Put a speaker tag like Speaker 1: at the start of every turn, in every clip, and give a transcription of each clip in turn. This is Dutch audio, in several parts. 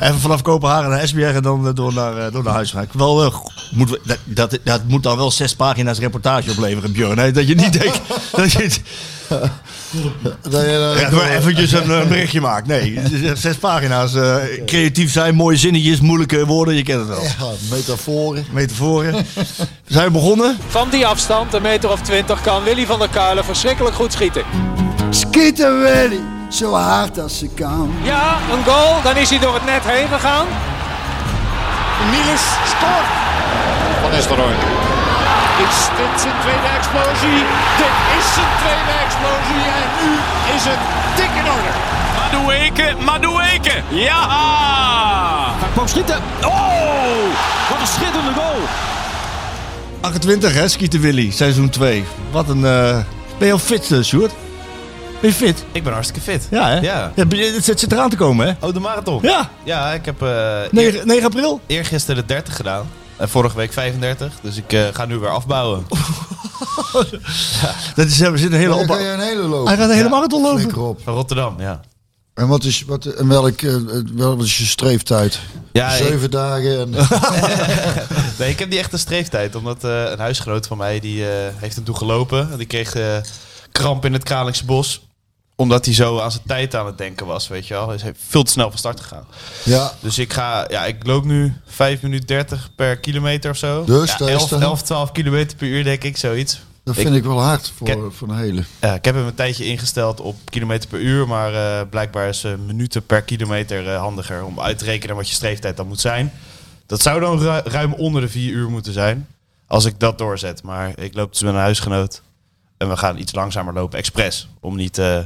Speaker 1: Even vanaf Kopenhagen naar Esbjerg en dan eh, door naar, eh, door naar huis gaan. Ik Wel, eh, moet, we- dat, dat, dat moet dan wel zes pagina's reportage opleveren, Björn. Hè? Dat je niet denkt dat je het-
Speaker 2: Dat je, eh,
Speaker 1: ja, maar eventjes een eh, berichtje maakt. Nee, het is echt zes pagina's. eh, creatief zijn, mooie zinnetjes, moeilijke woorden, je kent het wel.
Speaker 2: ja, metaforen.
Speaker 1: Metaforen. We zijn begonnen.
Speaker 3: Van die afstand, een meter of twintig, kan Willy van der Kuilen verschrikkelijk goed schieten.
Speaker 4: Schieten Willy, zo hard als ze kan.
Speaker 3: Ja, een goal. Dan is hij door het net heen gegaan.
Speaker 5: Niels scoort. Van Nistelrooy. Is dit zijn tweede explosie? Dit is zijn tweede explosie en nu is het dik in orde.
Speaker 6: Madueke, Madueke. Ja! Hij kwam schieten. Oh! Wat een schitterende goal.
Speaker 1: 28 hè, Schieten Willy, seizoen 2. Wat een... eh, Ben je al fit, eh, Sjoerd? Ben je fit?
Speaker 7: Ik ben hartstikke fit.
Speaker 1: Ja, hè?
Speaker 7: Ja.
Speaker 1: ben je- het zit zit eraan te komen, hè?
Speaker 7: Oh, de marathon.
Speaker 1: Ja,
Speaker 7: Ja, ik heb eh, eer,
Speaker 1: 9, 9 april.
Speaker 7: eergisteren de 30 gedaan. En vorige week 35. Dus ik eh, ga nu weer afbouwen.
Speaker 1: Dat is, er zit een hele
Speaker 2: Dan
Speaker 1: opbouw.
Speaker 2: kan je een hele lopen.
Speaker 1: Hij gaat een hele marathon
Speaker 2: Flikker
Speaker 1: lopen.
Speaker 2: op.
Speaker 7: Van Rotterdam, ja.
Speaker 2: En wat is, wat, en welk, eh, wel- wat is je streeftijd?
Speaker 7: Ja,
Speaker 2: Zeven
Speaker 7: ik,
Speaker 2: dagen en
Speaker 7: nee, ik heb niet echt een streeftijd. Omdat eh, een huisgenoot van mij, die eh, heeft hem toen gelopen. En die kreeg eh, kramp in het Kralingse bos. Omdat hij zo aan zijn tijd aan het denken was, weet je wel. Hij is veel te snel van start gegaan.
Speaker 2: ja,
Speaker 7: Dus ik ga, ja, ik loop nu 5 minuten 30 per kilometer of zo.
Speaker 2: Dus
Speaker 7: ja,
Speaker 2: daar is
Speaker 7: 11,
Speaker 2: de-
Speaker 7: 11, 12 kilometer per uur denk ik, zoiets.
Speaker 2: dat
Speaker 7: Ik-
Speaker 2: vind ik wel hard voor,
Speaker 7: Ken-
Speaker 2: voor een hele.
Speaker 7: Ja, Eh, ik heb hem een tijdje ingesteld op kilometer per uur, maar eh, blijkbaar is eh, minuten per kilometer eh, handiger om uit te rekenen wat je streeftijd dan moet zijn. Dat zou dan ru- ruim onder de 4 uur moeten zijn, als ik dat doorzet. Maar ik loop dus met een huisgenoot en we gaan iets langzamer lopen, expres, om niet eh,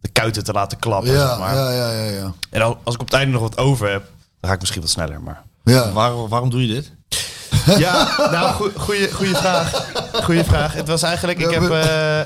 Speaker 7: de kuiten te laten klappen. zeg
Speaker 2: Ja,
Speaker 7: maar.
Speaker 2: ja, ja, ja, ja.
Speaker 7: En al- als ik op het einde nog wat over heb, dan ga ik misschien wat sneller, maar...
Speaker 2: ja.
Speaker 1: Waarom, waarom doe je dit?
Speaker 7: Ja, nou, goe- goeie, goeie vraag. Goeie vraag. Het was eigenlijk, ik heb eh,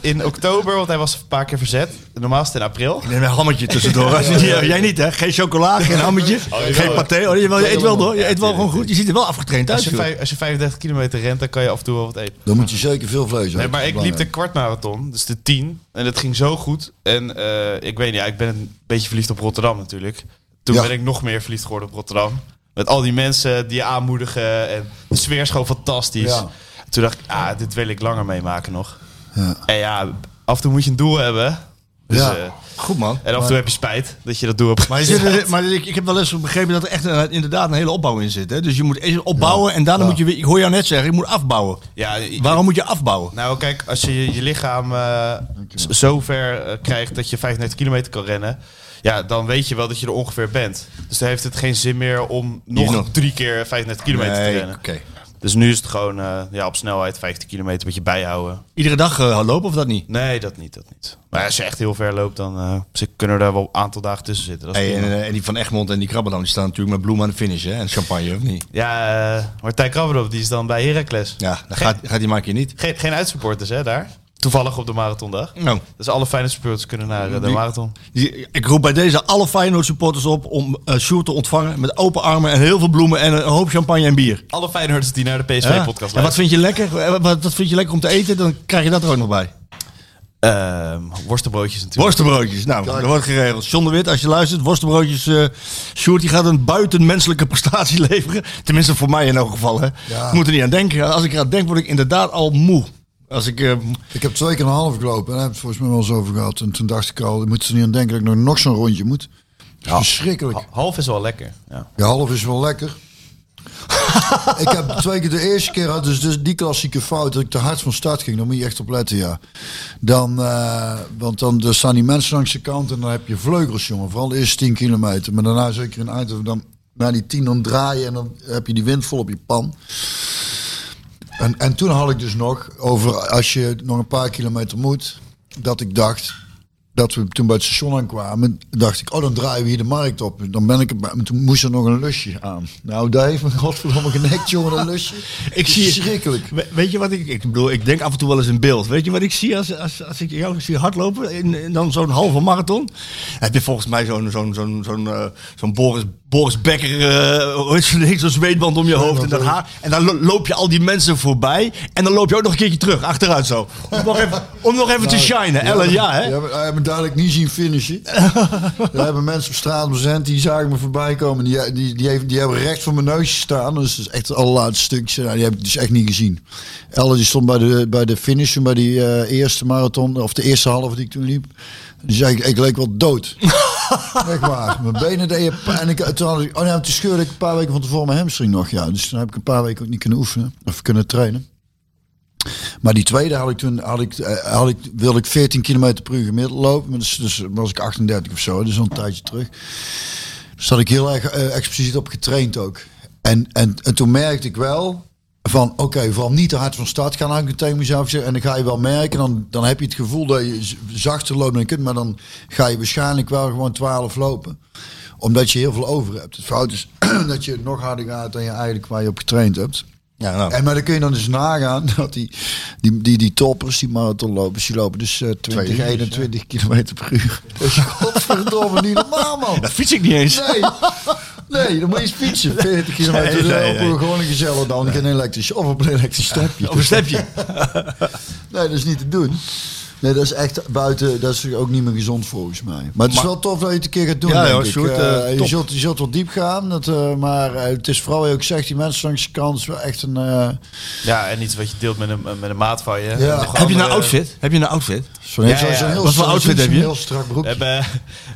Speaker 7: in oktober, want hij was een paar keer verzet. Normaal is het in april.
Speaker 1: Neem een hammetje tussendoor. Als je- ja, jij niet, hè? Geen chocola, geen hammetje, geen paté. Oh, je, wel- je eet wel door. Je eet wel gewoon goed. Je ziet er wel afgetraind uit.
Speaker 7: Als je,
Speaker 1: joh.
Speaker 7: vijf- als je 35 kilometer rent, dan kan je af en toe wel wat eten.
Speaker 2: Dan moet je zeker veel vlees
Speaker 7: Nee,
Speaker 2: eten,
Speaker 7: maar ik liep de
Speaker 2: belangrijk.
Speaker 7: kwartmarathon, dus de 10. En dat ging zo goed. En eh, ik weet niet, ja, ik ben een beetje verliefd op Rotterdam natuurlijk. Toen
Speaker 2: Ja.
Speaker 7: ben ik nog meer verliefd geworden op Rotterdam. Met al die mensen die je aanmoedigen. En de sfeer is gewoon fantastisch.
Speaker 2: Ja.
Speaker 7: Toen dacht ik, ah, dit wil ik langer meemaken nog.
Speaker 2: Ja.
Speaker 7: En ja, af en toe moet je een doel hebben. Dus,
Speaker 2: Ja.
Speaker 7: eh,
Speaker 1: Goed, man.
Speaker 7: en af en toe heb je spijt dat je dat doel hebt.
Speaker 1: Maar, je zit er- maar ik, ik heb wel eens begrepen dat er echt een- inderdaad een hele opbouw in zit. Hè? Dus je moet eerst opbouwen en daarna moet je weer... Ik hoor jou net zeggen, je moet afbouwen.
Speaker 7: ja, je-
Speaker 1: Waarom moet je afbouwen?
Speaker 7: Nou, kijk, als je je je lichaam eh, z- zo ver eh, krijgt dat je 35 kilometer kan rennen, ja, dan weet je wel dat je er ongeveer bent. Dus dan heeft het geen zin meer om nog,
Speaker 1: nog.
Speaker 7: drie keer 35 kilometer te
Speaker 1: Nee,
Speaker 7: rennen.
Speaker 1: oké.
Speaker 7: Dus nu is het gewoon eh, ja, op snelheid 15 kilometer een beetje bijhouden.
Speaker 1: Iedere dag eh, lopen of dat niet?
Speaker 7: Nee, dat niet, dat niet. Maar als je echt heel ver loopt, dan eh, ze kunnen daar wel een aantal dagen tussen zitten. Dat is
Speaker 1: Hey, en,
Speaker 7: prima.
Speaker 1: eh, en die van Egmond en die Krabberdam die staan natuurlijk met bloemen aan de finish hè? en champagne, of niet?
Speaker 7: Ja, eh, Martijn Krabbenop, die is dan bij Heracles.
Speaker 1: Ja, dat
Speaker 7: Geen-
Speaker 1: gaat, gaat die maar een keer niet.
Speaker 7: Geen, geen uitsupporters, hè, daar? Toevallig op de marathondag.
Speaker 1: Nou,
Speaker 7: Dus alle fijne supporters kunnen naar eh, de
Speaker 1: Die-
Speaker 7: marathon.
Speaker 1: Die- Ik roep bij deze alle Feyenoord supporters op om eh Sjoerd te ontvangen met open armen en heel veel bloemen en een hoop champagne en bier.
Speaker 7: Alle Feyenoorders die naar de
Speaker 1: Ja.
Speaker 7: PSV-podcast
Speaker 1: En wat
Speaker 7: luisteren.
Speaker 1: vind je lekker? Eh, Wat, wat vind je lekker om te eten? Dan krijg je dat er ook nog bij.
Speaker 7: Ehm, worstenbroodjes natuurlijk.
Speaker 1: Worstenbroodjes. Nou, dat wordt geregeld. John de Wit, als je luistert, worstenbroodjes. eh Sjoerd die gaat een buitenmenselijke prestatie leveren. Tenminste voor mij in elk geval. Hè.
Speaker 2: Ja.
Speaker 1: Ik moet er niet aan denken. Als ik eraan denk, word ik inderdaad al moe. Als ik, eh,
Speaker 2: Ik heb twee keer een half gelopen en daar hebben we het volgens mij wel eens over gehad. En toen dacht ik al, ik moet er niet aan denken dat ik nog, nog zo'n rondje moet. Dat is verschrikkelijk.
Speaker 7: Ha- Half is wel lekker. Ja.
Speaker 2: Ja, half is wel lekker. ik heb twee keer de eerste keer had, dus, dus die klassieke fout dat ik te hard van start ging. Daar moet je echt op letten, ja. Dan, eh, want dan er staan die mensen langs de kant en dan heb je vleugels, jongen. Vooral de eerste 10 kilometer. Maar daarna zeker in Eindhoven, dan na die 10 dan draaien en dan heb je die wind vol op je pan. En, en toen had ik dus nog over als je nog een paar kilometer moet, dat ik dacht dat we toen bij het station aankwamen, dacht ik, oh dan draaien we hier de markt op. Dan ben ik erbij. Maar toen moest er nog een lusje aan. Nou, daar heeft me godverdomme genekt, jongen, dat lusje.
Speaker 1: ik zie...
Speaker 2: Schrikkelijk.
Speaker 1: We- Weet je wat ik... Ik bedoel, ik denk af en toe wel eens in beeld. Weet je wat ik zie als, als, als ik jou zie hardlopen? En, en dan zo'n halve marathon. Heb je volgens mij zo'n zo'n zo'n zo'n eh, zo'n Boris Boris Becker, eh, hoe heet zo'n ding, zo'n zweetband om je hoofd en dat haar. En dan lo- loop je al die mensen voorbij. En dan loop je ook nog een keertje terug, achteruit zo. Om nog even, om nog even te shinen. Ellen, Nou, ja hè?
Speaker 2: Je hebt, hij heeft me duidelijk niet zien finishen. Daar hebben mensen op straat bezend, die zagen me voorbij komen. Die, die, die, heeft, die hebben recht voor mijn neusje staan. Dus dat is echt het allerlaatste stukje. Nou, die heb ik dus echt niet gezien. Elle die stond bij de, bij de finish, toen bij die eh, eerste marathon, of de eerste halve die ik toen liep. Die zei, ik, ik leek wel dood. Echt waar. Mijn benen deden pijn. En ik, toen, had ik, oh nee, toen scheurde ik een paar weken van tevoren mijn hamstring nog. Ja. Dus toen heb ik een paar weken ook niet kunnen oefenen. Of kunnen trainen. Maar die tweede had ik toen, had ik, eh, had ik, wilde ik 14 km per uur gemiddeld lopen. Maar Dus, dus was ik 38 of zo, dus al een tijdje terug. Dus had ik heel erg eh, expliciet op getraind ook. En, en, en toen merkte ik wel van, oké, vooral niet te hard van start gaan, had ik tegen mezelf gezegd. En dan ga je wel merken, dan, dan heb je het gevoel dat je z- zachter loopt dan je kunt. Maar dan ga je waarschijnlijk wel gewoon 12 lopen. Omdat je heel veel over hebt. Het fout is dat je nog harder gaat dan je eigenlijk waar je op getraind hebt.
Speaker 1: Ja, nou.
Speaker 2: En maar dan kun je dan dus nagaan dat die, die, die, die toppers, die marathonlopers, die lopen dus eh 20, 21 kilometer per uur. Dat is godverdomme niet normaal, man.
Speaker 1: Dat fiets ik niet eens.
Speaker 2: Nee, nee, dan moet je eens fietsen. 40 kilometer
Speaker 1: Nee,
Speaker 2: per
Speaker 1: nee,
Speaker 2: uur op
Speaker 1: nee.
Speaker 2: een gewoon een gezellig dan. Geen elektrisch, of op een elektrisch stepje.
Speaker 1: Op een stepje.
Speaker 2: Nee, dat is niet te doen. Nee, dat is echt buiten, dat is ook niet meer gezond volgens mij. Maar het is
Speaker 1: Maar-
Speaker 2: wel tof dat je het een keer gaat doen,
Speaker 1: Ja,
Speaker 2: denk
Speaker 1: joh,
Speaker 2: ik.
Speaker 1: Sjoerd,
Speaker 2: Eh,
Speaker 1: eh,
Speaker 2: je,
Speaker 1: top.
Speaker 2: zult, je zult wel diep gaan, dat, eh, maar eh, het is vooral, wat je ook zegt, die mensen langs de kant is wel echt een... eh,
Speaker 7: Ja, en iets wat je deelt met een, met een maat van je.
Speaker 2: Ja.
Speaker 7: Nog
Speaker 1: Heb je nou
Speaker 7: andere-
Speaker 1: outfit? Heb je een outfit?
Speaker 2: Zo'n heel,
Speaker 7: Ja, ja.
Speaker 2: zo'n heel,
Speaker 1: Wat voor
Speaker 2: zo'n-
Speaker 1: outfit
Speaker 2: zo'n
Speaker 1: heb je?
Speaker 2: heel strak broekje.
Speaker 7: Eh, bij-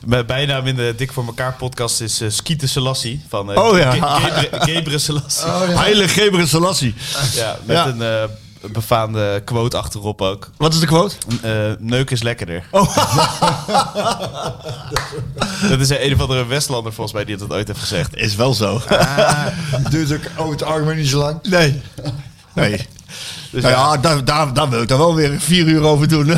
Speaker 7: Mijn bijnaam in de Dik voor elkaar podcast is eh Skieten Selassie. Van eh,
Speaker 1: Oh, ja.
Speaker 7: Ge- Gebre, Gebre Selassie.
Speaker 2: Oh,
Speaker 1: Oh, Heilige Geberen Selassie.
Speaker 7: Ja, met
Speaker 1: Ja.
Speaker 7: een eh, befaamde quote achterop ook.
Speaker 1: Wat is de quote?
Speaker 7: Eh, neuk is lekkerder.
Speaker 2: Oh.
Speaker 7: dat is een of andere Westlander volgens mij die dat ooit heeft gezegd.
Speaker 1: Is wel zo.
Speaker 2: duurt ook over het algemeen niet zo lang.
Speaker 1: Nee. Nee.
Speaker 7: Dus,
Speaker 1: Nou
Speaker 7: ja,
Speaker 1: ja, daar, daar, daar wil ik dan wel weer vier uur over doen.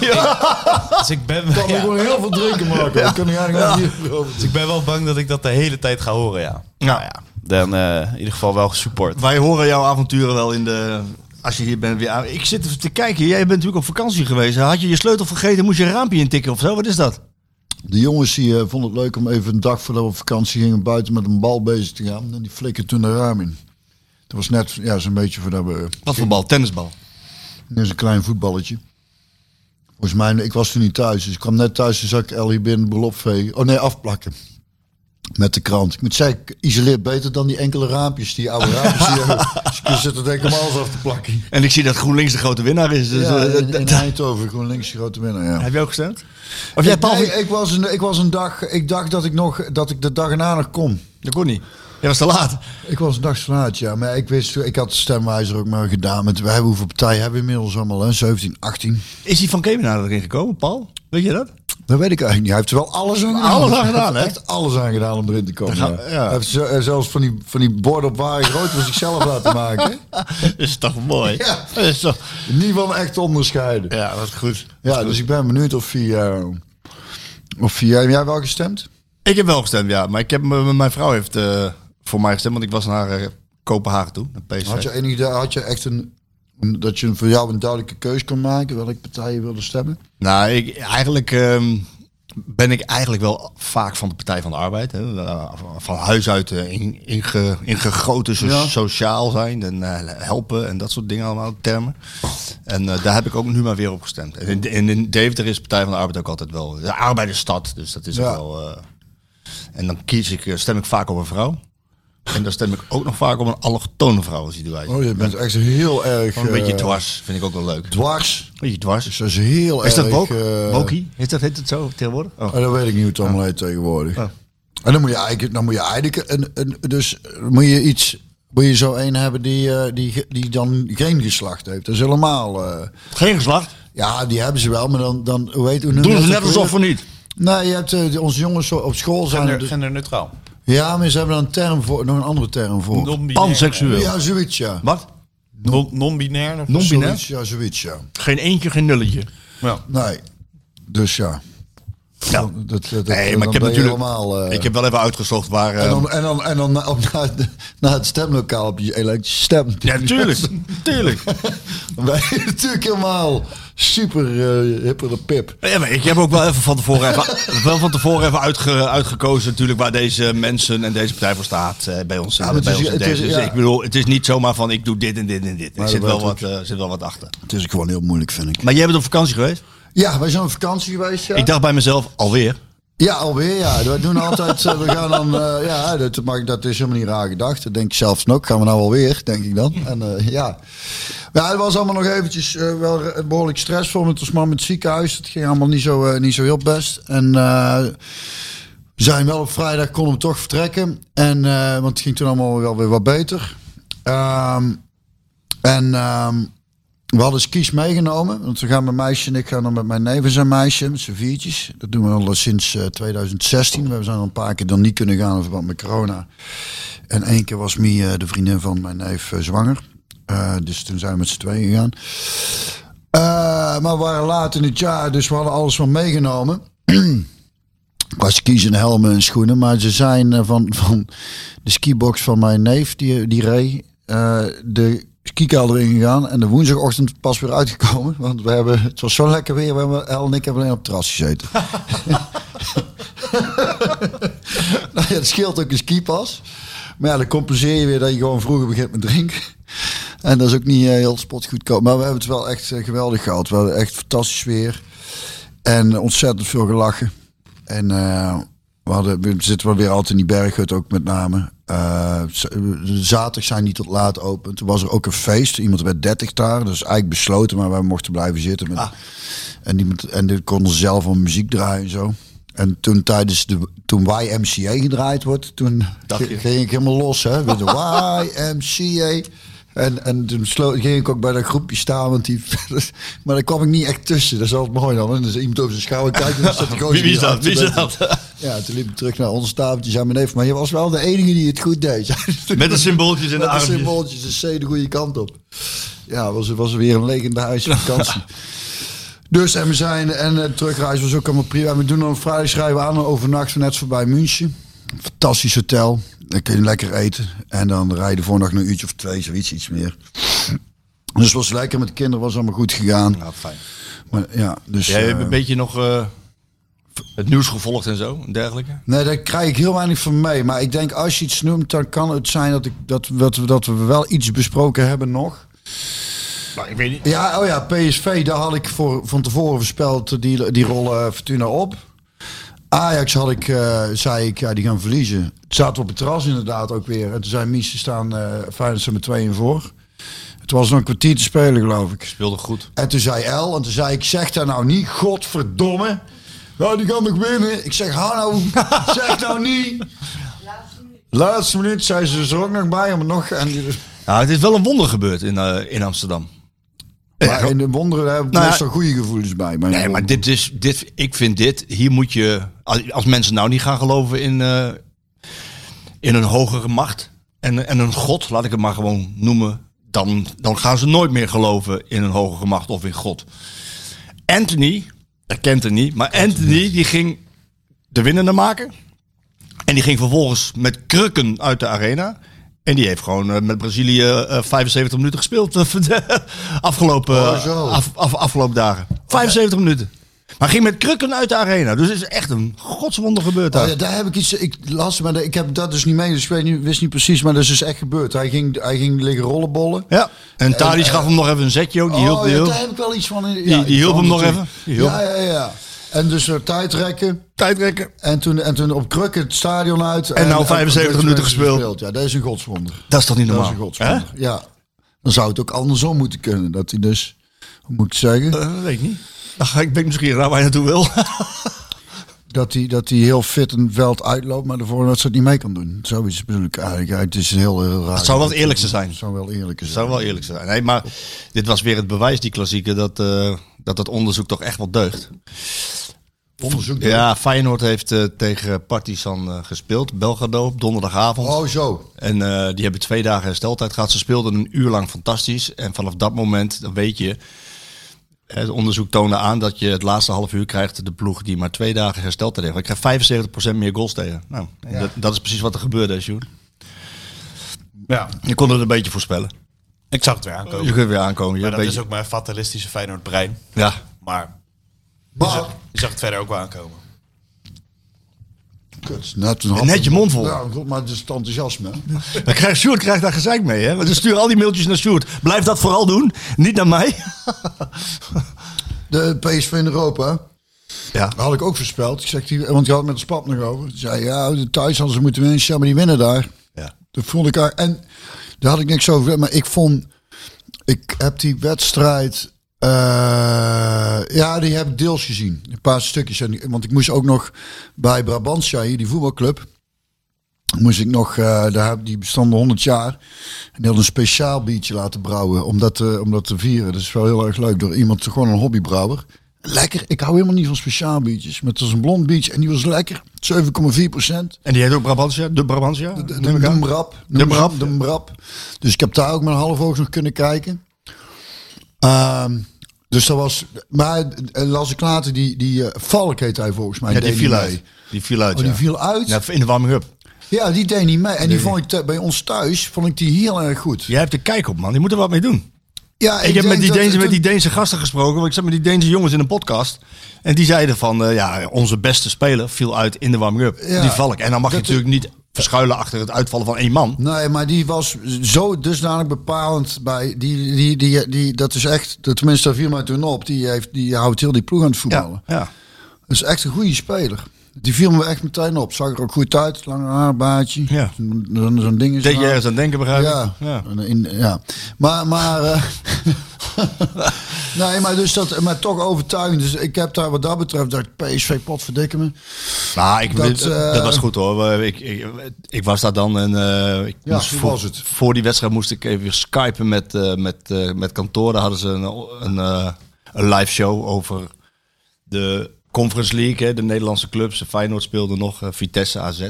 Speaker 1: ja.
Speaker 7: dus ik, ben,
Speaker 2: Kan me
Speaker 7: ja,
Speaker 2: gewoon heel veel drinken maken. Dat kan ik eigenlijk wel hier over
Speaker 7: dus ik ben wel bang dat ik dat de hele tijd ga horen, ja.
Speaker 1: Nou
Speaker 7: ja. Dan eh, in ieder geval wel gesupport.
Speaker 1: Wij horen jouw avonturen wel in de... Als je hier bent weer aan... Ik zit even te kijken. Jij bent natuurlijk op vakantie geweest. Had je je sleutel vergeten, moest je een raampje intikken of zo? Wat is dat?
Speaker 2: De jongens die, eh, vonden het leuk om even een dag voordat we op vakantie gingen buiten met een bal bezig te gaan. En die flikken toen de raam in. Dat was net ja, zo'n beetje voordat we...
Speaker 1: Wat voor bal? Tennisbal.
Speaker 2: Dat is een klein voetballetje. Volgens mij, ik was toen niet thuis. Dus ik kwam net thuis en zag ik Ellie binnen belop vegen. Oh nee, afplakken. Met de krant. Ik moet zeggen, ik isoleer beter dan die enkele raampjes, die oude raampjes. Die, hebben. dus ik zit er denk ik om alles af te plakken.
Speaker 1: En ik zie dat GroenLinks de grote winnaar is. Dus,
Speaker 2: ja,
Speaker 1: eh,
Speaker 2: in,
Speaker 1: dat-
Speaker 2: in
Speaker 1: dat-
Speaker 2: Eindhoven, gewoon links de grote winnaar. Ja.
Speaker 1: Heb je ook gestemd? Of jij
Speaker 2: ik,
Speaker 1: Paul...
Speaker 2: nee, ik, was een, ik was een dag, ik dacht dat ik nog, dat ik de dag erna nog kon.
Speaker 1: Dat kon niet. Jij was te laat.
Speaker 2: Ik was een dag vanuit, ja, maar ik wist, ik had de stemwijzer ook maar gedaan. Met, we hebben hoeveel partijen hebben we inmiddels allemaal, hè? 17, 18.
Speaker 1: Is die van Kemenaar erin gekomen, Paul? Weet je dat?
Speaker 2: Dat weet ik eigenlijk niet. Hij heeft er wel alles aan gedaan.
Speaker 1: Alles aan gedaan, hè?
Speaker 2: Hij heeft alles aan gedaan om erin te komen.
Speaker 1: Dan gaan-
Speaker 2: ja.
Speaker 1: ja.
Speaker 2: Hij heeft zo- eh, zelfs van die, van die borden op waar ik rood voor zichzelf laten maken.
Speaker 1: Dat is toch mooi?
Speaker 2: Ja.
Speaker 1: Dat is toch...
Speaker 2: Niet van echt te onderscheiden. Ja,
Speaker 1: Ja, dat is goed.
Speaker 2: dus ik ben benieuwd of hij... eh, of hij, heb jij wel gestemd?
Speaker 1: Ik heb wel gestemd, ja. Maar ik heb, m- mijn vrouw heeft eh, voor mij gestemd, want ik was naar eh, Kopenhagen toe, naar PSV.
Speaker 2: Had je enig idee, had je echt een... een- Dat je voor jou een duidelijke keus kon maken welke partij je wilde stemmen?
Speaker 1: Nou, ik, eigenlijk ehm, ben ik eigenlijk wel vaak van de Partij van de Arbeid. Hè. Eh, Van huis uit eh, in, inge- ingegoten so-
Speaker 2: Ja.
Speaker 1: sociaal zijn en eh, helpen en dat soort dingen allemaal, termen. En eh, daar heb ik ook nu maar weer op gestemd. En in, in, in Deventer is Partij van de Arbeid ook altijd wel de arbeidersstad. Dus dat is
Speaker 2: Ja.
Speaker 1: ook wel... eh, en dan kies ik, eh, stem ik vaak op een vrouw. En dan stem ik ook nog vaak op een allochtone vrouw als die erbij zit.
Speaker 2: Oh, je bent echt heel erg...
Speaker 1: Gewoon een beetje
Speaker 2: eh,
Speaker 1: dwars, vind ik ook wel leuk. Een
Speaker 2: dwars.
Speaker 1: beetje dwars.
Speaker 2: Dus dat is heel
Speaker 1: Is
Speaker 2: erg...
Speaker 1: dat woke?
Speaker 2: eh,
Speaker 1: Wokie? Is dat, heet het zo tegenwoordig? Oh.
Speaker 2: Oh, dat weet ik niet hoe het allemaal heet tegenwoordig. En dan moet je eigenlijk, dan moet je eigenlijk een, een, dus moet je iets, moet je zo een hebben die, eh, die, ge- die dan geen geslacht heeft. Dat is helemaal, eh,
Speaker 1: Geen geslacht.
Speaker 2: ja, die hebben ze wel, maar dan, dan hoe heet hoe noem je
Speaker 1: Doen
Speaker 2: dat
Speaker 1: ze net
Speaker 2: ook weer?
Speaker 1: alsof we niet.
Speaker 2: Nee, je hebt eh, die- onze jongens zo- op school zijn. er
Speaker 7: Gender,
Speaker 2: dus-
Speaker 7: genderneutraal.
Speaker 2: ja, maar ze hebben dan een term voor, nog een andere term voor.
Speaker 7: Non-binair.
Speaker 1: Panseksueel.
Speaker 2: Ja, zoiets ja.
Speaker 1: Wat?
Speaker 7: Non- Non-binair. of-
Speaker 1: Non-binair?
Speaker 2: Zoiets, ja, zoiets ja.
Speaker 1: Geen eentje, geen nulletje.
Speaker 7: Ja.
Speaker 2: Nee, dus ja. Ja. Dat, dat,
Speaker 1: Nee, maar
Speaker 2: en
Speaker 1: ik heb
Speaker 2: dan ben je
Speaker 1: natuurlijk.
Speaker 2: helemaal, eh,
Speaker 1: ik heb wel even uitgezocht waar. eh,
Speaker 2: En dan, en dan, en dan na, op- na, na het stemlokaal op je elektrische stem.
Speaker 1: eh, ja, tuurlijk. tuurlijk.
Speaker 2: Wij natuurlijk helemaal super eh hipper de pip.
Speaker 1: Ja, maar ik heb ook wel even van tevoren even, wel van tevoren even uitge- uitgekozen natuurlijk waar deze mensen en deze partij voor staat eh, bij ons. eh,
Speaker 2: maar het
Speaker 1: bij
Speaker 2: is-
Speaker 1: ons in
Speaker 2: het is-
Speaker 1: deze. Dus
Speaker 2: ja.
Speaker 1: ik bedoel, het is niet zomaar van ik doe dit en dit en dit. Er
Speaker 2: Maar
Speaker 1: zit
Speaker 2: dat
Speaker 1: wel,
Speaker 2: weet
Speaker 1: wat, eh, zit wel wat achter.
Speaker 2: Het is gewoon heel moeilijk, vind ik.
Speaker 1: Maar jij bent op vakantie geweest?
Speaker 2: Ja, wij zijn op vakantie geweest. Ja,
Speaker 1: Ik dacht bij mezelf, alweer.
Speaker 2: ja alweer. Ja. Wij doen altijd, eh, we gaan dan, eh, ja, dat, maar dat is helemaal niet raar gedacht. Dat denk ik zelfs nog. Gaan we nou alweer, denk ik dan. En eh, ja. ja, het was allemaal nog eventjes eh, wel re- behoorlijk stressvol. Met ons man met het ziekenhuis. Het ging allemaal niet zo, eh, niet zo heel best. En... eh, We zijn wel op vrijdag, kon hem toch vertrekken. En, eh, want het ging toen allemaal wel weer wat beter. Ehm, en ehm, we hadden skis meegenomen. Want we gaan met meisje en ik gaan dan met mijn neef en zijn meisje, met z'n viertjes. Dat doen we al sinds eh, 2016. We zijn al een paar keer dan niet kunnen gaan in verband met corona. En één keer was Mie, eh, de vriendin van mijn neef, eh, zwanger. Eh, dus toen zijn we met z'n tweeën gegaan. Eh, maar we waren laat in het jaar, dus we hadden alles wel meegenomen qua skis en helmen en schoenen. Maar ze zijn eh, van, van de skibox van mijn neef, die, die reed, eh, de skikouder ingegaan. En de woensdagochtend pas weer uitgekomen. Want we hebben, het was zo lekker weer, we hebben, El en ik hebben alleen op het terras gezeten. nou ja, het scheelt ook een skipas. Maar ja, dan compenseer je weer dat je gewoon vroeger begint met drinken. En dat is ook niet eh, heel spotgoedkoop. Maar we hebben het wel echt eh, geweldig gehad. We hadden echt fantastisch weer. En ontzettend veel gelachen. En eh, we, hadden, we zitten wel weer altijd in die berghut ook met name. Eh, z- zaterdag zijn die tot laat open. Toen was er ook een feest. Iemand werd 30 daar. Dat is eigenlijk besloten, maar wij mochten blijven zitten. Met, En die met- en die konden zelf al muziek draaien en zo. En toen tijdens de toen YMCA gedraaid wordt, toen
Speaker 1: je.
Speaker 2: ging ik helemaal los hè, met de YMCA. En, en toen slo- ging ik ook bij dat groepje staan, want die, maar daar kwam ik niet echt tussen. Dat is altijd mooi dan. hè. Dan is iemand over zijn schouder kijkt en dan staat die
Speaker 1: Wie,
Speaker 2: gozer
Speaker 1: wie is
Speaker 2: die
Speaker 1: dat? Wie is
Speaker 2: achter-
Speaker 1: dat?
Speaker 2: Ja, toen liep ik terug naar ons tafeltje, zei mijn neef, maar je was wel de enige die het goed deed.
Speaker 1: Met de symbooltjes in de
Speaker 2: Met de
Speaker 1: armpjes.
Speaker 2: symbooltjes, de C de goede kant op. Ja, was, was weer een legendarische vakantie. dus en we zijn en de terugreis was ook allemaal prima. En we doen dan op vrijdag schrijven we aan een overnacht net voorbij München. Fantastisch hotel. Dan kun je lekker eten. En dan rijden we voornacht nog een uurtje of twee, zoiets, iets meer. Dus het was lekker met de kinderen, was allemaal goed gegaan.
Speaker 1: Nou, fijn.
Speaker 2: Maar, ja, dus,
Speaker 1: Jij hebt
Speaker 2: eh,
Speaker 1: een beetje nog eh, het nieuws gevolgd en zo en dergelijke.
Speaker 2: Nee, daar krijg ik heel weinig van mee. Maar ik denk als je iets noemt, dan kan het zijn dat, ik, dat, dat, we- dat we wel iets besproken hebben nog.
Speaker 1: Nou, ik weet niet.
Speaker 2: Ja, oh ja, PSV, daar had ik voor, van tevoren voorspeld, die, die rollen eh, Fortuna op. Ajax had ik, eh, zei ik, ja, die gaan verliezen. Het zaten op het terras inderdaad ook weer. En toen zijn Mies, ze staan eh Feyenoord staat met 2 in voor. Het was nog een kwartier te spelen, geloof ik.
Speaker 1: Speelde goed.
Speaker 2: En toen zei El, en toen zei ik, zeg daar nou niet, godverdomme. Nou, die gaan nog winnen. Ik zeg, hou nou, zeg nou niet. Laatste minuut zei ze er ook nog bij, maar nog. En die,
Speaker 1: Nou, het is wel een wonder gebeurd in, eh, in Amsterdam.
Speaker 2: maar in de wonderen daar heb ik
Speaker 1: Nou ja.
Speaker 2: meestal goede gevoelens bij. Maar
Speaker 1: Nee, maar dit is, dit, ik vind dit, hier moet je, als, als mensen nou niet gaan geloven in, eh, in een hogere macht en, en een god, laat ik het maar gewoon noemen, dan, dan gaan ze nooit meer geloven in een hogere macht of in God. Anthony, dat kent er niet, maar Anthony die ging de winnende maken en die ging vervolgens met krukken uit de arena. En die heeft gewoon eh, met Brazilië eh, 75 minuten gespeeld eh, de afgelopen, eh,
Speaker 2: Oh, zo.
Speaker 1: af, af- afgelopen dagen. 75 minuten. Maar ging met krukken uit de arena. Dus het is echt een godswonder gebeurd daar.
Speaker 2: Oh ja, daar heb ik iets. Ik las, maar ik heb dat dus niet mee. Dus ik weet niet, wist niet precies, maar dat is dus echt gebeurd. Hij ging, hij ging liggen rollenbollen.
Speaker 1: Ja. En Tadic gaf hem nog even een zetje ook. Die hielp,
Speaker 2: oh,
Speaker 1: die
Speaker 2: ja,
Speaker 1: hielp.
Speaker 2: daar heb ik wel iets van. in- Ja,
Speaker 1: die
Speaker 2: ik
Speaker 1: hielp
Speaker 2: kan
Speaker 1: hem nog
Speaker 2: natuurlijk-
Speaker 1: even. Die hielp
Speaker 2: Ja, ja, ja. En dus weer tijdrekken.
Speaker 1: Tijdrekken.
Speaker 2: En toen, en toen op krukken het stadion uit. En,
Speaker 1: nou
Speaker 2: en
Speaker 1: 75 minuten gespeeld.
Speaker 2: Ja, dat is een godswonder.
Speaker 1: Dat is toch niet
Speaker 2: Dat is
Speaker 1: normaal?
Speaker 2: een godswonder. Ja. Dan zou het ook andersom moeten kunnen. Dat hij dus, hoe moet ik zeggen?
Speaker 1: Hè? Eh, weet ik niet. Dan ga ik ben ik misschien raar waar je naartoe wil.
Speaker 2: dat hij, dat hij heel fit een veld uitloopt, maar de voorlaatste het niet mee kan doen. Zoiets bedoel ik eigenlijk. Ja, Het is heel, heel raar.
Speaker 1: Het zou wel het eerlijkste zijn.
Speaker 2: Het zou wel eerlijk zijn.
Speaker 1: Dat zou wel eerlijk zijn. Nee, maar dit was weer het bewijs, die klassieke, dat, eh, dat dat onderzoek toch echt wat deugt.
Speaker 2: Onderzoek.
Speaker 1: Ja, Feyenoord heeft eh, tegen Partizan eh, gespeeld. Belgrado op donderdagavond.
Speaker 2: Oh, zo.
Speaker 1: En eh, die hebben twee dagen hersteltijd gehad. Ze speelden een uur lang fantastisch. En vanaf dat moment, dan weet je, Het onderzoek toonde aan dat je het laatste half uur krijgt de ploeg die maar twee dagen hersteld tegen. Ik krijg 75% meer goals tegen. Nou, en dat, dat is precies wat er gebeurde, Sjoerd.
Speaker 7: Ja,
Speaker 1: Je kon het een beetje voorspellen.
Speaker 7: ik zag het weer
Speaker 1: Je
Speaker 7: aankomen.
Speaker 1: kunt weer aankomen. Je
Speaker 7: Maar
Speaker 1: een
Speaker 7: dat is
Speaker 1: beetje,
Speaker 7: ook mijn fatalistische Feyenoord brein.
Speaker 1: Ja,
Speaker 7: Maar
Speaker 2: Maar,
Speaker 7: je zag het verder ook wel aankomen.
Speaker 2: kut, Nou, net, een hap-
Speaker 1: net je mond vol.
Speaker 2: Ja, Nou, goed, maar het is het enthousiasme. hè.
Speaker 1: Dus, eh, Dan krijgt Sjoerd krijgt daar gezeik mee. Hè? Want dan sturen al die mailtjes naar Sjoerd. Blijf dat vooral doen. Niet naar mij.
Speaker 2: De PSV in Europa.
Speaker 1: Ja.
Speaker 2: Dat had ik ook voorspeld. Ik zeg, die, want je had het met de Spap nog over. Die zei, ja, thuis hadden ze moeten winnen. Ja, maar die winnen daar.
Speaker 1: ja.
Speaker 2: Dat vond ik... haar- En daar had ik niks over. gezegd, Maar ik vond... Ik heb die wedstrijd... eh, ja, die heb ik deels gezien. Een paar stukjes. En, want ik moest ook nog bij Brabantia, hier die voetbalclub... Moest ik nog, eh, daar, die bestanden 100 jaar. En die hadden een speciaal biertje laten brouwen om dat, eh, om dat te vieren. Dat is wel heel erg leuk door iemand, gewoon een hobbybrouwer. Lekker, ik hou helemaal niet van speciaal biertjes. Maar het was een blond biertje en die was lekker. 7,4 procent.
Speaker 1: En die heet ook Brabantia? De Brabantia?
Speaker 2: De,
Speaker 1: Neem
Speaker 2: de,
Speaker 1: ik aan.
Speaker 2: Mrap. De Mrap. De Mrap. Dus ik heb daar ook met een half oog nog kunnen kijken. Ehm, dus dat was... Maar eh, las ik later, die, die eh, Valk heet hij volgens mij.
Speaker 1: Ja, die
Speaker 2: deed
Speaker 1: viel
Speaker 2: niet
Speaker 1: uit.
Speaker 2: mee.
Speaker 1: Die viel uit,
Speaker 2: Oh, die
Speaker 1: ja.
Speaker 2: viel uit? Ja.
Speaker 1: Ja, in de warming-up.
Speaker 2: die deed niet mee. En die vond ik te- bij ons thuis vond ik die heel erg goed.
Speaker 1: Jij hebt er kijk op, man. Je moet er wat mee doen.
Speaker 2: Ja,
Speaker 1: Ik, heb
Speaker 2: denk
Speaker 1: met die,
Speaker 2: dat-
Speaker 1: Deense, met
Speaker 2: dat-
Speaker 1: die Deense gasten gesproken. Want ik zat met die Deense jongens in een podcast. En die zeiden van, eh, ja, onze beste speler viel uit in de warming-up.
Speaker 2: Ja.
Speaker 1: die valk. En dan mag je
Speaker 2: Dat-
Speaker 1: natuurlijk niet verschuilen achter het uitvallen van één man.
Speaker 2: Nee, maar die was zo dusdanig bepalend bij die, die, die, die dat is echt, dat- tenminste daar viel mij toen op, die, heeft, die houdt heel die ploeg aan het voetballen.
Speaker 1: Ja. ja.
Speaker 2: Dat is echt een goede speler. Die viel me echt meteen op. Zag er ook goed uit. Lange haar, baardje.
Speaker 1: Ja.
Speaker 2: Zo'n zo'n ding is
Speaker 1: Deed je
Speaker 2: er aan.
Speaker 1: ergens aan denken, begrijp ik?
Speaker 2: Ja. En In, ja. Maar, maar, eh, nee, maar, dus dat, maar toch overtuigend. Dus ik heb daar wat dat betreft, dat PSV pot verdikken me.
Speaker 1: Nou, ik,
Speaker 2: Dat,
Speaker 1: dat,
Speaker 2: eh,
Speaker 1: was goed hoor. Ik, ik, ik was daar dan en eh, ik
Speaker 2: Ja,
Speaker 1: moest
Speaker 2: hoe
Speaker 1: voor,
Speaker 2: was het?
Speaker 1: voor die wedstrijd moest ik even skypen met, eh, met, eh, met kantoor. Daar hadden ze een, een, eh, een live show over de Conference League, hè, de Nederlandse clubs. Feyenoord speelde nog, eh, Vitesse, AZ,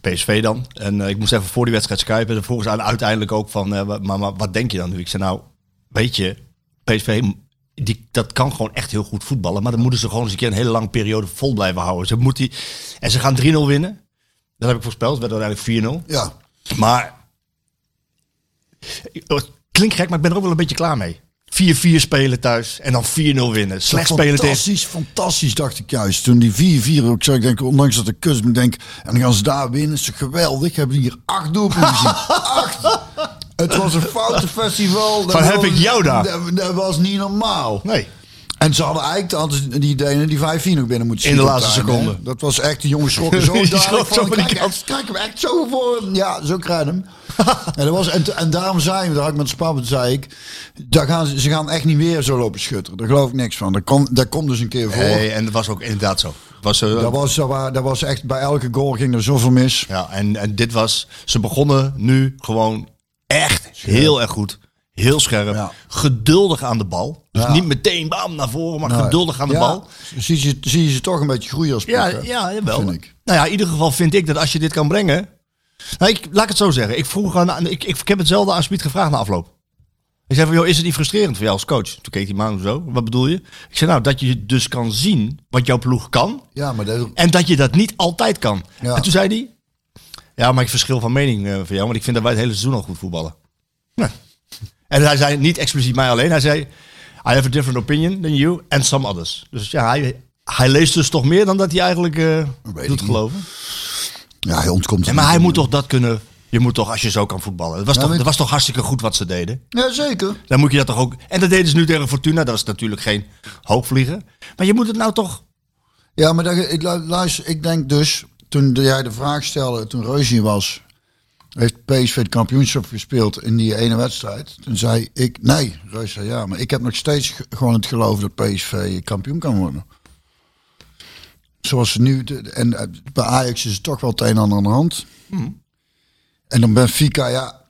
Speaker 1: PSV dan. En eh, ik moest even voor die wedstrijd skypen. En vroegen ze aan- uiteindelijk ook van, eh, wa- maar, maar wat denk je dan nu? Ik zei nou, weet je, PSV... Die, dat kan gewoon echt heel goed voetballen. Maar dan moeten ze gewoon eens een keer een hele lange periode vol blijven houden. Ze moet die, en ze gaan 3-0 winnen. Dat heb ik voorspeld. Het werd uiteindelijk 4-0.
Speaker 2: Ja.
Speaker 1: Maar oh, het klinkt gek, maar ik ben er ook wel een beetje klaar mee. 4-4 spelen thuis en dan 4-0 winnen. Slecht spelen tegen.
Speaker 2: Fantastisch, fantastisch, dacht ik juist. Toen die 4-4 ook zag, denk ik, ondanks dat de kus me denk, en dan gaan ze daar winnen, is toch geweldig. Hebben hier acht doelpunten gezien. acht! Het was een foutenfestival. Dat
Speaker 1: Van, heb
Speaker 2: was-
Speaker 1: ik jou daar?
Speaker 2: Dat, dat was niet normaal.
Speaker 1: Nee.
Speaker 2: En ze hadden eigenlijk altijd die Denen die 5-4 nog binnen moeten
Speaker 1: In de
Speaker 2: schieten
Speaker 1: laatste
Speaker 2: op het einde,
Speaker 1: seconde.
Speaker 2: hè. Dat was echt, die jongen schrokken zo
Speaker 1: Die
Speaker 2: dadelijk
Speaker 1: schrok zo
Speaker 2: van,
Speaker 1: van die
Speaker 2: kijk,
Speaker 1: kant.
Speaker 2: echt, kijk hem echt zo voor. Ja, zo krijg je hem. en, dat was, en, en daarom zei we, daar had ik met Spappen, zei ik, daar gaan ze, ze gaan echt niet weer zo lopen schutteren. Daar geloof ik niks van. Daar komt daar komt dus een keer voor.
Speaker 1: Nee, en dat was ook inderdaad zo. Was, eh,
Speaker 2: Dat was, dat, wa- dat was echt, bij elke goal ging er zoveel mis.
Speaker 1: ja, en, en dit was. Ze begonnen nu gewoon echt heel erg goed. Heel scherp.
Speaker 2: Ja.
Speaker 1: Geduldig aan de bal. Dus niet meteen bam naar voren, maar
Speaker 2: Nou,
Speaker 1: geduldig aan de
Speaker 2: ja,
Speaker 1: bal.
Speaker 2: Zie je, zie je ze toch een beetje groeien als
Speaker 1: Ja,
Speaker 2: ploeg, hè?
Speaker 1: ja jawel.
Speaker 2: Vind ik.
Speaker 1: Nou ja, in ieder geval vind ik dat als je dit kan brengen. Nou, ik, laat ik het zo zeggen. Ik, vroeg aan, aan- ik, ik, ik heb hetzelfde aan Smit gevraagd na afloop. Ik zei van, joh, is het niet frustrerend voor jou als coach? Toen keek die man zo, wat bedoel je? Ik zei, nou, dat je dus kan zien wat jouw ploeg kan.
Speaker 2: Ja, maar dat,
Speaker 1: En dat je dat niet altijd kan.
Speaker 2: Ja.
Speaker 1: En toen zei hij, ja, maar ik verschil van mening eh, van jou. Want ik vind dat wij het hele seizoen al goed voetballen. Nou. En hij zei niet expliciet mij alleen. Hij zei, I have a different opinion than you and some others. Dus ja, hij, hij leest dus toch meer dan dat hij eigenlijk eh,
Speaker 2: ik
Speaker 1: doet
Speaker 2: niet.
Speaker 1: geloven.
Speaker 2: ja, hij ontkomt
Speaker 1: Ja, maar hij moet toch dat kunnen... Je moet toch, als je zo kan voetballen. Het was, toch,
Speaker 2: maar-
Speaker 1: het was toch hartstikke goed wat ze deden.
Speaker 2: Ja, zeker.
Speaker 1: Dan moet je dat toch ook... En dat deden ze nu tegen Fortuna. Dat is natuurlijk geen hoogvlieger. Maar je moet het nou toch...
Speaker 2: Ja, maar dat, ik, lu- luister, ik denk dus, toen jij de vraag stelde, toen Reus hier was, heeft PSV het kampioenschap gespeeld in die ene wedstrijd. Toen zei ik, nee, Reus zei ja, maar ik heb nog steeds ge- gewoon het geloof dat PSV kampioen kan worden. Zoals ze nu, de- de- en eh, bij Ajax is het toch wel het een en ander aan de hand. En dan Benfica, ja,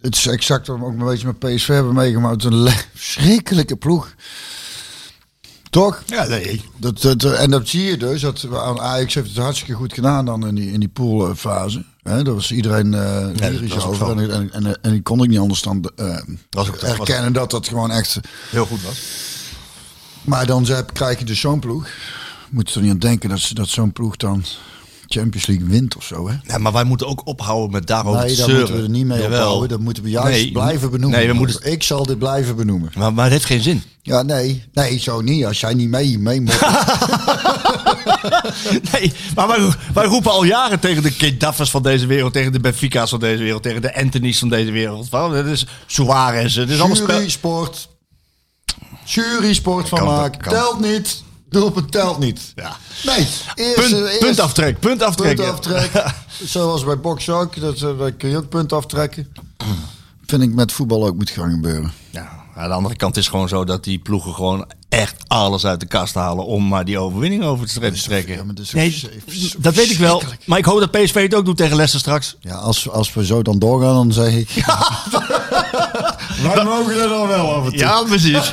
Speaker 2: het is exact wat we ook een beetje met PSV hebben meegemaakt. Een le- verschrikkelijke ploeg. Toch?
Speaker 1: Ja, nee.
Speaker 2: Dat, dat, en dat zie je dus. Dat we aan Ajax heeft het hartstikke goed gedaan dan in die, in die poolfase. Hè, daar was iedereen eh lyrisch
Speaker 1: was ook
Speaker 2: over.
Speaker 1: zo.
Speaker 2: En, en, en, en die kon ik niet anders dan eh,
Speaker 1: Was ook- was ook-
Speaker 2: erkennen dat dat gewoon echt...
Speaker 1: Heel goed was.
Speaker 2: Maar dan ze- krijg je dus zo'n ploeg. Moet je er niet aan denken dat, ze- dat zo'n ploeg dan Champions League wint of zo, hè?
Speaker 1: Ja, maar wij moeten ook ophouden met daarover
Speaker 2: nee,
Speaker 1: te
Speaker 2: daar
Speaker 1: Oh, zeuren.
Speaker 2: moeten we er niet mee
Speaker 1: Jawel.
Speaker 2: ophouden. Dat moeten we juist
Speaker 1: Nee,
Speaker 2: blijven benoemen.
Speaker 1: nee, we moeten-
Speaker 2: Ik zal dit blijven benoemen.
Speaker 1: Maar, maar het heeft geen zin.
Speaker 2: Ja, nee. Nee, zo niet. Als jij niet mee, mee moet.
Speaker 1: Nee, maar wij, wij roepen al jaren tegen de Kedaffers van deze wereld, tegen de Benfica's van deze wereld, tegen de Anthony's van deze wereld. Waarom? Het is Suarez, het is Dus allemaal spel.
Speaker 2: Jury sport. Jury sport van
Speaker 1: Kan,
Speaker 2: maken.
Speaker 1: kan.
Speaker 2: Telt niet. Doelpunt telt niet.
Speaker 1: Ja.
Speaker 2: Nee. Eerst,
Speaker 1: Punt,
Speaker 2: eerst-
Speaker 1: puntaftrek, puntaftrek.
Speaker 2: Punt aftrekken. Zoals bij boksen ook. Dat, eh, daar kun je ook punt aftrekken. Vind ik met voetbal ook moet gaan gebeuren.
Speaker 1: Ja, aan de andere kant is het gewoon zo dat die ploegen gewoon echt alles uit de kast halen om maar die overwinning over te stre- te trekken.
Speaker 2: ja, maar dat is ook zo- zo
Speaker 1: dat weet ik wel. Maar ik hoop dat PSV het ook doet tegen Leicester straks.
Speaker 2: Ja, als, als we zo dan doorgaan, dan zeg ik... Wij mogen er dan wel over
Speaker 1: Ja, precies.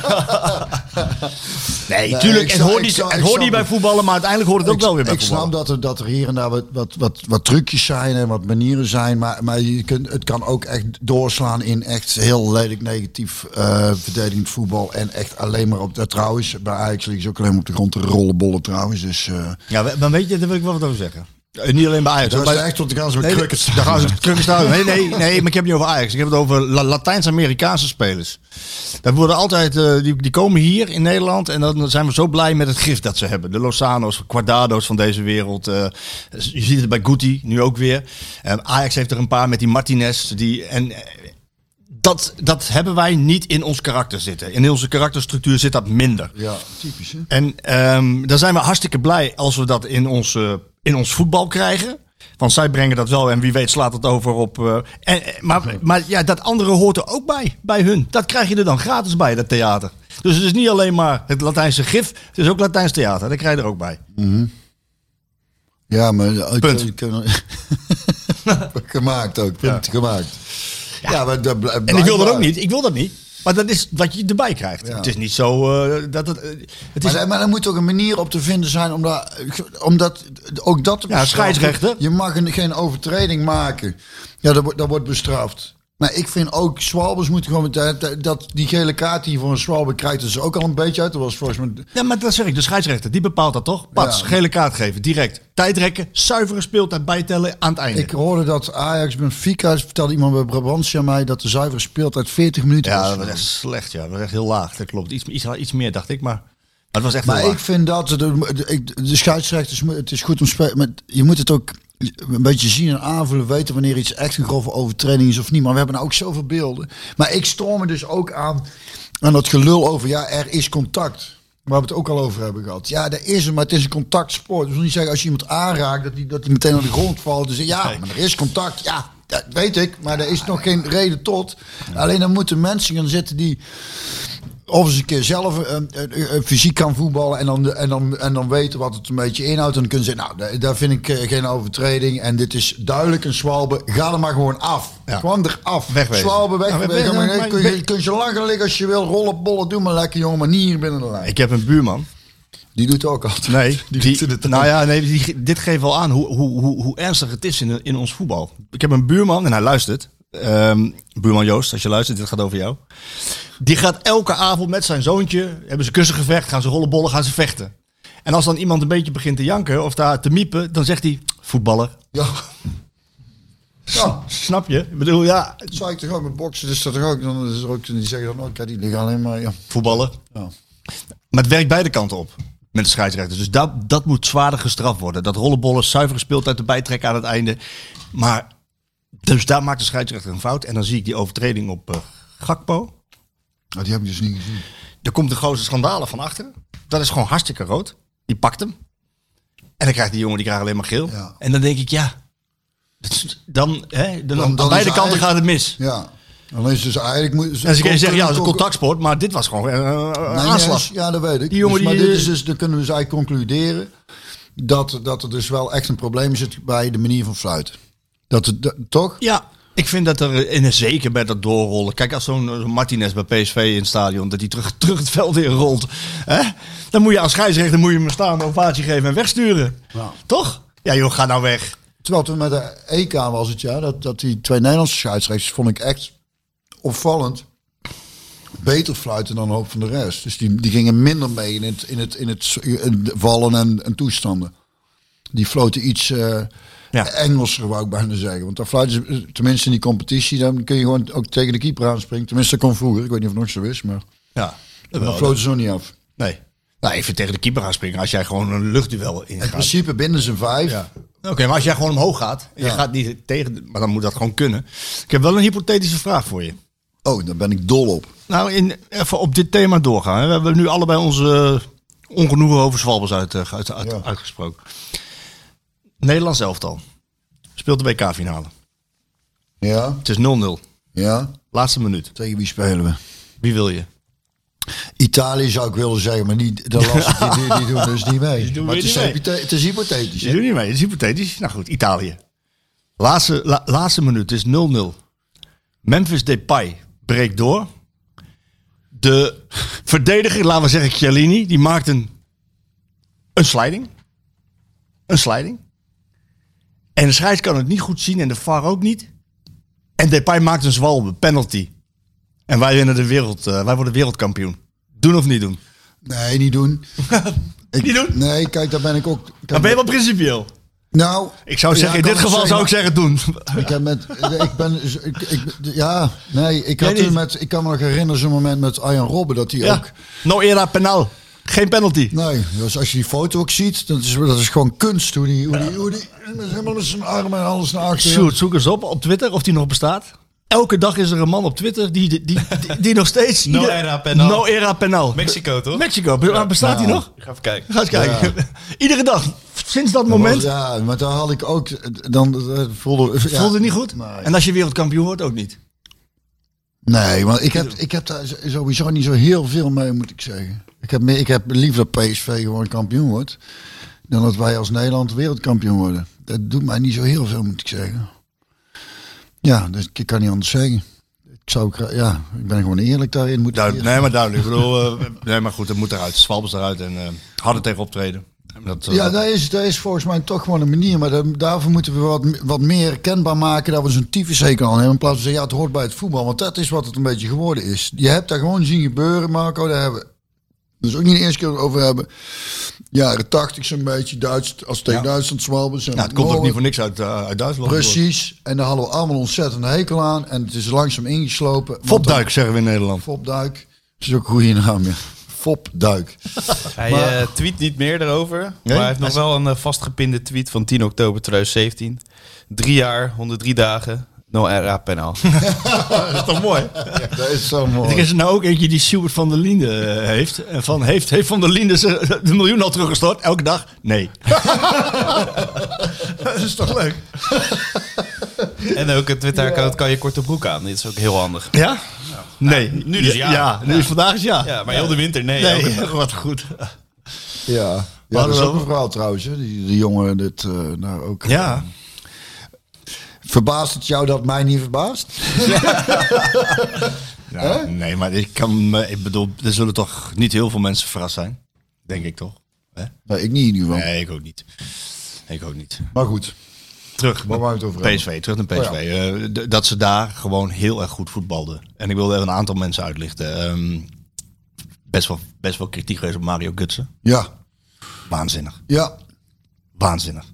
Speaker 1: nee, tuurlijk. Het
Speaker 2: ik snap-
Speaker 1: hoort
Speaker 2: ik
Speaker 1: niet,
Speaker 2: snap-
Speaker 1: het
Speaker 2: ik
Speaker 1: hoort
Speaker 2: snap
Speaker 1: niet bij
Speaker 2: het.
Speaker 1: voetballen, maar uiteindelijk hoort het ook
Speaker 2: ik,
Speaker 1: wel weer bij
Speaker 2: ik snap
Speaker 1: voetballen.
Speaker 2: dat er, dat er hier en daar wat, wat, wat, wat trucjes zijn en wat manieren zijn. Maar, maar je kunt, het kan ook echt doorslaan in echt heel lelijk negatief eh verdedigend voetbal. En echt alleen maar op dat trouwens. Bij Ajax liggen ze ook alleen maar op de grond te rollen bollen trouwens. Dus eh
Speaker 1: Ja, we- dan weet je, daar wil ik wel wat over zeggen. Eh, niet alleen bij Ajax.
Speaker 2: dat
Speaker 1: hoor,
Speaker 2: was
Speaker 1: bij-
Speaker 2: echt tot de kans met
Speaker 1: Nee,
Speaker 2: nee,
Speaker 1: daar gaan ze met krukken staan. Nee, nee, nee, maar ik heb het niet over Ajax. Ik heb het over La- Latijns-Amerikaanse spelers. Dat worden altijd, eh, die, die komen hier in Nederland en dan zijn we zo blij met het gif dat ze hebben. De Lozano's, Guardado's van deze wereld. eh, je ziet het bij Guti nu ook weer. Eh, Ajax heeft er een paar met die Martinez. Die, en eh, dat, dat hebben wij niet in ons karakter zitten. In onze karakterstructuur zit dat minder.
Speaker 2: Ja, typisch hè.
Speaker 1: En ehm dan zijn we hartstikke blij als we dat in, onze, in ons voetbal krijgen. Want zij brengen dat wel en wie weet slaat het over op. eh, en, eh, maar maar ja, dat andere hoort er ook bij, bij hun. Dat krijg je er dan gratis bij, dat theater. Dus het is niet alleen maar het Latijnse gif, het is ook Latijns theater. Dat krijg je er ook bij.
Speaker 2: Ja, maar eh,
Speaker 1: Punt.
Speaker 2: kun- kunnen- gemaakt ook. Punt gemaakt. Ja, maar dat bl-
Speaker 1: En ik wil dat
Speaker 2: blijkbaar.
Speaker 1: ook niet, ik wil dat niet. Maar dat is wat je erbij krijgt.
Speaker 2: Ja.
Speaker 1: Het is niet zo eh, dat het. eh, het is,
Speaker 2: Maar, daar- maar er moet ook een manier op te vinden zijn om daar, omdat ook dat te
Speaker 1: Ja,
Speaker 2: bestraffen.
Speaker 1: scheidsrechter.
Speaker 2: Je mag een- geen overtreding maken. Ja, dat, wordt- dat wordt bestraft. Maar ik vind ook, Zwalbers moeten gewoon meteen, dat- dat die gele kaart die je voor een Zwalber krijgt, dat is ook al een beetje uit. Dat was volgens mij
Speaker 1: Ja, maar dat zeg ik. De scheidsrechter, die bepaalt dat toch? Pats,
Speaker 2: Ja.
Speaker 1: gele kaart geven, direct. Tijdrekken, zuivere speeltijd bijtellen aan het einde.
Speaker 2: Ik hoorde dat Ajax Benfica, vertelde iemand bij Brabantje aan mij, dat de zuivere speeltijd 40 minuten
Speaker 1: Ja,
Speaker 2: was.
Speaker 1: dat was echt slecht. Ja, dat was echt heel laag. Dat klopt. Iets, iets, iets meer, dacht ik. Maar, maar het was echt
Speaker 2: Maar
Speaker 1: heel
Speaker 2: ik
Speaker 1: laag.
Speaker 2: vind dat de, de, ik- de scheidsrechters, mo- het is goed om spe- maar je moet het ook een beetje zien en aanvullen, weten wanneer iets echt een grove overtreding is of niet. Maar we hebben nou ook zoveel beelden. Maar ik storm me dus ook aan, aan dat gelul over, ja, er is contact. Waar we het ook al over hebben gehad. Ja, er is er, maar het is een contactsport. Dus ik wil niet zeggen, als je iemand aanraakt, dat die, dat die meteen aan de grond valt. Dus ja, maar er is contact. Ja, dat weet ik. Maar er is nog geen reden tot. Alleen dan moeten mensen gaan zitten die of eens een keer zelf eh, eh, eh, fysiek kan voetballen en dan, en, dan, en dan weten wat het een beetje inhoudt. En dan kunnen ze zeggen, nou, da- daar vind ik eh, geen overtreding. En dit is duidelijk een zwalbe. Ga er maar gewoon af.
Speaker 1: Ja.
Speaker 2: Gewoon eraf.
Speaker 1: Wegwezen.
Speaker 2: Zwalbe weg.
Speaker 1: Ja,
Speaker 2: weg,
Speaker 1: wegwezen,
Speaker 2: maar,
Speaker 1: maar-
Speaker 2: kun, je, kun je zo lang gaan liggen als je wil. Rollen, bollen, doe maar lekker jongen. Maar niet hier binnen de lijn.
Speaker 1: Ik heb een buurman.
Speaker 2: Die doet ook altijd.
Speaker 1: Nee,
Speaker 2: die,
Speaker 1: die-
Speaker 2: doet in het
Speaker 1: nou ja, nee, die ge- dit geeft wel aan hoe, hoe, hoe, hoe ernstig het is in, in ons voetbal. Ik heb een buurman, en hij luistert. Ehm, buurman Joost, als je luistert, dit gaat over jou. Die gaat elke avond met zijn zoontje, hebben ze kussengevecht, gaan ze rollenbollen, gaan ze vechten. En als dan iemand een beetje begint te janken of daar te miepen, dan zegt hij, voetballer.
Speaker 2: Ja. Ja,
Speaker 1: Snap je? Ik bedoel, ja,
Speaker 2: dat zou ik toch ook met boksen. Dus dat toch ook. Dan is er ook die zeggen dan ook, ja, die liggen alleen maar. Ja.
Speaker 1: voetballen.
Speaker 2: Ja.
Speaker 1: Maar het werkt beide kanten op met de scheidsrechters. Dus dat, dat moet zwaarder gestraft worden. Dat rollenbollen zuiver gespeeld uit de bijtrek aan het einde. Maar dus daar maakt de scheidsrechter een fout. En dan zie ik die overtreding op eh, Gakpo.
Speaker 2: Nou, die heb ik dus niet gezien.
Speaker 1: Er komt de grote schandalen van achteren. Dat is gewoon hartstikke rood. Die pakt hem. En dan krijgt die jongen die krijgt alleen maar geel.
Speaker 2: Ja.
Speaker 1: En dan denk ik, ja. dat is- Dan, hè, dan,
Speaker 2: dan
Speaker 1: aan
Speaker 2: is
Speaker 1: beide
Speaker 2: het
Speaker 1: kanten gaat het mis.
Speaker 2: Ja. Alleen is dus eigenlijk... Moet,
Speaker 1: En ze kunnen zeggen, ja, dat is een
Speaker 2: contact.
Speaker 1: contactsport. Maar dit was gewoon eh, een
Speaker 2: Nee,
Speaker 1: aanslag.
Speaker 2: nee, ja, dat weet ik.
Speaker 1: Die jongen
Speaker 2: Dus, maar
Speaker 1: die,
Speaker 2: dit
Speaker 1: eh,
Speaker 2: is dus, dan kunnen we dus eigenlijk concluderen dat, dat er dus wel echt een probleem zit bij de manier van fluiten. Dat, het- dat toch?
Speaker 1: Ja, ik vind dat er in zeker bij dat doorrollen. Kijk, als zo'n zo'n Martinez bij PSV in het stadion, dat hij terug, terug het veld in rolt. Hè? Dan moet je als scheidsrechter moet je hem staan, een ovatie geven en wegsturen. Toch? Ja joh, ga nou weg.
Speaker 2: Terwijl toen met de E EK was het ja, dat, dat die twee Nederlandse scheidsrechters vond ik echt opvallend. beter fluiten dan een hoop van de rest. Dus die, die gingen minder mee in het, in het, in het, in het vallen en, en toestanden. Die floten iets eh
Speaker 1: Ja.
Speaker 2: Engelser, wou ik bijna zeggen. Want dan fluiten ze, eh, tenminste in die competitie, dan kun je gewoon ook tegen de keeper aanspringen. Tenminste, dat kon vroeger. Ik weet niet of het nog zo is, maar
Speaker 1: Ja.
Speaker 2: dan
Speaker 1: Wel,
Speaker 2: floten ze nog niet af.
Speaker 1: Nee. Nou, even tegen de keeper gaan springen als jij gewoon een luchtduel
Speaker 2: In
Speaker 1: ingaat.
Speaker 2: principe binnen ze vijf.
Speaker 1: Oké, maar als jij gewoon omhoog gaat, en je
Speaker 2: Ja.
Speaker 1: gaat niet tegen, de- maar dan moet dat gewoon kunnen. Ik heb wel een hypothetische vraag voor je.
Speaker 2: Oh, daar ben ik dol op.
Speaker 1: Nou, in, even op dit thema doorgaan. hè. We hebben nu allebei onze eh, ongenoegen over Zwalbers uit, eh, uit, uit-
Speaker 2: Ja.
Speaker 1: uitgesproken. Nederlands elftal speelt de WK-finale.
Speaker 2: Ja,
Speaker 1: Het is 0-0.
Speaker 2: ja.
Speaker 1: Laatste minuut.
Speaker 2: Tegen wie spelen we?
Speaker 1: Wie wil je?
Speaker 2: Italië zou ik willen zeggen, maar niet de lastig. Die, die, die doen dus niet mee.
Speaker 1: doen
Speaker 2: maar
Speaker 1: weer
Speaker 2: het, is
Speaker 1: niet mee.
Speaker 2: hypothe- het is hypothetisch.
Speaker 1: Je doet niet mee, het is hypothetisch. Nou goed, Italië. Laatste, la- laatste minuut, het is 0-0. Memphis Depay breekt door. De verdediger, laten we zeggen Chiellini, die maakt een, een sliding. Een sliding. En de scheids kan het niet goed zien en de VAR ook niet. En Depay maakt een zwalbe, penalty. En wij, winnen de wereld, eh, wij worden wereldkampioen. Doen of niet doen?
Speaker 2: Nee, niet doen. Ik-
Speaker 1: Niet doen?
Speaker 2: Nee, kijk, daar ben ik ook... kijk,
Speaker 1: Dan ben je wel principieel.
Speaker 2: Nou...
Speaker 1: Ik zou
Speaker 2: ja,
Speaker 1: zeggen, in
Speaker 2: kan
Speaker 1: dit
Speaker 2: het
Speaker 1: geval
Speaker 2: zijn,
Speaker 1: zou ik zeggen doen.
Speaker 2: maar Ik heb met... Ik ben... Ik, ik- ja, nee, ik, had
Speaker 1: Jij
Speaker 2: toen
Speaker 1: niet?
Speaker 2: met, ik kan me nog herinneren zo'n moment met Arjan Robben, dat hij
Speaker 1: Ja.
Speaker 2: ook...
Speaker 1: No era penal. Geen penalty.
Speaker 2: Nee, dus als je die foto ook ziet, dat is, dat is gewoon kunst. Hoe die, hoe die, hoe die met helemaal met zijn armen en alles naar achteren.
Speaker 1: Sjoerd, zoek eens op op Twitter of die nog bestaat. Elke dag is er een man op Twitter die, die, die, die, die nog steeds...
Speaker 7: No
Speaker 1: ieder-
Speaker 7: era penal.
Speaker 1: No era penal.
Speaker 7: Mexico, toch?
Speaker 1: Mexico. Be- Bestaat die nog?
Speaker 7: Ik ga even kijken.
Speaker 1: Ga eens kijken. Iedere dag. Sinds dat moment
Speaker 2: Ja, maar daar had ik ook... Dan eh, voelde... ja.
Speaker 1: voelde het niet goed.
Speaker 2: Nee.
Speaker 1: En als je wereldkampioen wordt, ook niet.
Speaker 2: Nee, want ik heb, ik heb daar z- sowieso niet zo heel veel mee, moet ik zeggen. Ik heb, meer, ik heb liever dat PSV gewoon kampioen wordt, dan dat wij als Nederland wereldkampioen worden. Dat doet mij niet zo heel veel, moet ik zeggen. Ja, dus ik kan niet anders zeggen. Ik, zou, gra- ja, ik ben gewoon eerlijk daarin. Moet ik
Speaker 1: Duid-
Speaker 2: hier-
Speaker 1: nee, maar duidelijk. Ik bedoel, eh, nee, maar goed, dat moet eruit. Zwalbers eruit en eh harder tegen optreden. Dat, eh,
Speaker 2: Ja, dat is, dat is volgens mij toch gewoon een manier. Maar dan- daarvoor moeten we wat, wat meer kenbaar maken dat we zo'n tyfushekel aan hebben. In plaats van zeggen, ja, het hoort bij het voetbal. Want dat is wat het een beetje geworden is. Je hebt dat gewoon zien gebeuren, Marco. Daar hebben we dus ook niet de eerste keer over hebben. Jaren tachtig zo'n beetje. Duits, als tegen
Speaker 1: Ja.
Speaker 2: Duitsland zwalbers.
Speaker 1: nou, het komt ook niet voor niks uit, eh, uit Duitsland.
Speaker 2: Precies. En daar hadden we allemaal ontzettend hekel aan. En het is langzaam ingeslopen. Want
Speaker 1: Fopduik zeggen we in Nederland.
Speaker 2: dan- Fopduik. Dat is ook een goede naam, ja. Fopduik.
Speaker 7: Hij
Speaker 2: Maar-
Speaker 7: eh, tweet niet meer erover, maar
Speaker 1: Nee?
Speaker 7: hij heeft nog wel een eh, vastgepinde tweet van 10 oktober 2017. Drie jaar, 103 dagen, no era penal.
Speaker 1: Dat is toch mooi?
Speaker 2: Dat is zo mooi.
Speaker 1: Er is er nou ook eentje die Stuart van der Linde eh, heeft. En van, heeft, heeft van der Linde ze- de miljoen al teruggestort? Elke dag? Nee. dat is toch leuk?
Speaker 7: en ook het Twitter-account kan je korte broek aan, dit is ook heel handig.
Speaker 1: Ja? Nee.
Speaker 7: nu dus ja.
Speaker 1: nu is vandaag is ja.
Speaker 7: Ja, maar heel de winter, nee.
Speaker 1: nee,
Speaker 7: elke dag.
Speaker 1: wat goed.
Speaker 2: Ja, ja
Speaker 1: hadden
Speaker 2: dat is
Speaker 1: we
Speaker 2: ook
Speaker 1: over-
Speaker 2: een verhaal trouwens. Hè? Die, die jongen, dit, eh, nou ook.
Speaker 1: Ja.
Speaker 2: Verbaast het jou dat mij niet verbaast?
Speaker 1: Ja, nee, maar ik kan me, ik bedoel, er zullen toch niet heel veel mensen verrast zijn? Denk ik toch? Hè?
Speaker 2: Nee, ik niet in ieder geval.
Speaker 1: Nee, ik ook niet. Ik ook niet.
Speaker 2: Maar goed.
Speaker 1: Terug
Speaker 2: Waar wou je het over hebben?
Speaker 1: PSV, terug naar PSV.
Speaker 2: Oh
Speaker 1: Eh, d- dat ze daar gewoon heel erg goed voetbalden. En ik wilde even een aantal mensen uitlichten. Ehm, best, wel, best wel kritiek geweest op Mario Gutsen.
Speaker 2: Ja,
Speaker 1: Waanzinnig.
Speaker 2: ja,
Speaker 1: Waanzinnig.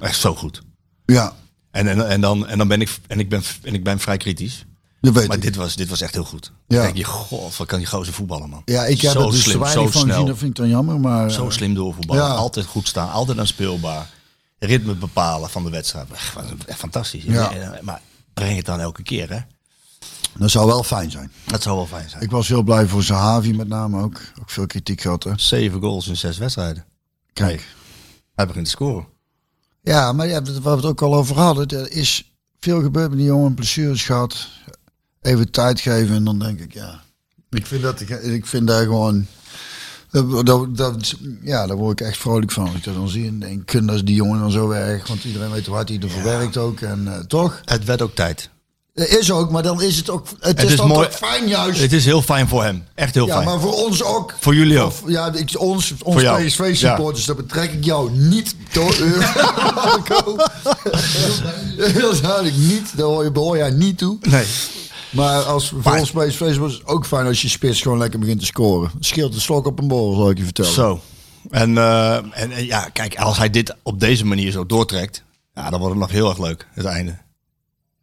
Speaker 1: Echt zo goed.
Speaker 2: ja.
Speaker 1: En, en, en, dan, en dan ben ik, en ik ben, en ik ben vrij kritisch.
Speaker 2: Dat weet
Speaker 1: Maar
Speaker 2: ik.
Speaker 1: dit was, dit was echt heel goed.
Speaker 2: Ja.
Speaker 1: Dan denk je, god, wat kan die gozer voetballen, man.
Speaker 2: ja, ik heb
Speaker 1: zo
Speaker 2: er dus te
Speaker 1: slim,
Speaker 2: weinig
Speaker 1: zo
Speaker 2: van
Speaker 1: snel,
Speaker 2: gezien. Dat vind ik dan jammer. Maar,
Speaker 1: zo
Speaker 2: eh,
Speaker 1: slim doorvoetballen.
Speaker 2: Ja.
Speaker 1: Altijd goed staan, altijd aan speelbaar. Ritme bepalen van de wedstrijd. Echt, wat een- echt fantastisch.
Speaker 2: Ja.
Speaker 1: Eh, Maar breng het dan elke keer, hè.
Speaker 2: Dat zou wel fijn zijn.
Speaker 1: Dat zou wel fijn zijn.
Speaker 2: Ik was heel blij voor Zahavi met name ook. Ook veel kritiek gehad. Hè?
Speaker 1: Zeven goals in zes wedstrijden.
Speaker 2: Kijk.
Speaker 1: Hij begint te scoren.
Speaker 2: Ja, maar ja, dat- waar we het ook al over hadden. Er is veel gebeurd met die jongen. Blessures gehad. Even tijd geven en dan denk ik, ja. Ik vind dat, ik vind daar gewoon... Dat, dat, dat- ja, daar word ik echt vrolijk van. Als ik dat dan zie en denk, kunnen dat is die jongen dan zo erg? Want iedereen weet hoe hard hij ervoor werkt ook. En eh, toch?
Speaker 1: Het werd ook tijd.
Speaker 2: Dat is ook, maar dan is het ook... Het,
Speaker 1: Het
Speaker 2: is,
Speaker 1: is
Speaker 2: dan
Speaker 1: mooi-
Speaker 2: toch fijn juist.
Speaker 1: Het is heel fijn voor hem. Echt heel
Speaker 2: ja,
Speaker 1: fijn.
Speaker 2: maar voor ons ook.
Speaker 1: Voor jullie ook.
Speaker 2: Ja, ik, ons,
Speaker 1: Voor
Speaker 2: ons
Speaker 1: jou.
Speaker 2: PSV-supporters, dat betrek ik jou niet door euro. Marco. Heel duidelijk niet, daar hoor je, behoor jij niet toe.
Speaker 1: Nee.
Speaker 2: Maar als volgens mij is Facebook is het ook fijn als je spits gewoon lekker begint te scoren. Scheelt de slok op een borrel, zal ik je vertellen.
Speaker 1: Zo. En, eh, en, en ja, kijk, als hij dit op deze manier zo doortrekt, ja, dan wordt het nog heel erg leuk, het einde.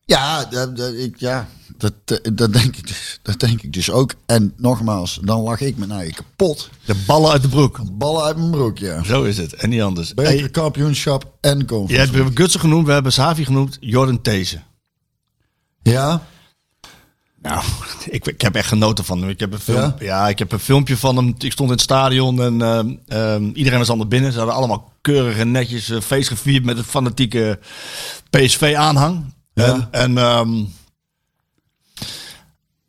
Speaker 2: Ja, dat, dat- ik, ja dat, eh, dat, denk ik, dus- dat denk ik dus ook. En nogmaals, dan lag ik mijn eigen kapot.
Speaker 1: De ballen uit de broek.
Speaker 2: Ballen uit mijn broek, ja.
Speaker 1: Zo is het. En niet anders. Hey,
Speaker 2: Beker, kampioenschap en
Speaker 1: je
Speaker 2: conference.
Speaker 1: hebt we hebben Gutsen genoemd, we hebben Savi genoemd, Jordan These.
Speaker 2: Ja?
Speaker 1: Nou, ik, ik heb echt genoten van hem. Ik heb een film,
Speaker 2: Ja?
Speaker 1: ja? ik heb een filmpje van hem. Ik stond in het stadion en ehm, ehm, iedereen was aan het binnen. Ze hadden allemaal keurig en netjes eh, feest gevierd met het fanatieke PSV-aanhang. En, en ehm,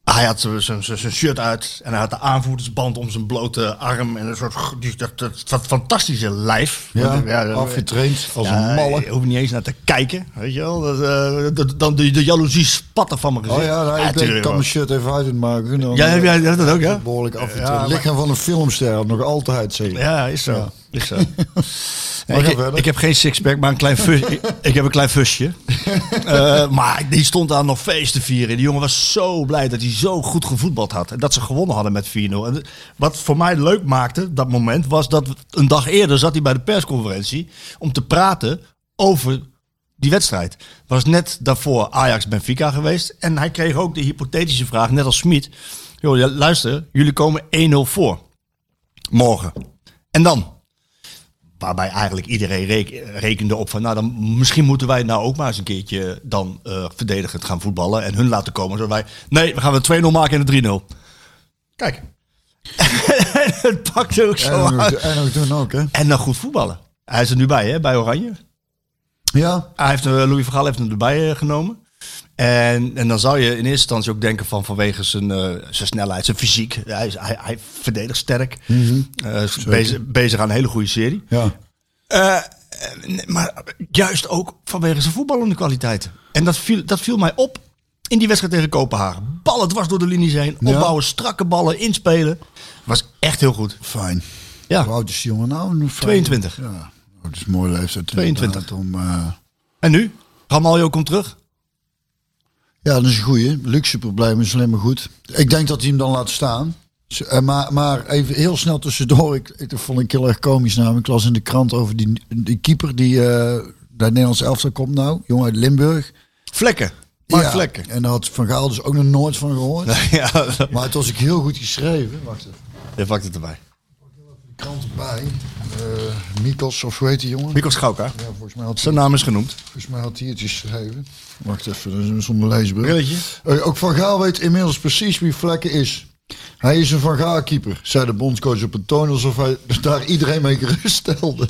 Speaker 1: hij had zijn- zijn zijn- zijn shirt uit en hij had de aanvoerdersband om zijn blote arm en een soort g- die, dat, dat, dat fantastische lijf.
Speaker 2: Ja,
Speaker 1: dat-
Speaker 2: afgetraind als
Speaker 1: ja,
Speaker 2: een malle.
Speaker 1: Je hoeft niet eens naar te kijken, weet je wel. Dat, eh, dat- dan de, de jaloezie spatten van mijn gezicht.
Speaker 2: Oh ja, nou, ik, denk, ik
Speaker 1: tuurlijk
Speaker 2: kan
Speaker 1: wel.
Speaker 2: mijn shirt even uit doen maken. Dan-
Speaker 1: Ja, heb jij dat ook, ja?
Speaker 2: nou Behoorlijk af en toe.
Speaker 1: Ja, maar-
Speaker 2: Lichaam van een filmster, nog altijd zeker.
Speaker 1: Ja, is zo. Is zo.
Speaker 2: Maar ga
Speaker 1: ik,
Speaker 2: verder.
Speaker 1: ik heb geen sixpack, maar een klein fus, ik, ik heb een klein fusje. Eh, maar die stond daar nog feest te vieren. Die jongen was zo blij dat hij zo goed gevoetbald had. En dat ze gewonnen hadden met 4-0. En de- wat voor mij leuk maakte dat moment was dat een dag eerder zat hij bij de persconferentie om te praten over die wedstrijd. Was net daarvoor Ajax Benfica geweest. En hij kreeg ook de hypothetische vraag, net als Smit. Joh, ja, luister, jullie komen 1-0 voor. Morgen. En dan? Waarbij eigenlijk iedereen rek- rekende op van, nou dan misschien moeten wij nou ook maar eens een keertje dan eh, verdedigend gaan voetballen en hun laten komen. Zodat wij, nee, we gaan we 2-0 maken en een 3-0. Kijk. en het pakte ook zo
Speaker 2: En nog,
Speaker 1: uit.
Speaker 2: en nog doen ook, hè?
Speaker 1: En dan goed voetballen. Hij is er nu bij, hè, bij Oranje.
Speaker 2: Ja.
Speaker 1: Hij heeft, eh, Louis van Gaal heeft hem erbij eh, genomen. En, en dan zou je in eerste instantie ook denken van vanwege zijn, eh, zijn snelheid, zijn fysiek. Hij, is, hij, hij verdedigt sterk. Eh, is bezig, bezig aan een hele goede serie.
Speaker 2: Ja.
Speaker 1: Eh, eh, nee, maar juist ook vanwege zijn voetballende kwaliteit. En dat viel, dat viel mij op in die wedstrijd tegen Kopenhagen. Ballen dwars door de linies heen.
Speaker 2: Ja.
Speaker 1: Opbouwen, strakke ballen, inspelen. Was echt heel goed.
Speaker 2: Fijn.
Speaker 1: Ja.
Speaker 2: Hoe oud is die jongen nou? Fijn.
Speaker 1: 22.
Speaker 2: Ja. Oh, dat is een mooie leeftijd.
Speaker 1: 22.
Speaker 2: inderdaad, Om, eh,
Speaker 1: En nu? Ramaljo komt terug.
Speaker 2: Ja, dat is een goeie. Luxe probleem is alleen maar goed. Ik denk dat hij hem dan laat staan. Z- eh, Maar, maar even heel snel tussendoor. Ik, ik dat vond ik heel erg komisch namelijk. Ik las in de krant over die, die keeper die eh bij het Nederlands elftal komt nou. Jongen uit Limburg.
Speaker 1: Vlekken. Mark
Speaker 2: Ja,
Speaker 1: Vlekken.
Speaker 2: En daar had Van Gaal dus ook nog nooit van gehoord.
Speaker 1: Ja,
Speaker 2: Maar het was ook heel goed geschreven. Wacht even.
Speaker 1: daar pakt het erbij.
Speaker 2: De krant erbij. Eh Mikos of hoe heet die jongen?
Speaker 1: Mikkel Schauka.
Speaker 2: Ja, volgens mij had hij-
Speaker 1: Zijn naam is genoemd.
Speaker 2: Volgens mij had hij het geschreven. Wacht even, dat is een zonder leesbril.
Speaker 1: Brilletje.
Speaker 2: Eh, ook Van Gaal weet inmiddels precies wie Vlekken is. Hij is een Van Gaal-keeper, zei de bondscoach op een toon alsof hij daar iedereen mee geruststelde.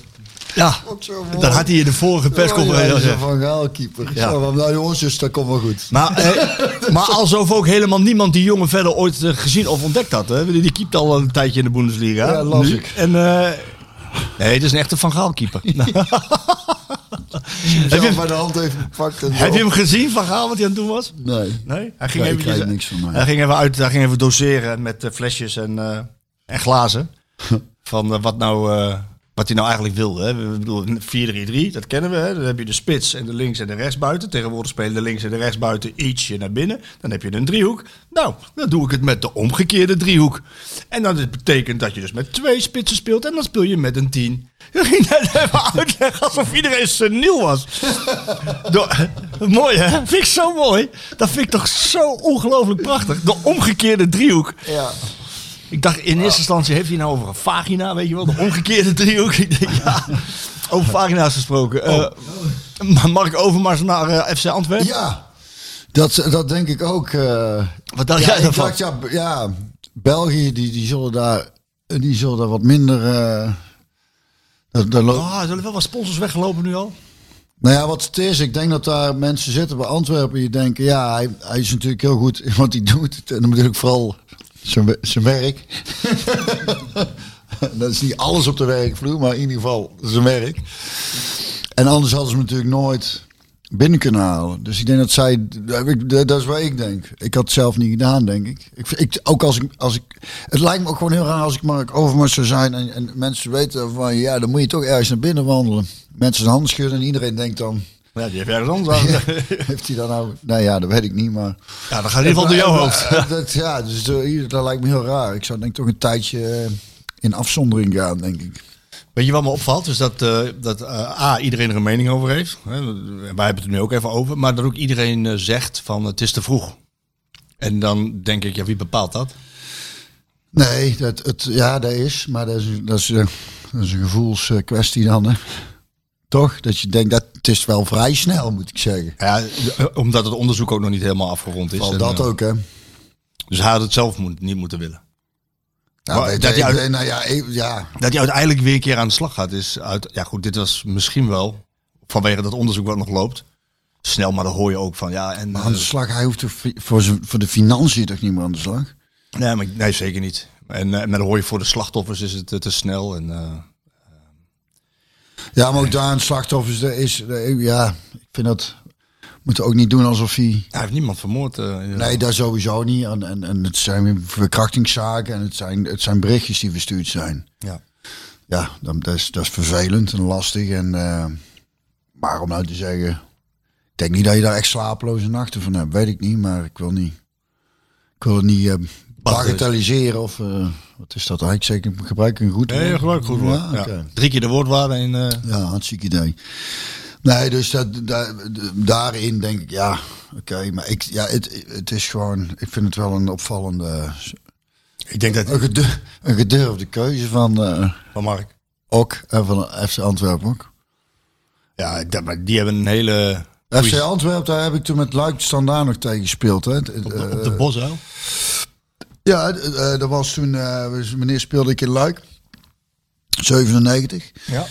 Speaker 1: Ja,
Speaker 2: Ook zo mooi.
Speaker 1: dat had hij in de vorige persconferentie al
Speaker 2: Oh, ja, hij is een
Speaker 1: gezegd.
Speaker 2: Van Gaal-keeper.
Speaker 1: Ja.
Speaker 2: Ja. maar nou jongens, dus dat komt wel goed.
Speaker 1: Maar, eh, maar alsof ook helemaal niemand die jongen verder ooit eh, gezien of ontdekt had. Hè? Die keept al een tijdje in de Bundesliga.
Speaker 2: Ja, las
Speaker 1: Nu.
Speaker 2: ik.
Speaker 1: En, eh, nee, het is een echte Van Gaal keeper.
Speaker 2: Heb
Speaker 1: je-
Speaker 2: je bij de hand even gepakt en zo.
Speaker 1: Heb je hem gezien, Van Gaal, wat hij aan het doen was?
Speaker 2: Nee.
Speaker 1: Nee? Hij
Speaker 2: Nee, ik
Speaker 1: eventjes-
Speaker 2: weet niks van mij.
Speaker 1: Hij ging even, uit, hij ging even doseren met eh, flesjes en, eh, en glazen. van eh, wat, nou, eh, wat hij nou eigenlijk wilde. Hè? We- We bedoelen 4-3-3, dat kennen we. Hè? Dan heb je de spits en de links en de rechtsbuiten. Tegenwoordig spelen de links en de rechtsbuiten ietsje naar binnen. Dan heb je een driehoek. Nou, dan doe ik het met de omgekeerde driehoek. En dan dit betekent dat je dus met twee spitsen speelt. En dan speel je met een tien. Je ging net even uitleggen alsof iedereen seniel was. Door- mooi hè? Vind ik zo mooi. Dat vind ik toch zo ongelooflijk prachtig. De omgekeerde driehoek.
Speaker 2: Ja.
Speaker 1: Ik dacht in eerste instantie, heeft hij nou over een vagina, weet je wel? De omgekeerde driehoek. Ik denk, ja, over vagina's gesproken. Eh, maar Mark Overmars naar eh, FC Antwerpen?
Speaker 2: Ja, dat, dat denk ik ook. eh.
Speaker 1: Wat dacht
Speaker 2: ja,
Speaker 1: jij
Speaker 2: ik
Speaker 1: daarvan?
Speaker 2: dacht, ja, b- ja, België, die, die, zullen daar, eh, die zullen daar wat minder... eh, dat, dat lo-
Speaker 1: Oh, er zullen wel wat sponsors weggelopen nu al?
Speaker 2: Nou ja, wat het is, ik denk dat daar mensen zitten bij Antwerpen die denken, ja, hij, hij is natuurlijk heel goed in wat hij doet. En dan bedoel ik vooral zijn, we- zijn werk. dat is niet alles op de werkvloer, maar in ieder geval zijn werk. En anders hadden ze hem natuurlijk nooit binnen kunnen halen. Dus ik denk dat zij, dat dat is waar ik denk. Ik had het zelf niet gedaan, denk ik. ik, ik ook als ik, als ik, het lijkt me ook gewoon heel raar als ik Mark Overmars zou zijn en, en mensen weten van, ja, dan moet je toch ergens naar binnen wandelen. Mensen de hand schudden en iedereen denkt dan,
Speaker 1: Ja, die heeft ergens anders aan.
Speaker 2: Heeft hij dan nou... Nou ja, dat weet ik niet, maar...
Speaker 1: Ja, dan gaat in ieder geval door jouw hoofd.
Speaker 2: Eh, eh, dat, ja, dus eh, hier, dat lijkt me heel raar. Ik zou denk ik toch een tijdje eh, in afzondering gaan, denk ik.
Speaker 1: Weet je wat me opvalt? Is dat, eh, dat eh, A, iedereen er een mening over heeft. Hè? Wij hebben het er nu ook even over. Maar dat ook iedereen eh, zegt van het is te vroeg. En dan denk ik, ja, wie bepaalt dat?
Speaker 2: Nee, dat, het, ja, dat is. Maar dat is, dat is, eh, dat is een gevoelskwestie dan, hè. Toch? Dat je denkt, dat het is wel vrij snel, moet ik zeggen.
Speaker 1: Ja, eh, omdat het onderzoek ook nog niet helemaal afgerond is.
Speaker 2: Al
Speaker 1: En,
Speaker 2: dat
Speaker 1: eh,
Speaker 2: ook, hè.
Speaker 1: Dus hij had het zelf moet, niet moeten willen.
Speaker 2: Nou,
Speaker 1: Maar
Speaker 2: weet-
Speaker 1: dat
Speaker 2: eh,
Speaker 1: hij uit-
Speaker 2: eh, nou ja, eh, ja,
Speaker 1: Dat hij uiteindelijk weer een keer aan de slag gaat is uit... Ja goed, dit was misschien wel, vanwege dat onderzoek wat nog loopt... Snel, maar dan hoor je ook van ja. En,
Speaker 2: aan de
Speaker 1: eh,
Speaker 2: slag. Hij hoeft toch fi- voor, zijn- voor de financiën toch niet meer aan de slag?
Speaker 1: eh, Nee, maar, nee zeker niet. En eh, maar dan hoor je voor de slachtoffers is het eh, te snel. En, eh,
Speaker 2: Ja, maar ook daar een slachtoffers er is. eh, Ja, ik vind dat... Moeten ook niet doen alsof hij...
Speaker 1: hij heeft niemand vermoord. eh, in-
Speaker 2: Nee, daar sowieso niet. En, en, en het zijn weer verkrachtingszaken en het zijn, het zijn berichtjes die verstuurd zijn.
Speaker 1: Ja.
Speaker 2: Ja, dan, dat, is, dat is vervelend en lastig. En, eh, maar om nou te zeggen, ik denk niet dat je daar echt slapeloze nachten van hebt. Weet ik niet, maar ik wil niet. Ik wil het niet eh bagatelliseren of eh, wat is dat eigenlijk? Zeker ik gebruik een goed woord. Ja,
Speaker 1: Ja.
Speaker 2: oké.
Speaker 1: Drie keer de woordwaarde in. eh,
Speaker 2: Ja, hartstikke idee. Nee, dus dat, da- daarin denk ik, ja, oké. maar ik, ja, het, het is gewoon, ik vind het wel een opvallende,
Speaker 1: ik denk dat
Speaker 2: een, gedu- een gedurfde keuze van eh
Speaker 1: van Mark.
Speaker 2: Ok en van FC Antwerpen ook.
Speaker 1: Ja, dat, maar die hebben een hele.
Speaker 2: FC Antwerpen, daar heb ik toen met Luik Standaard nog tegen gespeeld. Hè. Het-
Speaker 1: op, de,
Speaker 2: eh,
Speaker 1: op de Bosuil.
Speaker 2: Ja, eh, eh, dat was toen, eh, dus meneer speelde ik in Luik. 97.
Speaker 1: Ja.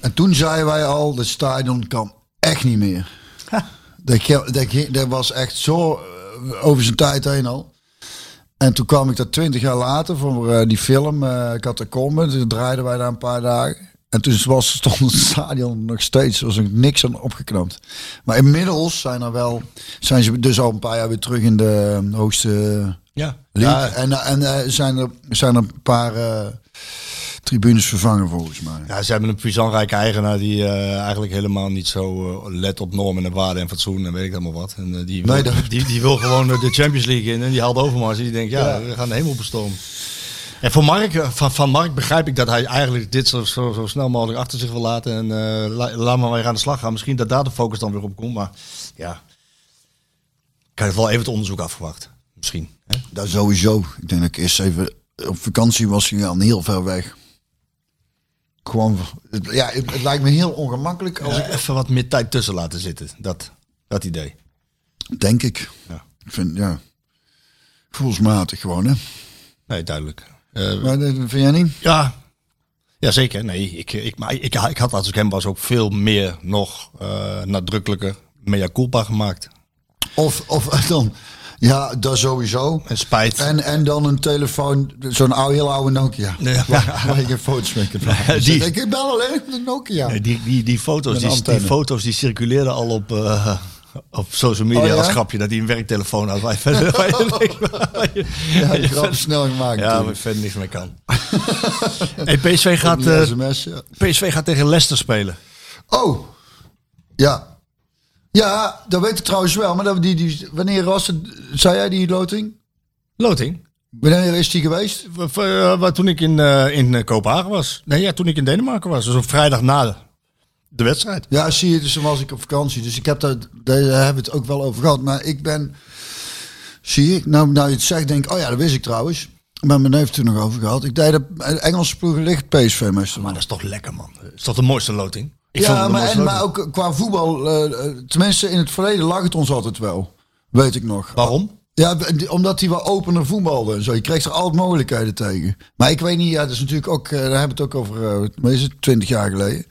Speaker 2: En toen zeiden wij al, dat stadion kan echt niet meer. Dat, ge- dat, ge- dat was echt zo eh, over zijn tijd heen al. En toen kwam ik daar twintig jaar later voor eh, die film eh Catacombe. Toen draaiden wij daar een paar dagen. En toen was, stond het stadion nog steeds, er was nog niks aan opgeknapt. Maar inmiddels zijn, er wel, zijn ze dus al een paar jaar weer terug in de eh, hoogste...
Speaker 1: Ja.
Speaker 2: Ja, en en eh, zijn, er, zijn er een paar eh, tribunes vervangen volgens mij.
Speaker 1: Ja, ze hebben een puissantrijke eigenaar die eh, eigenlijk helemaal niet zo eh, let op normen en waarden en fatsoen en weet ik allemaal wat. En eh, die, wil,
Speaker 2: Nee, dat-
Speaker 1: die, die wil gewoon eh, de Champions League in en die haalt Overmars. En die denkt, ja, we gaan de hemel bestormen. En voor Mark, eh, van, van Mark begrijp ik dat hij eigenlijk dit zo, zo, zo snel mogelijk achter zich wil laten. En eh, la- laat maar weer aan de slag gaan. Misschien dat daar de focus dan weer op komt. Maar ja, ik had wel even het onderzoek afgewacht. Misschien. Hè?
Speaker 2: Dat sowieso. Ik denk dat ik eerst even op vakantie was gegaan, heel ver weg. Gewoon, het- ja, het, het lijkt me heel ongemakkelijk als
Speaker 1: Als ik Eh, even wat meer tijd tussen laten zitten. Dat, dat idee.
Speaker 2: ik, denk ik.
Speaker 1: Ja.
Speaker 2: Ik vind, ja, gevoelsmatig gewoon, hè.
Speaker 1: Nee, duidelijk. Eh,
Speaker 2: Maar dat vind jij niet?
Speaker 1: Ja. Jazeker, nee. Ik, ik, maar ik, ik had als ik hem was ook veel meer nog eh, nadrukkelijker mea culpa gemaakt.
Speaker 2: Of, of dan, ja, dat sowieso.
Speaker 1: En spijt.
Speaker 2: En, en dan een telefoon, zo'n oude, heel oude Nokia.
Speaker 1: Nee.
Speaker 2: Waar, waar je geen foto's mee kunt maken. Dus
Speaker 1: Die-
Speaker 2: dan denk ik, ik bel alleen op de Nokia.
Speaker 1: Nee, die, die, die, foto's,
Speaker 2: Met
Speaker 1: die, die
Speaker 2: antenne.
Speaker 1: foto's die circuleerden al op, eh, op social media
Speaker 2: Oh, ja?
Speaker 1: als grapje. Dat hij een werktelefoon had waar je verder, waar je niks- waar je-
Speaker 2: Ja,
Speaker 1: waar
Speaker 2: die
Speaker 1: je
Speaker 2: grap
Speaker 1: verder-
Speaker 2: snel gemaakt.
Speaker 1: ja, waar je
Speaker 2: natuurlijk.
Speaker 1: verder niks mee kan. hey, PSV, gaat,
Speaker 2: Die
Speaker 1: eh,
Speaker 2: SMS, ja.
Speaker 1: PSV gaat tegen Leicester spelen.
Speaker 2: Oh, ja. Ja, dat weet ik trouwens wel. Maar dat, die, die, wanneer was het, zei jij die loting?
Speaker 1: Loting?
Speaker 2: Wanneer is die geweest?
Speaker 1: V- v- eh, wat toen ik in, eh, in eh, Kopenhagen was. Nee, ja, toen ik in Denemarken was. Dus op vrijdag na de, de wedstrijd.
Speaker 2: Ja, zie je, dus toen was ik op vakantie. Dus ik heb daar, daar hebben we het ook wel over gehad. Maar ik ben, zie ik, nou, nou je het zegt, denk ik, oh ja, dat wist ik trouwens. Maar mijn neef heeft het toen nog over gehad. Ik deed de Engelse ploegen ligt PSV meestal.
Speaker 1: Maar dat is toch lekker, man. Dat is toch de mooiste loting? Ik vond
Speaker 2: ja,
Speaker 1: het de
Speaker 2: maar,
Speaker 1: mooiste
Speaker 2: en,
Speaker 1: loting.
Speaker 2: maar ook qua voetbal, eh, eh, tenminste in het verleden lag het ons altijd wel. Weet ik nog.
Speaker 1: Waarom?
Speaker 2: Ja, b- die- omdat hij wel opener voetbalde en zo. Je kreeg er altijd mogelijkheden tegen. Maar ik weet niet, ja, dat is natuurlijk ook, eh, daar hebben we het ook over, eh, wat is het, 20 jaar geleden.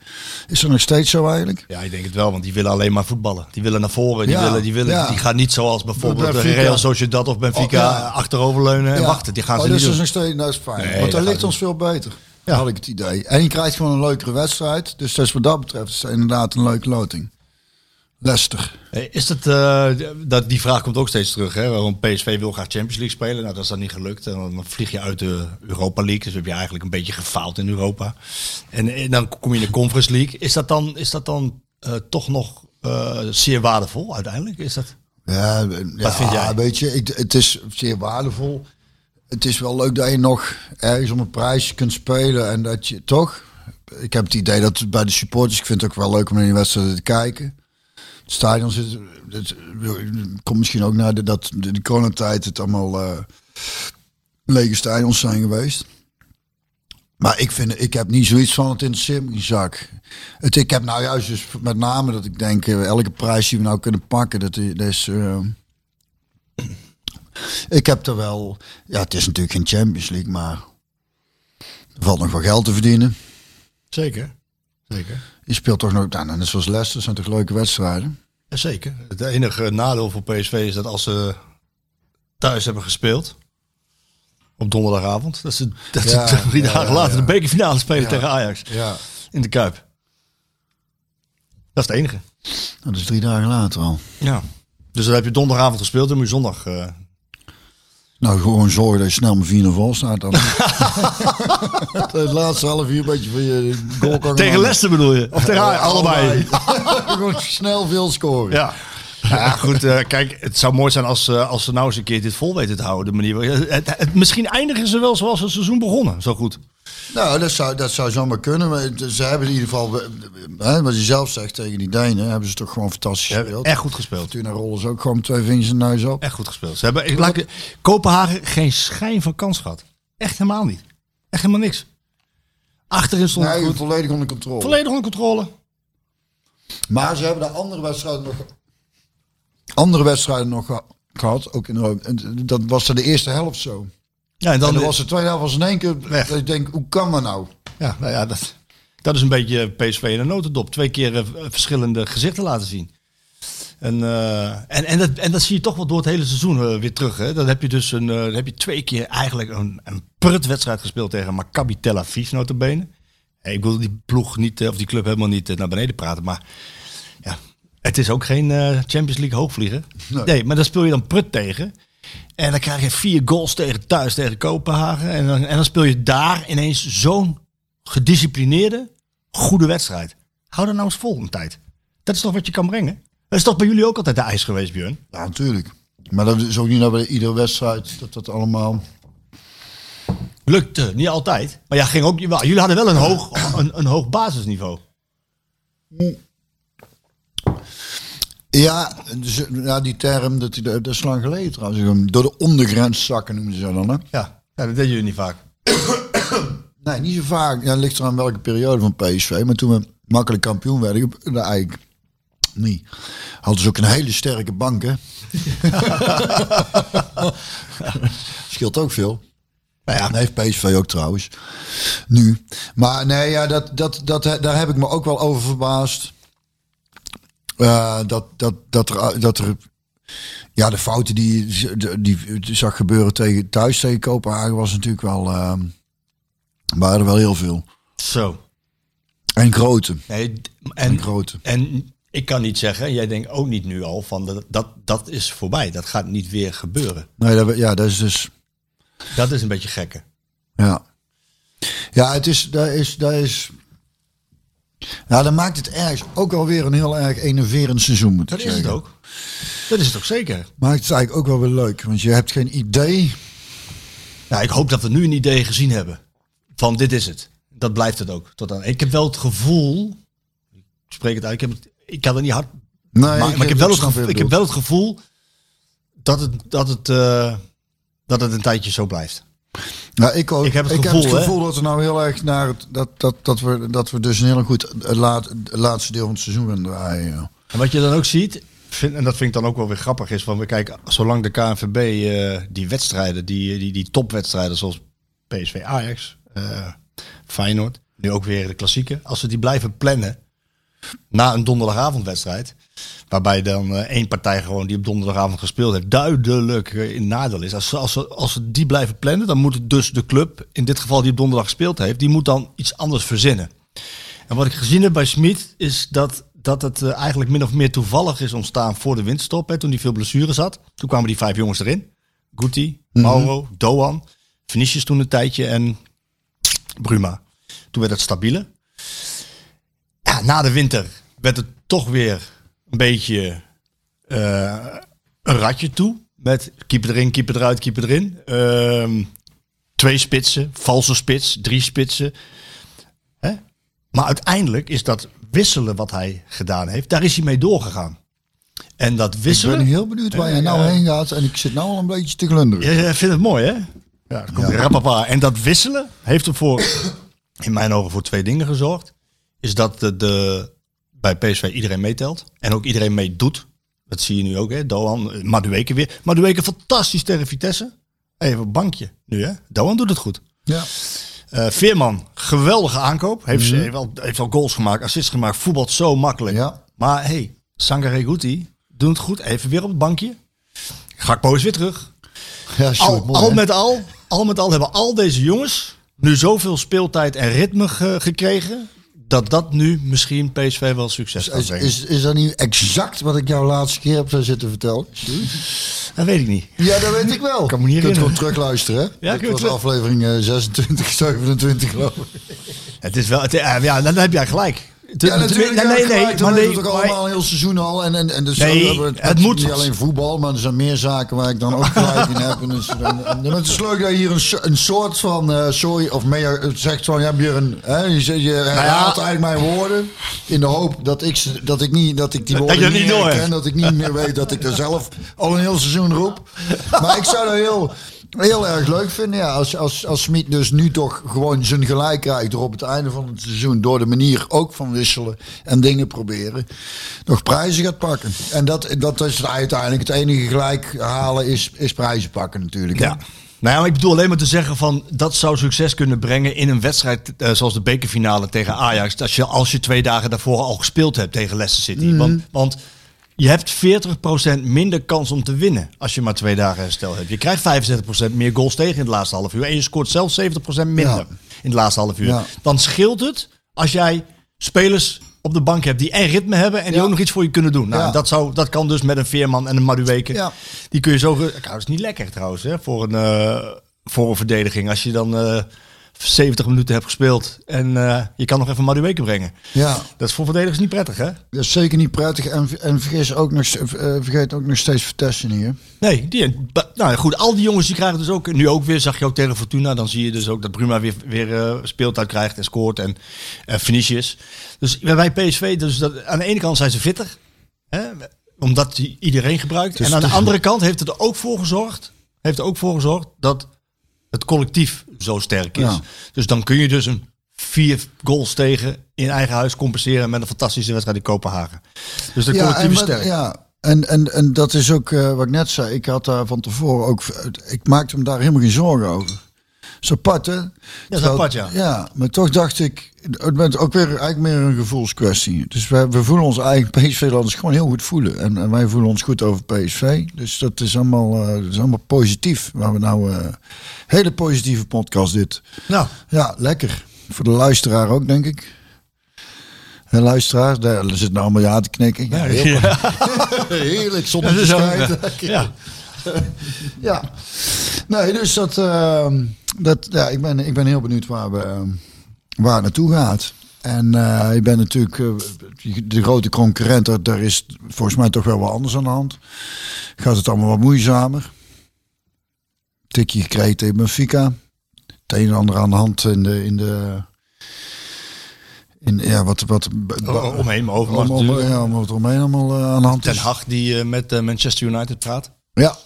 Speaker 2: Is dat nog steeds zo eigenlijk?
Speaker 1: Ja, ik denk het wel, want die willen alleen maar voetballen. Die willen naar voren, die,
Speaker 2: Ja,
Speaker 1: willen, die, willen,
Speaker 2: ja.
Speaker 1: die gaan niet zoals bijvoorbeeld de
Speaker 2: Benfica.
Speaker 1: Real Sociedad of Benfica
Speaker 2: Oh, ja.
Speaker 1: achteroverleunen en
Speaker 2: Ja.
Speaker 1: wachten. Die gaan
Speaker 2: oh,
Speaker 1: ze
Speaker 2: dus
Speaker 1: niet
Speaker 2: dat
Speaker 1: doen.
Speaker 2: is nog steeds, nou, dat is fijn.
Speaker 1: Nee,
Speaker 2: Want
Speaker 1: dat
Speaker 2: dat
Speaker 1: gaat
Speaker 2: ligt ons veel beter, had ik het idee. En je krijgt gewoon een leukere wedstrijd. Dus dat is wat dat betreft is dat inderdaad een leuke loting. Leicester.
Speaker 1: Hey, Is het, eh, dat, die vraag komt ook steeds terug, hè? waarom PSV wil graag Champions League spelen. Nou, dat is dan niet gelukt. En dan vlieg je uit de Europa League, dus heb je eigenlijk een beetje gefaald in Europa. En, eh, dan kom je in de Conference League. Is dat dan, is dat dan eh, toch nog eh, eh, zeer waardevol uiteindelijk is dat.
Speaker 2: Ja, ja,
Speaker 1: vind jij?
Speaker 2: weet je, ik, het is zeer waardevol. Het is wel leuk dat je nog ergens om een prijsje kunt spelen en dat je toch. Ik heb het idee dat bij de supporters, ik vind het ook wel leuk om naar die wedstrijden te kijken. Het stadion zit, het, het komt misschien ook naar de, dat de, de coronatijd het allemaal eh, lege stadions zijn geweest. Maar ik, vind, ik heb niet zoiets van het in de zak. Het, ik heb nou juist dus met name dat ik denk, eh, elke prijs die we nou kunnen pakken, dat, i- dat is... eh, ik heb er wel... Ja, het is natuurlijk geen Champions League, maar er valt nog wel geld te verdienen.
Speaker 1: Zeker. Zeker.
Speaker 2: Je speelt toch nog... Nou, net zoals Leicester zijn toch leuke wedstrijden?
Speaker 1: Ja, zeker. Het enige nadeel voor PSV is dat als ze thuis hebben gespeeld op donderdagavond, dat ze, dat ze
Speaker 2: Ja,
Speaker 1: drie
Speaker 2: ja,
Speaker 1: dagen
Speaker 2: ja,
Speaker 1: later
Speaker 2: ja.
Speaker 1: de bekerfinale spelen tegen Ajax
Speaker 2: Ja.
Speaker 1: in de Kuip. Dat is het enige.
Speaker 2: Nou, dat is drie dagen later al.
Speaker 1: Ja. Dus dan heb je donderdagavond gespeeld en moet je zondag. eh,
Speaker 2: Nou, gewoon zorgen dat je snel met 4-0 vol staat dan. eh, Het laatste half uur een beetje van je goal kan
Speaker 1: tegen Leicester bedoel je? Of tegen Ajax? allebei.
Speaker 2: Gewoon snel veel scoren.
Speaker 1: Ja. Ja, goed. eh, kijk, het zou mooi zijn als, eh, als ze nou eens een keer dit vol weten te houden. De manier, waar- het, het- misschien eindigen ze wel zoals het seizoen begonnen. Zo goed.
Speaker 2: Nou, dat zou, dat zou zomaar kunnen. Maar het- ze hebben in ieder geval, hè, wat je zelf zegt tegen die Denen, hebben ze toch gewoon fantastisch gespeeld.
Speaker 1: Echt goed gespeeld.
Speaker 2: Toen rollen ze ook gewoon twee vingers in de neus op.
Speaker 1: Echt goed gespeeld. Ze hebben, ik, laat ik- Kopenhagen geen schijn van kans gehad. Echt helemaal niet. Echt helemaal niks. Achterin stond het
Speaker 2: Nee,
Speaker 1: goed.
Speaker 2: volledig onder controle.
Speaker 1: Volledig onder controle.
Speaker 2: Maar ze hebben de andere wedstrijden nog, andere wedstrijden nog geha- gehad. Ook in Europa. En dat was er de eerste helft zo.
Speaker 1: Ja, en dan,
Speaker 2: Dan en dan was de tweede helft was in één keer.
Speaker 1: Weg.
Speaker 2: Dat ik denk, hoe kan dat nou?
Speaker 1: ja, nou ja, dat, dat is een beetje PSV in een notendop. Twee keer eh, verschillende gezichten laten zien. En, eh, en, en, dat, en dat zie je toch wel door het hele seizoen eh, weer terug. Hè? Dan heb je dus een, eh, dan heb je twee keer eigenlijk een, een prutwedstrijd gespeeld tegen Maccabi Tel Aviv notabene. Eh, Ik wil die ploeg niet, eh, of die club helemaal niet eh, naar beneden praten. Maar ja, het is ook geen eh, Champions League hoogvlieger. Nee.
Speaker 2: Nee.
Speaker 1: maar daar speel je dan prut tegen. En dan krijg je vier goals tegen thuis tegen Kopenhagen. En dan, en dan speel je daar ineens zo'n gedisciplineerde, goede wedstrijd. Hou dat nou eens vol een tijd. Dat is toch wat je kan brengen? Dat is toch bij jullie ook altijd de ijs geweest, Björn?
Speaker 2: Ja, natuurlijk. Maar dat is ook niet dat bij iedere wedstrijd dat dat allemaal.
Speaker 1: Lukte, niet altijd. Maar ja, ging ook, wel. jullie hadden wel een hoog, een, een hoog basisniveau.
Speaker 2: Ja, dus, ja, die term, dat, die- dat is lang geleden trouwens. Door de ondergrens zakken noemen ze dat dan. Hè?
Speaker 1: Ja, ja dat deden jullie niet vaak.
Speaker 2: Nee, niet zo vaak. Ja, het ligt eraan welke periode van PSV. Maar toen we makkelijk kampioen werden, nou, eigenlijk niet. Hadden ze ook een hele sterke bank, hè? Scheelt ook veel. Nou ja, dat heeft PSV ook trouwens. Nu. Maar nee, ja, dat, dat, dat, daar heb ik me ook wel over verbaasd. Eh, dat, dat, dat, er, dat er ja, de fouten die, je- die je zag gebeuren tegen, thuis tegen Kopenhagen was natuurlijk wel. ehm, waren er wel heel veel.
Speaker 1: Zo.
Speaker 2: En grote.
Speaker 1: Nee, d-
Speaker 2: En
Speaker 1: en,
Speaker 2: grote.
Speaker 1: en ik kan niet zeggen, en jij denkt ook niet nu al, van dat, dat, dat is voorbij. Dat gaat niet weer gebeuren.
Speaker 2: Nee, dat, we- ja, dat is dus.
Speaker 1: Dat is een beetje gekke.
Speaker 2: Ja. Ja, het is. Daar is, daar is ja, dat maakt het ergens ook alweer een heel erg enerverend seizoen. Moet
Speaker 1: Dat
Speaker 2: ik
Speaker 1: is het
Speaker 2: zeggen.
Speaker 1: ook. Dat is het ook zeker.
Speaker 2: Maakt het eigenlijk ook wel weer leuk. Want je hebt geen idee.
Speaker 1: Nou, ik hoop dat we nu een idee gezien hebben. Van dit is het. Dat blijft het ook. Tot aan. Ik heb wel het gevoel. Ik spreek het uit. Ik, heb het, ik kan het niet hard.
Speaker 2: Nee,
Speaker 1: maar maar ik, heb wel het
Speaker 2: snap
Speaker 1: gevoel,
Speaker 2: wat
Speaker 1: ik
Speaker 2: je
Speaker 1: heb
Speaker 2: bedoelt.
Speaker 1: wel het gevoel. Dat het, dat, het, eh, dat het een tijdje zo blijft.
Speaker 2: Ja, ik, ook,
Speaker 1: ik heb het
Speaker 2: heb
Speaker 1: gevoel,
Speaker 2: het
Speaker 1: hè.
Speaker 2: gevoel dat we nou heel erg naar het, dat, dat, dat, we, dat we dus een heel goed het, laat, het laatste deel van het seizoen gaan draaien. ja.
Speaker 1: En wat je dan ook ziet. Vind, en dat vind ik dan ook wel weer grappig. Is van we kijken. Zolang de KNVB eh, die wedstrijden. Die, die, die topwedstrijden. Zoals PSV Ajax. eh, Feyenoord. Nu ook weer de klassieke. Als we die blijven plannen. na een donderdagavondwedstrijd. Waarbij dan eh, één partij gewoon die op donderdagavond gespeeld heeft, duidelijk eh, in nadeel is. Als ze, als, ze, als ze die blijven plannen, dan moet dus de club, in dit geval die op donderdag gespeeld heeft, die moet dan iets anders verzinnen. En wat ik gezien heb bij Smit, is dat, dat het eh, eigenlijk min of meer toevallig is ontstaan voor de winterstop. Hè, toen hij veel blessures had. Toen kwamen die vijf jongens erin. Guti, Mauro, Doan, Vinicius toen een tijdje en Bruma. Toen werd het stabieler ja, na de winter werd het toch weer een beetje eh, een ratje toe. Met keeper erin, keeper eruit, keeper erin. Ehm, twee spitsen, valse spits, drie spitsen. Hè? Maar uiteindelijk is dat wisselen wat hij gedaan heeft, daar is hij mee doorgegaan. En dat
Speaker 2: Ik ben
Speaker 1: wisselen...
Speaker 2: heel benieuwd waar jij nou heen gaat en ik zit nou al een beetje te glunderen.
Speaker 1: Je vindt het mooi, hè? Ja, dan komt die rapapa. En dat wisselen heeft ervoor, in mijn ogen, voor twee dingen gezorgd. Is dat de, de, bij PSV iedereen meetelt en ook iedereen meedoet. Dat zie je nu ook, hè? Doan, eh, Madueke weer. Madueke fantastisch tegen Vitesse. Even een bankje nu, hè? Doan doet het goed.
Speaker 2: Ja.
Speaker 1: Eh, Veerman, geweldige aankoop. Heeft, ze, heeft, wel, heeft wel goals gemaakt, assists gemaakt. Voetbalt zo makkelijk.
Speaker 2: Ja.
Speaker 1: Maar hey, Sangare Guti doet het goed. Even weer op het bankje. Gakpo is weer terug.
Speaker 2: Ja, Sjoerd,
Speaker 1: Al,
Speaker 2: mooi,
Speaker 1: al
Speaker 2: hè?
Speaker 1: met al, al met al hebben al deze jongens nu zoveel speeltijd en ritme ge- gekregen. Dat dat nu misschien PSV wel succes gaat
Speaker 2: Is,
Speaker 1: brengen.
Speaker 2: is, is dat niet exact wat ik jou laatste keer heb zitten vertellen?
Speaker 1: Dat weet ik niet.
Speaker 2: Ja, dat weet ik wel.
Speaker 1: Kan me niet
Speaker 2: je
Speaker 1: herinneren.
Speaker 2: kunt gewoon terugluisteren. Hè?
Speaker 1: Ja,
Speaker 2: Ja,
Speaker 1: kun
Speaker 2: dat
Speaker 1: je
Speaker 2: was
Speaker 1: terug-
Speaker 2: aflevering eh, 26, 27 geloof ik.
Speaker 1: Het is wel, het, eh, ja, dan heb jij gelijk. Het-
Speaker 2: Ja,
Speaker 1: het-
Speaker 2: natuurlijk.
Speaker 1: nee, nee, nee,
Speaker 2: maar
Speaker 1: maar nee,
Speaker 2: het ook
Speaker 1: maar-
Speaker 2: allemaal een heel seizoen al. En, en, en dus
Speaker 1: Nee,
Speaker 2: zo hebben we het,
Speaker 1: het moet-
Speaker 2: niet alleen voetbal, maar er zijn meer zaken waar ik dan ook gelijk in heb. En dus, dan- en- en het is leuk dat je hier een, so- een soort van, eh, sorry, of meer eh, zegt van, ja Björn, hè, je, zegt- je
Speaker 1: Nou
Speaker 2: herhaalt eigenlijk mijn woorden in de hoop dat ik, ze- dat ik, niet, dat ik die
Speaker 1: Dat
Speaker 2: woorden
Speaker 1: je het niet door
Speaker 2: herken,
Speaker 1: hebt.
Speaker 2: dat ik niet meer weet dat ik er zelf al een heel seizoen roep. Maar ik zou dat heel, heel erg leuk vinden. Ja, als, als, als Smit dus nu toch gewoon zijn gelijk krijgt door op het einde van het seizoen. Door de manier ook van wisselen en dingen proberen. Nog prijzen gaat pakken. En dat, dat is uiteindelijk het enige gelijk halen is, is prijzen pakken natuurlijk. hè.
Speaker 1: Ja. Nou ja, maar ik bedoel alleen maar te zeggen van dat zou succes kunnen brengen in een wedstrijd eh, zoals de bekerfinale tegen Ajax. Als je, als je twee dagen daarvoor al gespeeld hebt tegen Leicester City.
Speaker 2: Mhm.
Speaker 1: Want, want je hebt 40% minder kans om te winnen als je maar twee dagen herstel hebt. Je krijgt 65% meer goals tegen in het laatste half uur. En je scoort zelfs 70% minder
Speaker 2: Ja.
Speaker 1: in het laatste half uur.
Speaker 2: Ja.
Speaker 1: Dan scheelt het als jij spelers op de bank hebt die en ritme hebben en die ook nog iets voor je kunnen doen. Nou,
Speaker 2: Ja.
Speaker 1: dat, zou, dat kan dus met een Veerman en een Madueke.
Speaker 2: Ja.
Speaker 1: Die kun je zo. ge- Nou, dat is niet lekker trouwens, hè, voor een, eh, voor een verdediging. Als je dan eh, 70 minuten hebt gespeeld en eh, je kan nog even Madueke brengen.
Speaker 2: Ja.
Speaker 1: Dat is voor verdedigers niet prettig, hè?
Speaker 2: Dat is zeker niet prettig. En, en vergis ook nog, eh, vergeet ook nog steeds Vertessen hier.
Speaker 1: Nee, die, ba- nou goed, al die jongens die krijgen dus ook, nu ook weer, zag je ook tegen Fortuna, dan zie je dus ook dat Bruma weer, weer eh, speeltijd krijgt en scoort en eh finishes. Dus bij PSV, dus dat, aan de ene kant zijn ze fitter, hè, omdat die iedereen gebruikt.
Speaker 2: Dus
Speaker 1: en aan de andere kant heeft het er ook voor gezorgd, heeft er ook voor gezorgd dat het collectief zo sterk is.
Speaker 2: Ja.
Speaker 1: Dus dan kun je dus een vier goals tegen in eigen huis compenseren met een fantastische wedstrijd in Kopenhagen. Dus de collectief is
Speaker 2: en, wat-
Speaker 1: sterk.
Speaker 2: Ja, en, en, en dat is ook eh, wat ik net zei. Ik had daar van tevoren ook. Ik maakte me daar helemaal geen zorgen over. Zo apart, hè? Ja,
Speaker 1: is apart, ja.
Speaker 2: Ja, maar toch dacht ik. Het bent ook weer eigenlijk meer een gevoelskwestie. Dus wij, we voelen ons eigen PSV-landers gewoon heel goed voelen. En, en wij voelen ons goed over PSV. Dus dat is allemaal, eh, dat is allemaal positief. Waar we nou. eh, hele positieve podcast, dit.
Speaker 1: Nou,
Speaker 2: Ja, lekker. Voor de luisteraar ook, denk ik. En luisteraars, daar zitten nou allemaal ja te knikken. Ja, heel- Heerlijk, zonder te strijden.
Speaker 1: ja.
Speaker 2: Ja. Nee, dus dat... ehm, dat ja, ik, ben, ik ben heel benieuwd waar, we, ehm, waar het naartoe gaat. En eh, je bent natuurlijk... eh, de grote concurrent, daar, daar is volgens mij toch wel wat anders aan de hand. Gaat het allemaal wat moeizamer. Tikje gekregen tegen Benfica. Het een en ander aan de hand in de... In de in, ja, wat, wat,
Speaker 1: O- omheen, maar overmacht
Speaker 2: om, om,
Speaker 1: natuurlijk.
Speaker 2: ja, om wat er omheen allemaal eh, aan de hand
Speaker 1: Ten
Speaker 2: is.
Speaker 1: Hag die eh, met eh, Manchester United praat.
Speaker 2: Ja,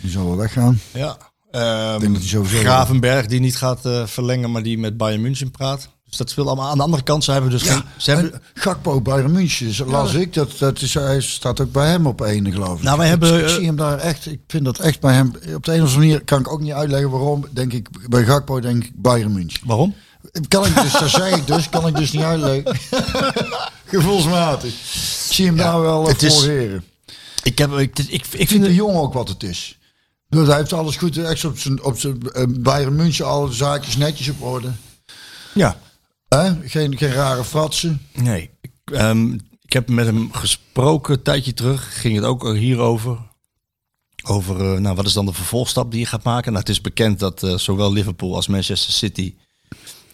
Speaker 2: die zal wel weggaan.
Speaker 1: Ja. Ehm,
Speaker 2: denk dat hij sowieso-
Speaker 1: Gravenberg die niet gaat eh, verlengen, maar die met Bayern München praat. Dus dat speelt allemaal. Aan de andere kant, ze hebben dus geen... Ze hebben,
Speaker 2: En Gakpo Bayern München, zo las ik. Dat, dat is, hij staat ook bij hem op één, geloof ik.
Speaker 1: Nou, wij
Speaker 2: Ik-
Speaker 1: hebben,
Speaker 2: ik,
Speaker 1: eh,
Speaker 2: zie hem daar echt. Ik vind dat echt bij hem. Op de een of andere manier kan ik ook niet uitleggen waarom. Denk ik bij Gakpo denk ik Bayern München.
Speaker 1: waarom?
Speaker 2: Kan ik dus, dat zeg ik dus, kan ik dus niet uitleggen. Gevoelsmatig. Ik zie hem daar wel
Speaker 1: het
Speaker 2: het
Speaker 1: is-
Speaker 2: voor heren.
Speaker 1: Ik, heb, ik, ik, ik
Speaker 2: Ik vind
Speaker 1: vind...
Speaker 2: de jong ook wat het is. Dus hij heeft alles goed. Echt op zijn, op zijn eh, Bayern München alle zaakjes netjes op orde.
Speaker 1: Ja.
Speaker 2: Hè? Geen, geen rare fratsen.
Speaker 1: Nee. Ik, ehm, ik heb met hem gesproken een tijdje terug. Ging het ook hierover. Over, eh, nou, wat is dan de vervolgstap die je gaat maken? Nou, het is bekend dat eh, zowel Liverpool als Manchester City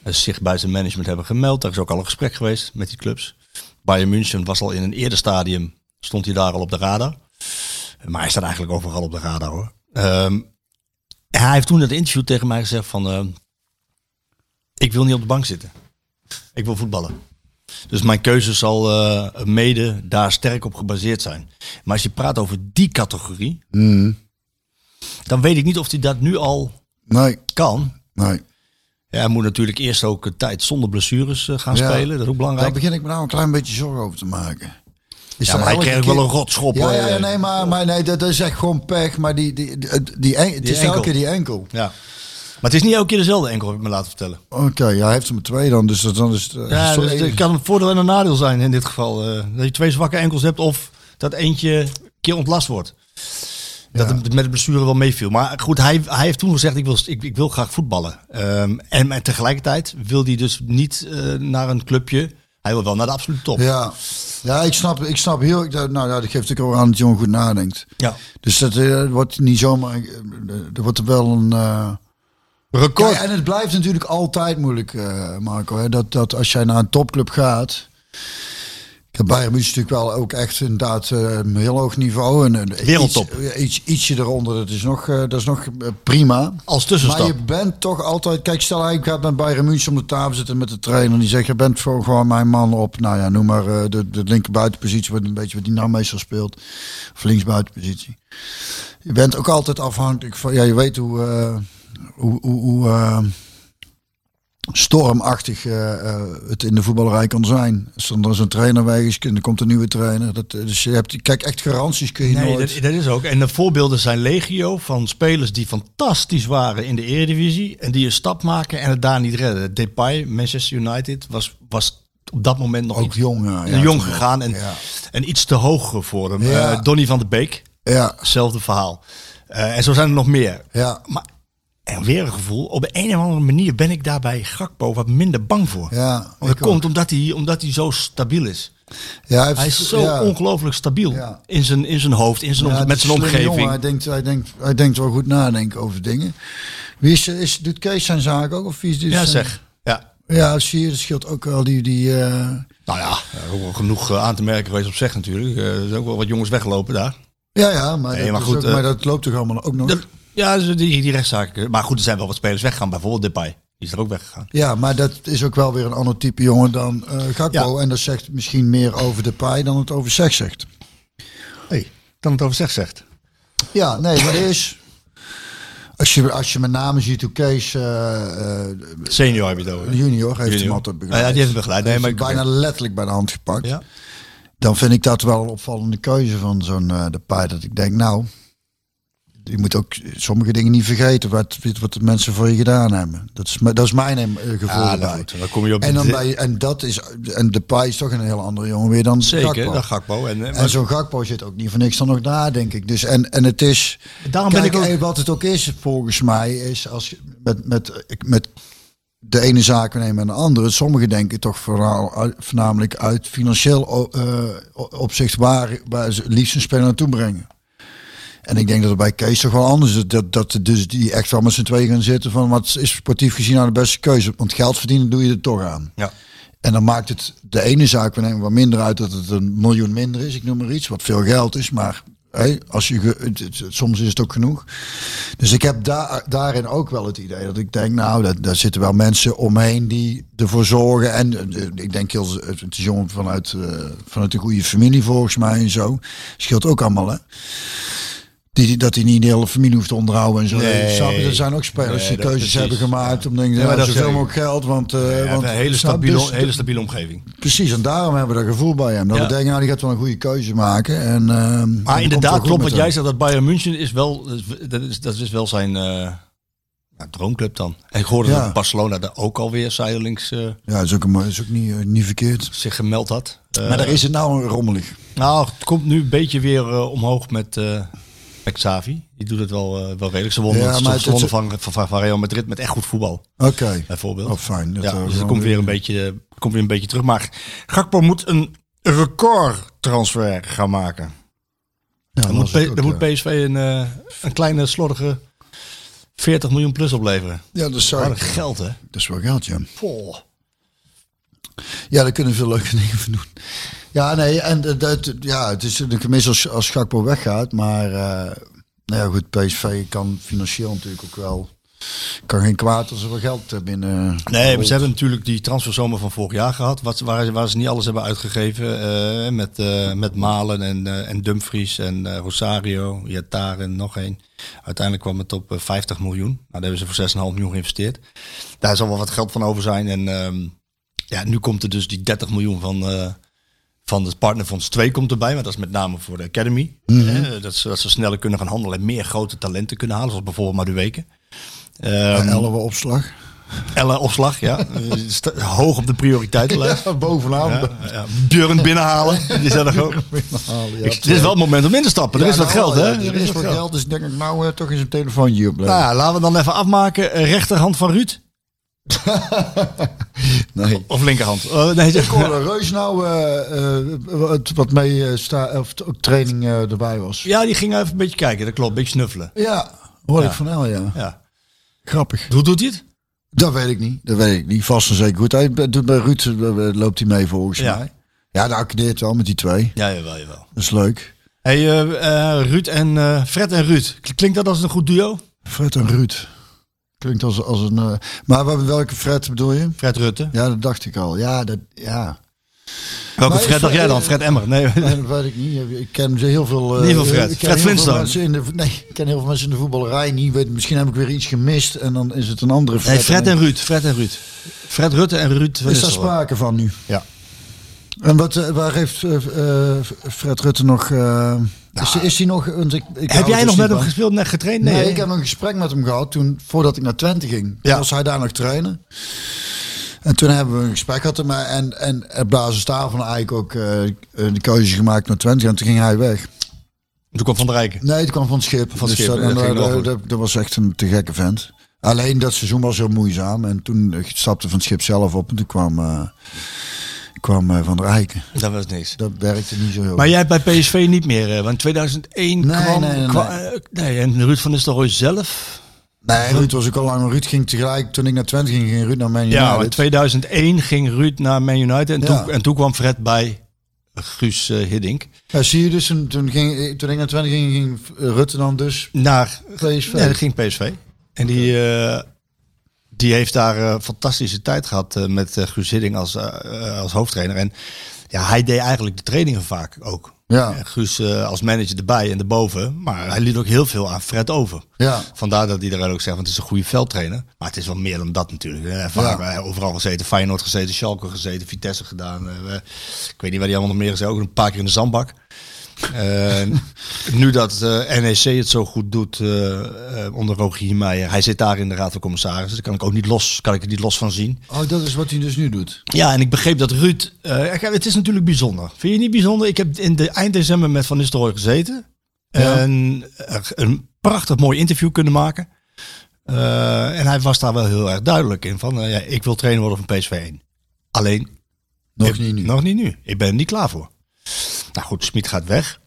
Speaker 1: eh, zich bij zijn management hebben gemeld. Daar is ook al een gesprek geweest met die clubs. Bayern München was al in een eerder stadium stond hij daar al op de radar. Maar hij staat eigenlijk overal op de radar hoor. Ehm, hij heeft toen in dat interview tegen mij gezegd van... ehm, ik wil niet op de bank zitten. Ik wil voetballen. Dus mijn keuze zal eh, mede daar sterk op gebaseerd zijn. Maar als je praat over die categorie... dan weet ik niet of hij dat nu al
Speaker 2: Nee,
Speaker 1: kan.
Speaker 2: nee.
Speaker 1: Ja, hij moet natuurlijk eerst ook een tijd zonder blessures eh, gaan
Speaker 2: Ja.
Speaker 1: spelen. Dat is ook
Speaker 2: Daar
Speaker 1: belangrijk.
Speaker 2: begin ik me nou een klein beetje zorgen over te maken. Is
Speaker 1: Ja,
Speaker 2: dat
Speaker 1: maar hij
Speaker 2: elke
Speaker 1: kreeg ook
Speaker 2: keer-
Speaker 1: wel een rotschop. eh,
Speaker 2: Ja,
Speaker 1: hoor.
Speaker 2: ja, ja, nee, maar, maar nee, dat is echt gewoon pech. Maar die, die, die, die en- het
Speaker 1: Die
Speaker 2: is elke
Speaker 1: enkel.
Speaker 2: keer die enkel. Oh,
Speaker 1: Ja. Maar het is niet elke keer dezelfde enkel, heb ik me laten vertellen.
Speaker 2: Oké, ja, hij heeft er maar twee dan, dus dat- dan is het... eh,
Speaker 1: Ja,
Speaker 2: sorry.
Speaker 1: dus het kan een voordeel en een nadeel zijn in dit geval. eh, dat je twee zwakke enkels hebt of dat eentje een keer ontlast wordt. Dat
Speaker 2: Ja.
Speaker 1: het met de blessure wel meeviel. Maar goed, hij, hij heeft toen gezegd, ik wil, ik, ik wil graag voetballen. Ehm, en, maar tegelijkertijd wil hij dus niet eh, naar een clubje. Hij wil wel naar de absolute top.
Speaker 2: ja. ja, ik snap, ik snap heel... ik- Nou ja, dat geeft natuurlijk wel aan dat John goed nadenkt.
Speaker 1: Ja.
Speaker 2: Dus dat eh, wordt niet zomaar... eh, Er wordt er wel een... eh,
Speaker 1: Record.
Speaker 2: Kijk, en het blijft natuurlijk altijd moeilijk, eh, Marco. Hè? Dat, dat als jij naar een topclub gaat. Kijk, Bayern München is natuurlijk wel ook echt inderdaad eh, een heel hoog niveau. En, en
Speaker 1: Wereldtop.
Speaker 2: Iets, eh, iets, ietsje eronder, dat is nog, eh, dat is nog eh, prima.
Speaker 1: Als
Speaker 2: Maar
Speaker 1: tussenstap.
Speaker 2: je bent toch altijd... Kijk, stel hij gaat met Bayern München om de tafel zitten met de trainer. En die zegt, je bent voor gewoon mijn man op... Nou ja, noem maar eh, de, de linkerbuitenpositie. Wat een beetje wat die nou meestal speelt. Of linksbuitenpositie. Je bent ook altijd afhankelijk van... Ja, je weet hoe... eh, hoe, hoe, hoe eh, stormachtig eh, eh, het in de voetballerij kan zijn. Als dan er zo'n trainer weg is, dan komt een nieuwe trainer. Dat, eh, dus je hebt, kijk, echt garanties kun je
Speaker 1: Nee,
Speaker 2: nooit...
Speaker 1: dat, dat is ook. En de voorbeelden zijn legio van spelers die fantastisch waren in de Eredivisie en die een stap maken en het daar niet redden. Depay, Manchester United was, was op dat moment nog
Speaker 2: ook
Speaker 1: iets-
Speaker 2: jong, ja. ja,
Speaker 1: jong
Speaker 2: toen-
Speaker 1: gegaan en,
Speaker 2: Ja.
Speaker 1: en iets te hoog voor hem.
Speaker 2: Ja.
Speaker 1: Eh, Donny van de Beek,
Speaker 2: Ja,
Speaker 1: hetzelfde verhaal. Eh, en zo zijn er nog meer.
Speaker 2: ja.
Speaker 1: Maar en weer een gevoel, op de een of andere manier ben ik daarbij Gakpo wat minder bang voor.
Speaker 2: Ja,
Speaker 1: dat
Speaker 2: ik ook.
Speaker 1: komt omdat hij, omdat hij zo stabiel is.
Speaker 2: ja heeft-
Speaker 1: Hij is zo
Speaker 2: ja.
Speaker 1: ongelooflijk stabiel
Speaker 2: Ja.
Speaker 1: in, zijn, in zijn hoofd, in zijn, om-
Speaker 2: Ja, het
Speaker 1: met
Speaker 2: is
Speaker 1: zijn
Speaker 2: een slimme
Speaker 1: omgeving.
Speaker 2: jongen. Hij denkt, hij, denkt, hij denkt wel goed nadenken over dingen. Wie is, is, doet Kees zijn zaak ook? Of wie is dit
Speaker 1: Ja,
Speaker 2: zijn-
Speaker 1: zeg. Ja.
Speaker 2: Ja, zie je, dat scheelt ook wel die... die eh,
Speaker 1: Nou ja, er is ook wel genoeg eh, aan te merken geweest op zeg natuurlijk. Eh, Er zijn ook wel wat jongens weggelopen daar.
Speaker 2: Ja, ja, maar,
Speaker 1: Nee,
Speaker 2: dat
Speaker 1: maar
Speaker 2: is
Speaker 1: goed,
Speaker 2: ook-
Speaker 1: eh,
Speaker 2: maar dat loopt toch allemaal ook nog?
Speaker 1: Dat- ja, dus die, die rechtszaken. Maar goed, er zijn wel wat spelers weggegaan. Bijvoorbeeld Depay. Die is er ook weggegaan.
Speaker 2: Ja, maar dat is ook wel weer een ander type jongen dan eh, Gakpo. En dat zegt misschien meer over de paai dan het over seks zegt.
Speaker 1: hey, dan het over zeg zegt.
Speaker 2: Ja, nee, maar er is... Als je, als je met name ziet hoe Kees eh, eh,
Speaker 1: Senior heb je het over.
Speaker 2: junior heeft
Speaker 1: Junior.
Speaker 2: hem altijd begeleid.
Speaker 1: Ah, ja, die heeft hem begeleid. Nee,
Speaker 2: Heeft
Speaker 1: maar
Speaker 2: hem
Speaker 1: ik-
Speaker 2: bijna letterlijk bij de hand gepakt.
Speaker 1: Ja.
Speaker 2: Dan vind ik dat wel een opvallende keuze van zo'n eh de paai. Dat ik denk, nou, je moet ook sommige dingen niet vergeten. Wat, wat de mensen voor je gedaan hebben. Dat is, m- dat is mijn eh, gevoel
Speaker 1: Ja, nou
Speaker 2: erbij.
Speaker 1: goed, dan kom je op
Speaker 2: En, dan
Speaker 1: de-
Speaker 2: bij, en dat is en de paai is toch een heel andere jongen weer dan
Speaker 1: Zeker,
Speaker 2: Gakpo.
Speaker 1: dat Gakpo. En, eh, maar-
Speaker 2: En zo'n Gakpo zit ook niet voor niks dan nog daar, denk ik. Dus en, en het is.
Speaker 1: Daarom ben
Speaker 2: kijk,
Speaker 1: ik ook-
Speaker 2: eh, wat het ook is, volgens mij, is als je met, met, met de ene zaak nemen en de andere. Sommigen denken toch vooral, uit- voornamelijk uit financieel o- eh, o- opzicht waar, waar ze het liefst een speler naartoe brengen. En ik denk dat het bij Kees toch wel anders is. Dat, dat dus die echt wel met z'n tweeën gaan zitten van wat is sportief gezien nou de beste keuze. Want geld verdienen doe je er toch aan.
Speaker 1: ja.
Speaker 2: En dan maakt het de ene zaak we nemen wat minder uit dat het een miljoen minder is. Ik noem maar iets, wat veel geld is, maar hé, als je ge- het- het- het- soms is het ook genoeg. Dus ik heb daar daarin ook wel het idee dat ik denk, nou, daar, daar zitten wel mensen omheen die ervoor zorgen. En eh, ik denk heel, het is jongen vanuit, eh, vanuit een goede familie volgens mij en zo. Scheelt ook allemaal, hè? Die, die- dat hij niet de hele familie hoeft te onderhouden en zo.
Speaker 1: Nee.
Speaker 2: Snap je? Er zijn ook spelers
Speaker 1: Nee,
Speaker 2: die
Speaker 1: dat-
Speaker 2: keuzes
Speaker 1: precies.
Speaker 2: hebben gemaakt om denk, ja,
Speaker 1: maar dat
Speaker 2: zoveel
Speaker 1: zeg ik.
Speaker 2: mogelijk geld, want... eh,
Speaker 1: Ja,
Speaker 2: want
Speaker 1: een hele
Speaker 2: snap,
Speaker 1: stabiele,
Speaker 2: dus-
Speaker 1: hele stabiele omgeving.
Speaker 2: Precies, en daarom hebben we dat gevoel bij hem. Dat
Speaker 1: Ja.
Speaker 2: we denken, nou, die gaat wel een goede keuze maken. En, ehm,
Speaker 1: Maar inderdaad, klopt wat jij zegt. Dat Bayern München is wel, dat is, dat is wel zijn eh, ja, droomclub dan. En ik hoorde
Speaker 2: Ja.
Speaker 1: dat Barcelona daar ook alweer zijdelings eh,
Speaker 2: Ja, dat is ook, een- dat is ook niet, eh, niet verkeerd.
Speaker 1: zich gemeld had. Eh,
Speaker 2: maar daar is het nou rommelig.
Speaker 1: Nou, het komt nu een beetje weer eh, omhoog met, eh met Xavi. Die doet het wel, eh, wel redelijk. Ze wonnen,
Speaker 2: Ja,
Speaker 1: ze
Speaker 2: maar het-
Speaker 1: wonnen van, van, van Real Madrid met echt goed voetbal,
Speaker 2: Oké.
Speaker 1: bijvoorbeeld.
Speaker 2: Oh, fijn. Dat,
Speaker 1: ja,
Speaker 2: eh,
Speaker 1: dus dat
Speaker 2: gewoon
Speaker 1: komt weer een beetje, eh, komt weer een beetje terug. Maar Gakpo moet een recordtransfer gaan maken. Dan
Speaker 2: Ja, dat
Speaker 1: moet,
Speaker 2: is het
Speaker 1: P-
Speaker 2: ook,
Speaker 1: dan moet
Speaker 2: ja.
Speaker 1: PSV een, eh, een kleine slordige 40 miljoen plus opleveren.
Speaker 2: Ja, dat is,
Speaker 1: Wat
Speaker 2: zou
Speaker 1: een geld, hè?
Speaker 2: dat is wel geld, ja.
Speaker 1: Poh.
Speaker 2: Ja, daar kunnen we veel leuke dingen van doen. Ja, nee, en eh, dat, ja, het is een gemis als, als Gakpo weggaat. Maar eh, nou ja, goed, PSV kan financieel natuurlijk ook wel... Kan geen kwaad als er wel geld eh, binnen...
Speaker 1: Nee, maar ze hebben natuurlijk die transferzomer van vorig jaar gehad, wat, waar, waar ze niet alles hebben uitgegeven. eh, met, eh, met Malen en, eh, en Dumfries en eh, Rosario, Jatar en nog één. Uiteindelijk kwam het op eh, 50 miljoen. Nou, daar hebben ze voor 6,5 miljoen geïnvesteerd. Daar zal wel wat geld van over zijn. En ehm, ja, nu komt er dus die 30 miljoen van, eh, van het partnerfonds 2 komt erbij. Maar dat is met name voor de Academy. Eh, dat, ze, dat ze sneller kunnen gaan handelen en meer grote talenten kunnen halen. Zoals bijvoorbeeld Maduweke. Ehm,
Speaker 2: Elwe opslag.
Speaker 1: Ella opslag, ja. Eh, sta- Hoog op de prioriteitenlijst.
Speaker 2: Ja, bovenaan.
Speaker 1: Ja, ja. Deuren binnenhalen. Die zijn er ook.
Speaker 2: Binnenhalen, ja.
Speaker 1: Ik- Het is wel het moment om in te stappen. Er
Speaker 2: Ja,
Speaker 1: is wat
Speaker 2: nou,
Speaker 1: geld, hè?
Speaker 2: ja, Er is wat geld, dus denk ik nou eh, toch eens een telefoontje op.
Speaker 1: Nou ja, laten we dan even afmaken. Eh, Rechterhand van Ruud.
Speaker 2: nee.
Speaker 1: Of linkerhand? Eh, nee,
Speaker 2: Ik hoorde Reus nou, eh, eh, wat- wat mee eh, sta, of t- op training eh, erbij was.
Speaker 1: Ja, die ging even een beetje kijken. Dat klopt. Een beetje snuffelen.
Speaker 2: Ja, hoor ik van El, ja.
Speaker 1: Ja.
Speaker 2: Grappig.
Speaker 1: Hoe doet hij het?
Speaker 2: Dat weet ik niet. Dat weet ik niet. Vast en zeker goed. Hij doet bij Ruud eh, loopt hij mee volgens
Speaker 1: Ja.
Speaker 2: mij. Ja, daar accordeert wel met die twee.
Speaker 1: Ja, jawel, jawel.
Speaker 2: Dat is leuk.
Speaker 1: Hey, eh, eh, Ruud en eh, Fred en Ruud. K- Klinkt dat als een goed duo?
Speaker 2: Fred en Ruud. Klinkt als, als een. eh, maar waar- welke Fred bedoel je?
Speaker 1: Fred Rutte.
Speaker 2: Ja, dat dacht ik al. Ja, dat, ja.
Speaker 1: Welke
Speaker 2: Maar is
Speaker 1: Fred dacht jij
Speaker 2: Fred-
Speaker 1: dan? Fred Emmer? Nee.
Speaker 2: Nee, dat weet ik niet. Ik ken ze heel veel. eh,
Speaker 1: Niet veel Fred.
Speaker 2: ik ken
Speaker 1: Fred
Speaker 2: heel veel
Speaker 1: Flintstone.
Speaker 2: mensen in de, nee, ik ken heel veel mensen in de voetballerij niet. Weet, misschien heb ik weer iets gemist en dan is het een andere Fred.
Speaker 1: Nee, Fred en Ruud. Fred en Ruud. Fred Rutte en Ruud. van
Speaker 2: Is daar
Speaker 1: Nistelrooy.
Speaker 2: sprake van nu?
Speaker 1: Ja.
Speaker 2: En wat, eh, waar heeft eh, eh, Fred Rutte nog... eh, is, is hij nog... want ik, ik
Speaker 1: Heb
Speaker 2: hou
Speaker 1: jij
Speaker 2: dus
Speaker 1: nog
Speaker 2: niet
Speaker 1: met hem
Speaker 2: van.
Speaker 1: gespeeld, net getraind?
Speaker 2: Nee,
Speaker 1: hè?
Speaker 2: ik heb een gesprek met hem gehad toen, voordat ik naar Twente ging.
Speaker 1: Ja.
Speaker 2: Was hij daar nog trainen? En toen hebben we een gesprek gehad met hem en, en op basis daarvan eigenlijk ook eh, eh, de keuze gemaakt naar Twente. En toen ging hij weg.
Speaker 1: Toen kwam Van der Rijken.
Speaker 2: Nee, het kwam van het schip.
Speaker 1: Van het schip,
Speaker 2: Dus dat,
Speaker 1: dat
Speaker 2: en,
Speaker 1: ging wel
Speaker 2: eh,
Speaker 1: goed.
Speaker 2: dat, dat was echt een te gekke vent. Alleen dat seizoen was heel moeizaam. En toen eh, stapte van het schip zelf op. En toen kwam, eh, kwam eh, Van der Eyck.
Speaker 1: Dat was niks.
Speaker 2: Dat werkte niet zo heel
Speaker 1: Maar jij hebt bij PSV niet meer, hè? want in 2001
Speaker 2: Nee,
Speaker 1: kwam...
Speaker 2: nee, nee,
Speaker 1: kwa- eh, nee, en Ruud van Nistelrooy zelf?
Speaker 2: Nee, Ruud was ook al lang. Ruud ging tegelijk, toen ik naar Twente ging, ging Ruud naar Man
Speaker 1: Ja, maar in
Speaker 2: United.
Speaker 1: 2001 Nou, ging Ruud naar Man United en,
Speaker 2: Ja.
Speaker 1: toen, en toen kwam Fred bij Guus eh, Hiddink.
Speaker 2: Ja, zie je dus, toen, toen, ging, toen ik naar Twente ging, ging eh, Rutte dan dus
Speaker 1: Naar...
Speaker 2: PSV.
Speaker 1: Nee, dat ging PSV. En die, eh, die heeft daar eh, fantastische tijd gehad eh, met eh, Guus Hiddink als, eh, eh, als hoofdtrainer. En ja, hij deed eigenlijk de trainingen vaak ook.
Speaker 2: Ja,
Speaker 1: En Guus eh, als manager erbij en erboven. Maar hij liet ook heel veel aan Fred over.
Speaker 2: ja.
Speaker 1: Vandaar dat iedereen ook zegt, want het is een goede veldtrainer. Maar het is wel meer dan dat natuurlijk. Eh, vaak, eh, Overal gezeten, Feyenoord gezeten, Schalke gezeten, Vitesse gedaan. eh, eh, ik weet niet waar die allemaal nog meer is. Ook een paar keer in de zandbak. Eh, nu dat eh, NEC het zo goed doet eh, eh, onder Rogier Meijer. Hij zit daar in de Raad van Commissarissen. Daar kan ik ook niet los, kan ik er niet los van zien.
Speaker 2: Oh, dat is wat hij dus nu doet.
Speaker 1: Ja, en ik begreep dat Ruud... eh, ja, het is natuurlijk bijzonder. Vind je niet bijzonder? Ik heb in de, eind december met Van Nistelrooy gezeten.
Speaker 2: Ja.
Speaker 1: En er een prachtig mooi interview kunnen maken. Eh, en hij was daar wel heel erg duidelijk in. Van, eh, ja, ik wil trainer worden van PSV 1. Alleen...
Speaker 2: Nog
Speaker 1: ik-
Speaker 2: niet nu.
Speaker 1: Nog niet nu. Ik ben er niet klaar voor. Nou goed, Smit gaat weg.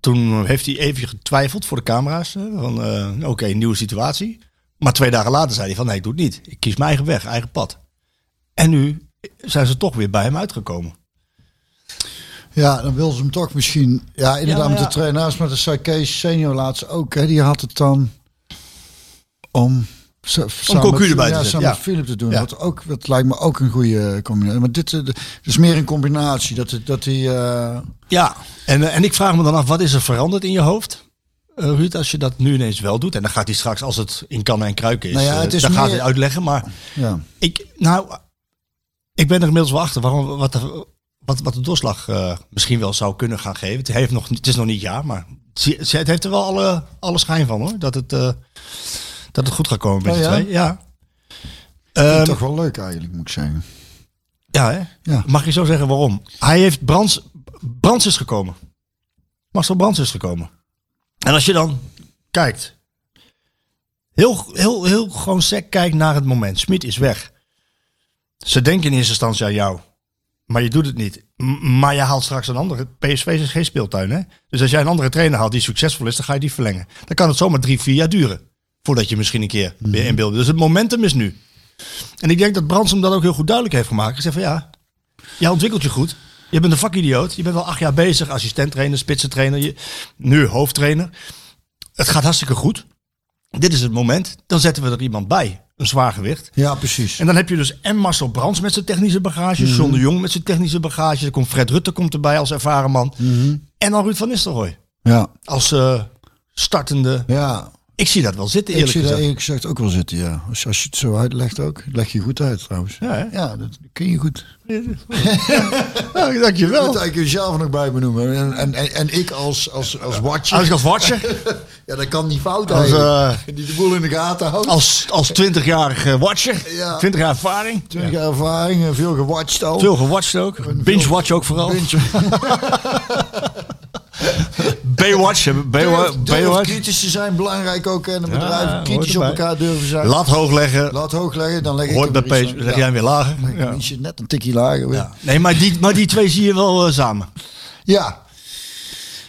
Speaker 1: Toen heeft hij even getwijfeld voor de camera's. eh, Van, eh, oké, nieuwe situatie. Maar twee dagen later zei hij van, nee, ik doe het niet. Ik kies mijn eigen weg, eigen pad. En nu zijn ze toch weer bij hem uitgekomen.
Speaker 2: Ja, dan wil ze hem toch misschien... Ja, inderdaad
Speaker 1: maar
Speaker 2: met
Speaker 1: ja.
Speaker 2: de trainers, maar de Saike senior laatst ook. Hè, die had het dan om... sa- samen
Speaker 1: Cocu
Speaker 2: met-
Speaker 1: erbij te
Speaker 2: ja,
Speaker 1: zetten,
Speaker 2: samen
Speaker 1: ja.
Speaker 2: met Philip te doen.
Speaker 1: Ja.
Speaker 2: Wat ook, dat lijkt me ook een goede combinatie. Maar dit, eh, dit is meer een combinatie. Dat, het- dat hij... eh,
Speaker 1: Ja, en, eh, en ik vraag me dan af, wat is er veranderd in je hoofd? eh, Ruud, als je dat nu ineens wel doet. En dan gaat hij straks, als het in kannen en kruiken is,
Speaker 2: Nou ja,
Speaker 1: eh,
Speaker 2: het is
Speaker 1: dan gaat
Speaker 2: meer-
Speaker 1: hij uitleggen. Maar
Speaker 2: ja.
Speaker 1: ik, nou, ik ben er inmiddels wel achter waarom, wat, de, wat, wat de doorslag eh, misschien wel zou kunnen gaan geven. Het, heeft nog, niet- het is nog niet ja, maar het zie- het heeft er wel alle, alle schijn van hoor. Dat het, eh, dat het goed gaat komen met
Speaker 2: Oh
Speaker 1: die
Speaker 2: ja?
Speaker 1: twee. Ja.
Speaker 2: Vind ik
Speaker 1: Ehm,
Speaker 2: toch wel leuk eigenlijk, moet ik zeggen.
Speaker 1: ja, hè?
Speaker 2: Ja.
Speaker 1: Mag je zo zeggen waarom? Hij heeft Brands, Brands is gekomen. Marcel Brands is gekomen. En als je dan kijkt, heel, heel, heel gewoon sec kijkt naar het moment. Smit is weg. Ze denken in eerste instantie aan jou. Maar je doet het niet. M- maar je haalt straks een andere. PSV is geen speeltuin, hè? Dus als jij een andere trainer haalt die succesvol is, dan ga je die verlengen. Dan kan het zomaar drie, vier jaar duren. Voordat je misschien een keer weer in beeld bent. Dus het momentum is nu. En ik denk dat Brands hem dat ook heel goed duidelijk heeft gemaakt. Ik zeg van ja, Jij ontwikkelt je goed. Je bent een vakidioot. Je bent al acht jaar bezig. Assistent trainer, spitsentrainer. Je, nu hoofdtrainer. Het gaat hartstikke goed. Dit is het moment. Dan zetten we er iemand bij. Een zwaar gewicht.
Speaker 2: Ja, precies.
Speaker 1: En dan heb je dus en Marcel Brands met zijn technische bagage. John de Jong met zijn technische bagage. Dan komt Fred Rutte komt erbij als ervaren man. En dan Ruud van Nistelrooy.
Speaker 2: Ja,
Speaker 1: Als eh, startende.
Speaker 2: ja.
Speaker 1: Ik zie dat wel zitten
Speaker 2: Ik
Speaker 1: eerlijk
Speaker 2: zie daar
Speaker 1: gezegd.
Speaker 2: eerlijk gezegd ook wel zitten, ja. Als, als je het zo uitlegt ook. Het leg je goed uit trouwens.
Speaker 1: Ja, hè?
Speaker 2: Ja, dat kun je goed.
Speaker 1: Ja,
Speaker 2: Je moet
Speaker 1: dankjewel.
Speaker 2: eigenlijk jezelf nog bij benoemen. En, en, en, en ik als, als, als watcher.
Speaker 1: Als ik als watcher,
Speaker 2: ja, dat kan niet fout
Speaker 1: als,
Speaker 2: eigenlijk.
Speaker 1: eh,
Speaker 2: Die de boel in de gaten houdt.
Speaker 1: als, als 20-jarige watcher,
Speaker 2: Ja.
Speaker 1: 20 jaar ervaring,
Speaker 2: 20 jaar ervaring, eh, veel gewatcht al.
Speaker 1: veel gewatcht ook, binge-watch ook vooral.
Speaker 2: Beetje-
Speaker 1: Baywatch, hè, Baywa-
Speaker 2: Durf, durf
Speaker 1: Baywatch.
Speaker 2: kritisch te zijn, belangrijk ook. En een bedrijf
Speaker 1: hoort
Speaker 2: kritisch op
Speaker 1: erbij.
Speaker 2: elkaar durven zijn.
Speaker 1: Lat hoog leggen,
Speaker 2: Laat hoog leggen, dan leg ik
Speaker 1: hoort bij
Speaker 2: hem weer iets
Speaker 1: Pees,
Speaker 2: aan.
Speaker 1: leg
Speaker 2: Ja.
Speaker 1: jij weer lager.
Speaker 2: Ja.
Speaker 1: Ja.
Speaker 2: Iets Net een tikje lager weer.
Speaker 1: Ja. Nee, maar die, maar die twee zie je wel eh, samen.
Speaker 2: Ja,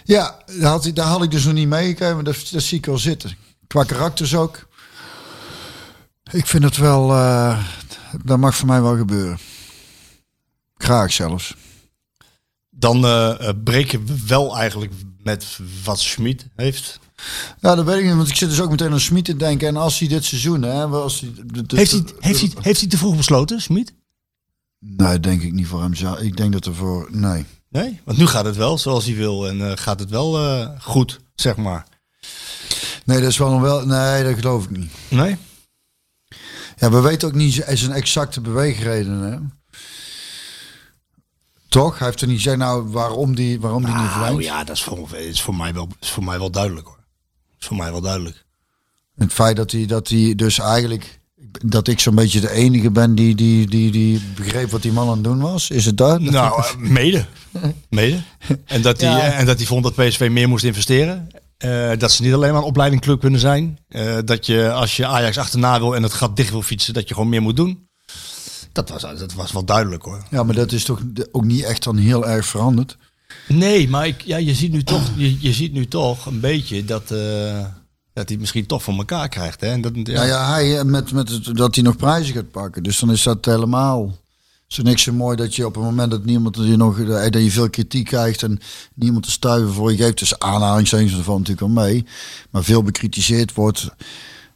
Speaker 2: ja daar, had, ik- daar had ik dus nog niet meegekregen, maar dat, dat zie ik wel zitten. Qua karakters ook. Ik vind het wel, eh, dat mag voor mij wel gebeuren. Graag zelfs.
Speaker 1: Dan eh, eh, breken we wel eigenlijk met wat Schmid heeft.
Speaker 2: Ja, dat weet ik niet, want ik zit dus ook meteen aan Smit te denken. En als hij dit seizoen, hè, wel als hij, de- de-
Speaker 1: Heeft hij, heeft, hij, heeft hij te vroeg besloten, Schmid?
Speaker 2: Nee, denk ik niet voor hem zelf. Ik denk dat er voor, nee.
Speaker 1: Nee, want nu gaat het wel zoals hij wil en eh, gaat het wel eh, goed, zeg maar.
Speaker 2: Nee, dat is wel een wel, nee, dat geloof ik niet.
Speaker 1: Nee?
Speaker 2: Ja, we weten ook niet z- zijn exacte beweegreden. Hè? Toch? Hij heeft er niet gezegd nou, waarom die, waarom die niet
Speaker 1: Nou
Speaker 2: verlengt.
Speaker 1: ja, dat is voor, is, voor mij wel, is voor mij wel duidelijk hoor. Is voor mij wel duidelijk.
Speaker 2: Het feit dat hij, dat hij dus eigenlijk... Dat ik zo'n beetje de enige ben die, die, die, die begreep wat die man aan het doen was. Is het dat?
Speaker 1: Nou, eh, mede. Mede. En dat hij en dat hij vond dat PSV meer moest investeren. Eh, dat ze niet alleen maar een opleidingclub kunnen zijn. Eh, dat je als je Ajax achterna wil en het gat dicht wil fietsen, dat je gewoon meer moet doen. Dat was, dat was wel duidelijk hoor.
Speaker 2: Ja, maar dat is toch de- ook niet echt dan heel erg veranderd.
Speaker 1: Nee, maar ik, ja, je, ziet nu toch, je, je ziet nu toch een beetje dat, eh, dat hij misschien toch voor elkaar krijgt. Hè? En dat, ja.
Speaker 2: Nou ja, hij eh, met, met het, dat hij nog prijzen gaat pakken. Dus dan is dat helemaal zo niks zo mooi dat je op het moment dat niemand dat je nog eh, dat je veel kritiek krijgt en niemand te stuiven voor je geeft. Dus aanhalingstekens ervan natuurlijk wel mee. Maar veel bekritiseerd wordt.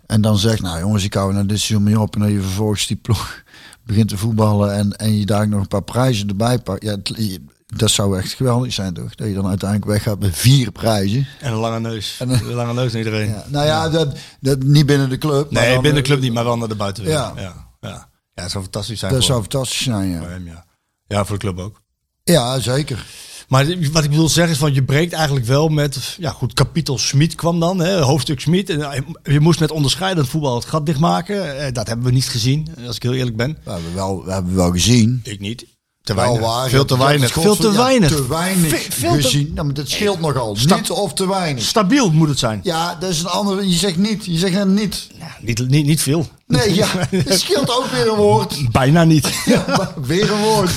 Speaker 2: En dan zegt, nou jongens, ik hou er nou dit seizoen mee op. En dat je vervolgens die ploeg begint te voetballen en, en je daar ook nog een paar prijzen erbij pakt. Ja, het- je- dat zou echt geweldig zijn, toch? Dat je dan uiteindelijk weggaat met vier prijzen.
Speaker 1: En een lange neus. een lange neus naar iedereen.
Speaker 2: Ja, nou ja, dat, dat niet binnen de club. maar
Speaker 1: Nee,
Speaker 2: dan,
Speaker 1: binnen
Speaker 2: eh,
Speaker 1: de club niet, maar wel naar de buitenwereld.
Speaker 2: Ja.
Speaker 1: Ja. Ja. Ja. het zou fantastisch zijn
Speaker 2: Dat
Speaker 1: voor,
Speaker 2: zou fantastisch zijn, ja.
Speaker 1: voor hem. Ja. ja, voor de club ook.
Speaker 2: Ja, zeker.
Speaker 1: Maar wat ik wil zeggen is, van, je breekt eigenlijk wel met... Ja goed, kapitel Smit kwam dan, hè, hoofdstuk Smit. En eh, Je moest met onderscheidend voetbal het gat dichtmaken. Eh, Dat hebben we niet gezien, als ik heel eerlijk ben.
Speaker 2: We hebben wel, we hebben wel gezien.
Speaker 1: Ik niet. Te
Speaker 2: Wel
Speaker 1: weinig.
Speaker 2: waar.
Speaker 1: Veel te
Speaker 2: Dat
Speaker 1: weinig.
Speaker 2: schot-
Speaker 1: Veel te
Speaker 2: ja,
Speaker 1: weinig.
Speaker 2: Te weinig
Speaker 1: Ve- veel te-
Speaker 2: gezien. Nou, maar dat scheelt nogal.
Speaker 1: Stap-
Speaker 2: Niet of te weinig.
Speaker 1: Stabiel moet het zijn.
Speaker 2: Ja, dat is een andere. Je zegt niet. Je zegt net niet.
Speaker 1: Ja, niet, niet, niet veel.
Speaker 2: Nee, ja. Het scheelt ook weer een woord.
Speaker 1: Bijna niet.
Speaker 2: Ja, weer een woord.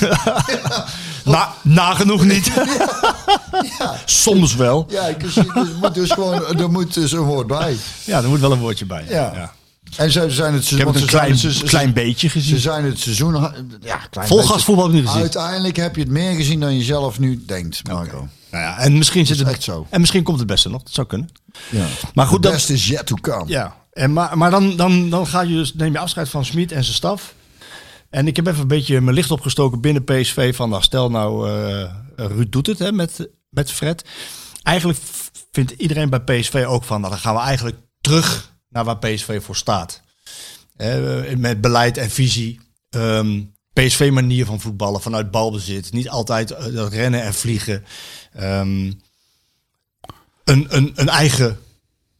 Speaker 1: Na, nagenoeg niet. Soms wel.
Speaker 2: Ja, dus, er moet dus gewoon. Er moet dus een woord bij.
Speaker 1: Ja, er moet wel een woordje bij.
Speaker 2: Ja. En ze zijn het
Speaker 1: Ik
Speaker 2: seizoen.
Speaker 1: heb het een
Speaker 2: want ze zijn
Speaker 1: klein,
Speaker 2: het seizoen-
Speaker 1: klein beetje
Speaker 2: Ze
Speaker 1: gezien.
Speaker 2: zijn het seizoen. Ja, klein
Speaker 1: Vol
Speaker 2: beetje.
Speaker 1: gasvoetbal heb ik niet gezien.
Speaker 2: Uiteindelijk heb je het meer gezien dan je zelf nu denkt, Marco.
Speaker 1: Nou ja, en misschien zit het
Speaker 2: echt zo.
Speaker 1: En misschien komt het beste nog. Dat zou kunnen.
Speaker 2: Ja.
Speaker 1: Maar goed,
Speaker 2: Het
Speaker 1: dat,
Speaker 2: beste is yet to come.
Speaker 1: ja. En maar, maar dan, dan, dan ga je dus, neem je afscheid van Smit en zijn staf. En ik heb even een beetje mijn licht opgestoken binnen PSV. Van nou, stel nou, eh, Ruud doet het hè, met, met Fred. Eigenlijk v- vindt iedereen bij PSV ook van, nou, dan gaan we eigenlijk terug naar waar PSV voor staat. Hè, eh, met beleid en visie. Ehm, PSV-manier van voetballen, vanuit balbezit. Niet altijd eh, dat rennen en vliegen. Ehm, een, een, een eigen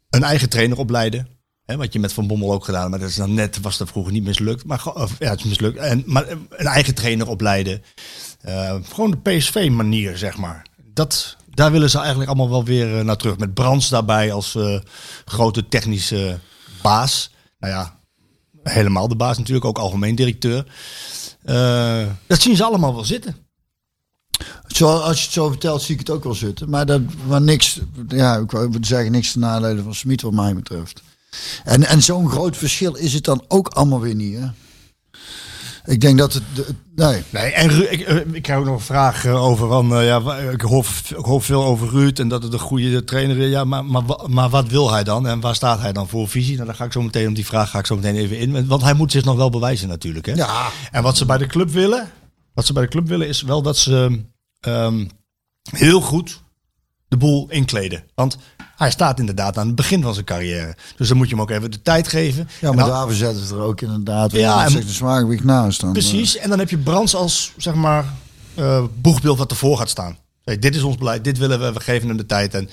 Speaker 1: een eigen trainer opleiden. Hè, wat je met Van Bommel ook gedaan, maar dat is dan net, was dat vroeger niet mislukt. Maar gewoon- of, ja, het is mislukt. En, maar eh, een eigen trainer opleiden. Eh, gewoon de PSV-manier, zeg maar. Dat, daar willen ze eigenlijk allemaal wel weer eh, naar terug. Met Brands daarbij als eh, grote technische baas. Nou ja, helemaal de baas natuurlijk, ook algemeen directeur. Eh, dat zien ze allemaal wel zitten.
Speaker 2: Zo, als je het zo vertelt, zie ik het ook wel zitten. Maar, dat, maar niks, ja, ik wou zeggen, niks te nadelen van Smit, wat mij betreft. En, en zo'n groot verschil is het dan ook allemaal weer niet. Hè? Ik denk dat het... de- nee.
Speaker 1: Nee, en Ru- ik, eh, ik heb ook nog een vraag eh, over. Van, eh, ja, wa- ik, hoor, ik hoor veel over Ruud en dat het een goede trainer is. Ja, maar, maar, wa- maar wat wil hij dan en waar staat hij dan voor visie? Nou, daar ga ik zo meteen op die vraag ga ik zo meteen even in. Want hij moet zich nog wel bewijzen, natuurlijk. Hè?
Speaker 2: Ja.
Speaker 1: En wat ze bij de club willen, wat ze bij de club willen, is wel dat ze ehm, heel goed de boel inkleden. Want hij staat inderdaad aan het begin van zijn carrière. Dus dan moet je hem ook even de tijd geven.
Speaker 2: Ja,
Speaker 1: En
Speaker 2: maar
Speaker 1: dan-
Speaker 2: daarvoor zetten ze er ook inderdaad.
Speaker 1: Ja,
Speaker 2: Ja,
Speaker 1: en-
Speaker 2: en zegt de smaakweek naast dan. eh."
Speaker 1: Precies, en dan heb je Brands als zeg maar, eh, boegbeeld wat ervoor gaat staan. Hey, dit is ons beleid, dit willen we, we geven hem de tijd. En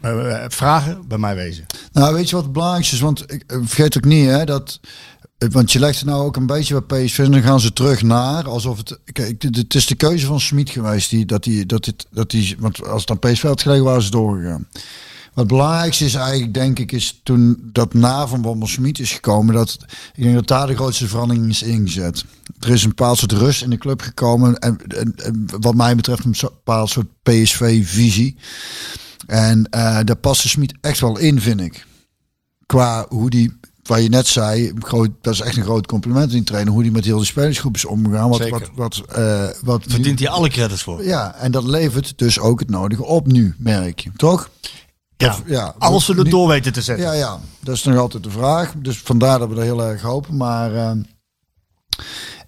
Speaker 1: eh, eh, vragen bij mij wezen.
Speaker 2: Nou, weet je wat het belangrijkste is? Want ik, eh, vergeet ook niet, hè, dat. eh, Want je legt het nou ook een beetje bij PSV en dan gaan ze terug naar alsof het. Kijk, dit- het is de keuze van Smit geweest. Die, dat die, dat dit, dat die, want als het aan PSV had gelegen, waren ze doorgegaan. Wat het belangrijkste is eigenlijk, denk ik, is toen dat na van Bommel Smit is gekomen, dat ik denk dat daar de grootste verandering is ingezet. Er is een bepaald soort rust in de club gekomen en, en- en wat mij betreft een zo- bepaald soort PSV-visie. En eh, daar past de Smit echt wel in, vind ik qua hoe die, waar je net zei, groot, dat is echt een groot compliment in die trainer, hoe die met heel de spelersgroep is omgegaan. Wat,
Speaker 1: Zeker.
Speaker 2: wat, wat, eh, wat nu-
Speaker 1: Verdient hij alle credits voor?
Speaker 2: ja, en dat levert dus ook het nodige op nu, merk je. Toch?
Speaker 1: Ja,
Speaker 2: ja.
Speaker 1: als ze het
Speaker 2: Niet-
Speaker 1: door weten te zetten.
Speaker 2: Ja, ja, dat is nog altijd de vraag. Dus vandaar dat we er heel erg hopen. Maar, ehm,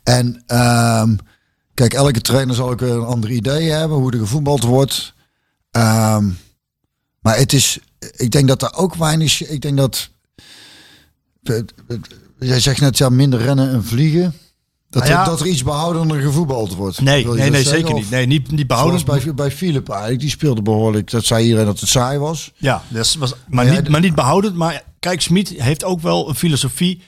Speaker 2: en ehm, kijk, elke trainer zal ook weer een ander idee hebben hoe er gevoetbald wordt. Ehm, maar het is, ik denk dat daar ook weinig, ik denk dat, het- het- jij zegt net ja, minder rennen en vliegen. Dat,
Speaker 1: Nou ja.
Speaker 2: er, dat er iets behoudender gevoetbald wordt.
Speaker 1: Nee,
Speaker 2: Wil je
Speaker 1: nee,
Speaker 2: dat
Speaker 1: nee
Speaker 2: zeggen?
Speaker 1: zeker
Speaker 2: Of-
Speaker 1: niet. Nee, niet, niet behouden.
Speaker 2: Zoals bij, bij Philip eigenlijk, die speelde behoorlijk. Dat zei iedereen dat het saai was.
Speaker 1: Ja, dat was, maar,
Speaker 2: Ja,
Speaker 1: niet,
Speaker 2: de-
Speaker 1: maar niet behoudend. Maar kijk, Smit heeft ook wel een filosofie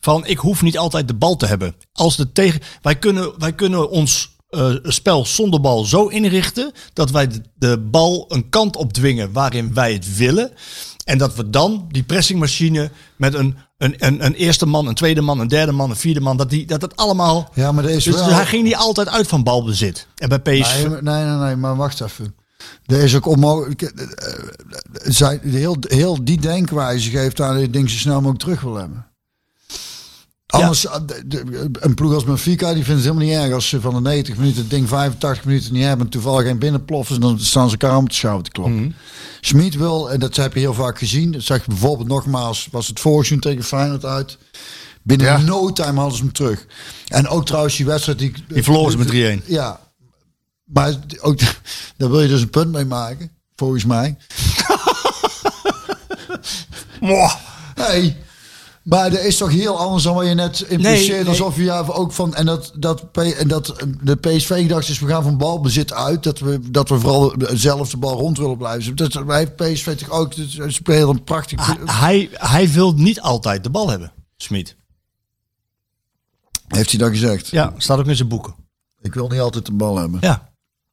Speaker 1: van ik hoef niet altijd de bal te hebben. Als de tegen, wij, kunnen, wij kunnen ons eh, spel zonder bal zo inrichten dat wij de, de bal een kant op dwingen waarin wij het willen. En dat we dan die pressingmachine met een, een, een, een eerste man, een tweede man, een derde man, een vierde man, dat die, dat, dat allemaal...
Speaker 2: Ja, maar er is
Speaker 1: dus
Speaker 2: wel-
Speaker 1: hij ging niet altijd uit van balbezit. En bij PSV...
Speaker 2: Nee, maar- nee, nee, nee, maar wacht even. Er is ook onmogelijk. eh, eh, Zij, heel, heel die denkwijze geeft aan dat je ding zo snel mogelijk terug wil hebben. Anders, eh, de- de- een ploeg als Benfica, die vindt het helemaal niet erg als ze van de 90 minuten het ding 85 minuten niet hebben en toevallig geen binnenploffen, dan staan ze elkaar om te schouwen te kloppen.
Speaker 1: Mhm.
Speaker 2: Smit wil, en dat heb je heel vaak gezien, dat zag je bijvoorbeeld nogmaals, was het voorzien tegen Feyenoord uit. Binnen no time hadden ze hem terug. En ook trouwens die wedstrijd die...
Speaker 1: Die verloren ze met 3-1.
Speaker 2: Ja, maar ook, daar wil je dus een punt mee maken, volgens mij.
Speaker 1: Mwah.
Speaker 2: Hey, maar dat is toch heel anders dan wat je net impliceert.
Speaker 1: Nee, nee.
Speaker 2: Alsof je ja, ook van. En dat, dat, P- en dat eh, de PSV-gedachte is: we gaan van balbezit uit. Dat we, dat we vooral zelf de bal rond willen blijven. Dus Dat heeft PSV toch ook. Ze spelen een
Speaker 1: Ah,
Speaker 2: prachtig.
Speaker 1: Hij, hij wil niet altijd de bal hebben, Smit.
Speaker 2: Heeft hij dat gezegd?
Speaker 1: Ja, staat ook in zijn boeken.
Speaker 2: Ik wil niet altijd de bal hebben.
Speaker 1: Ja.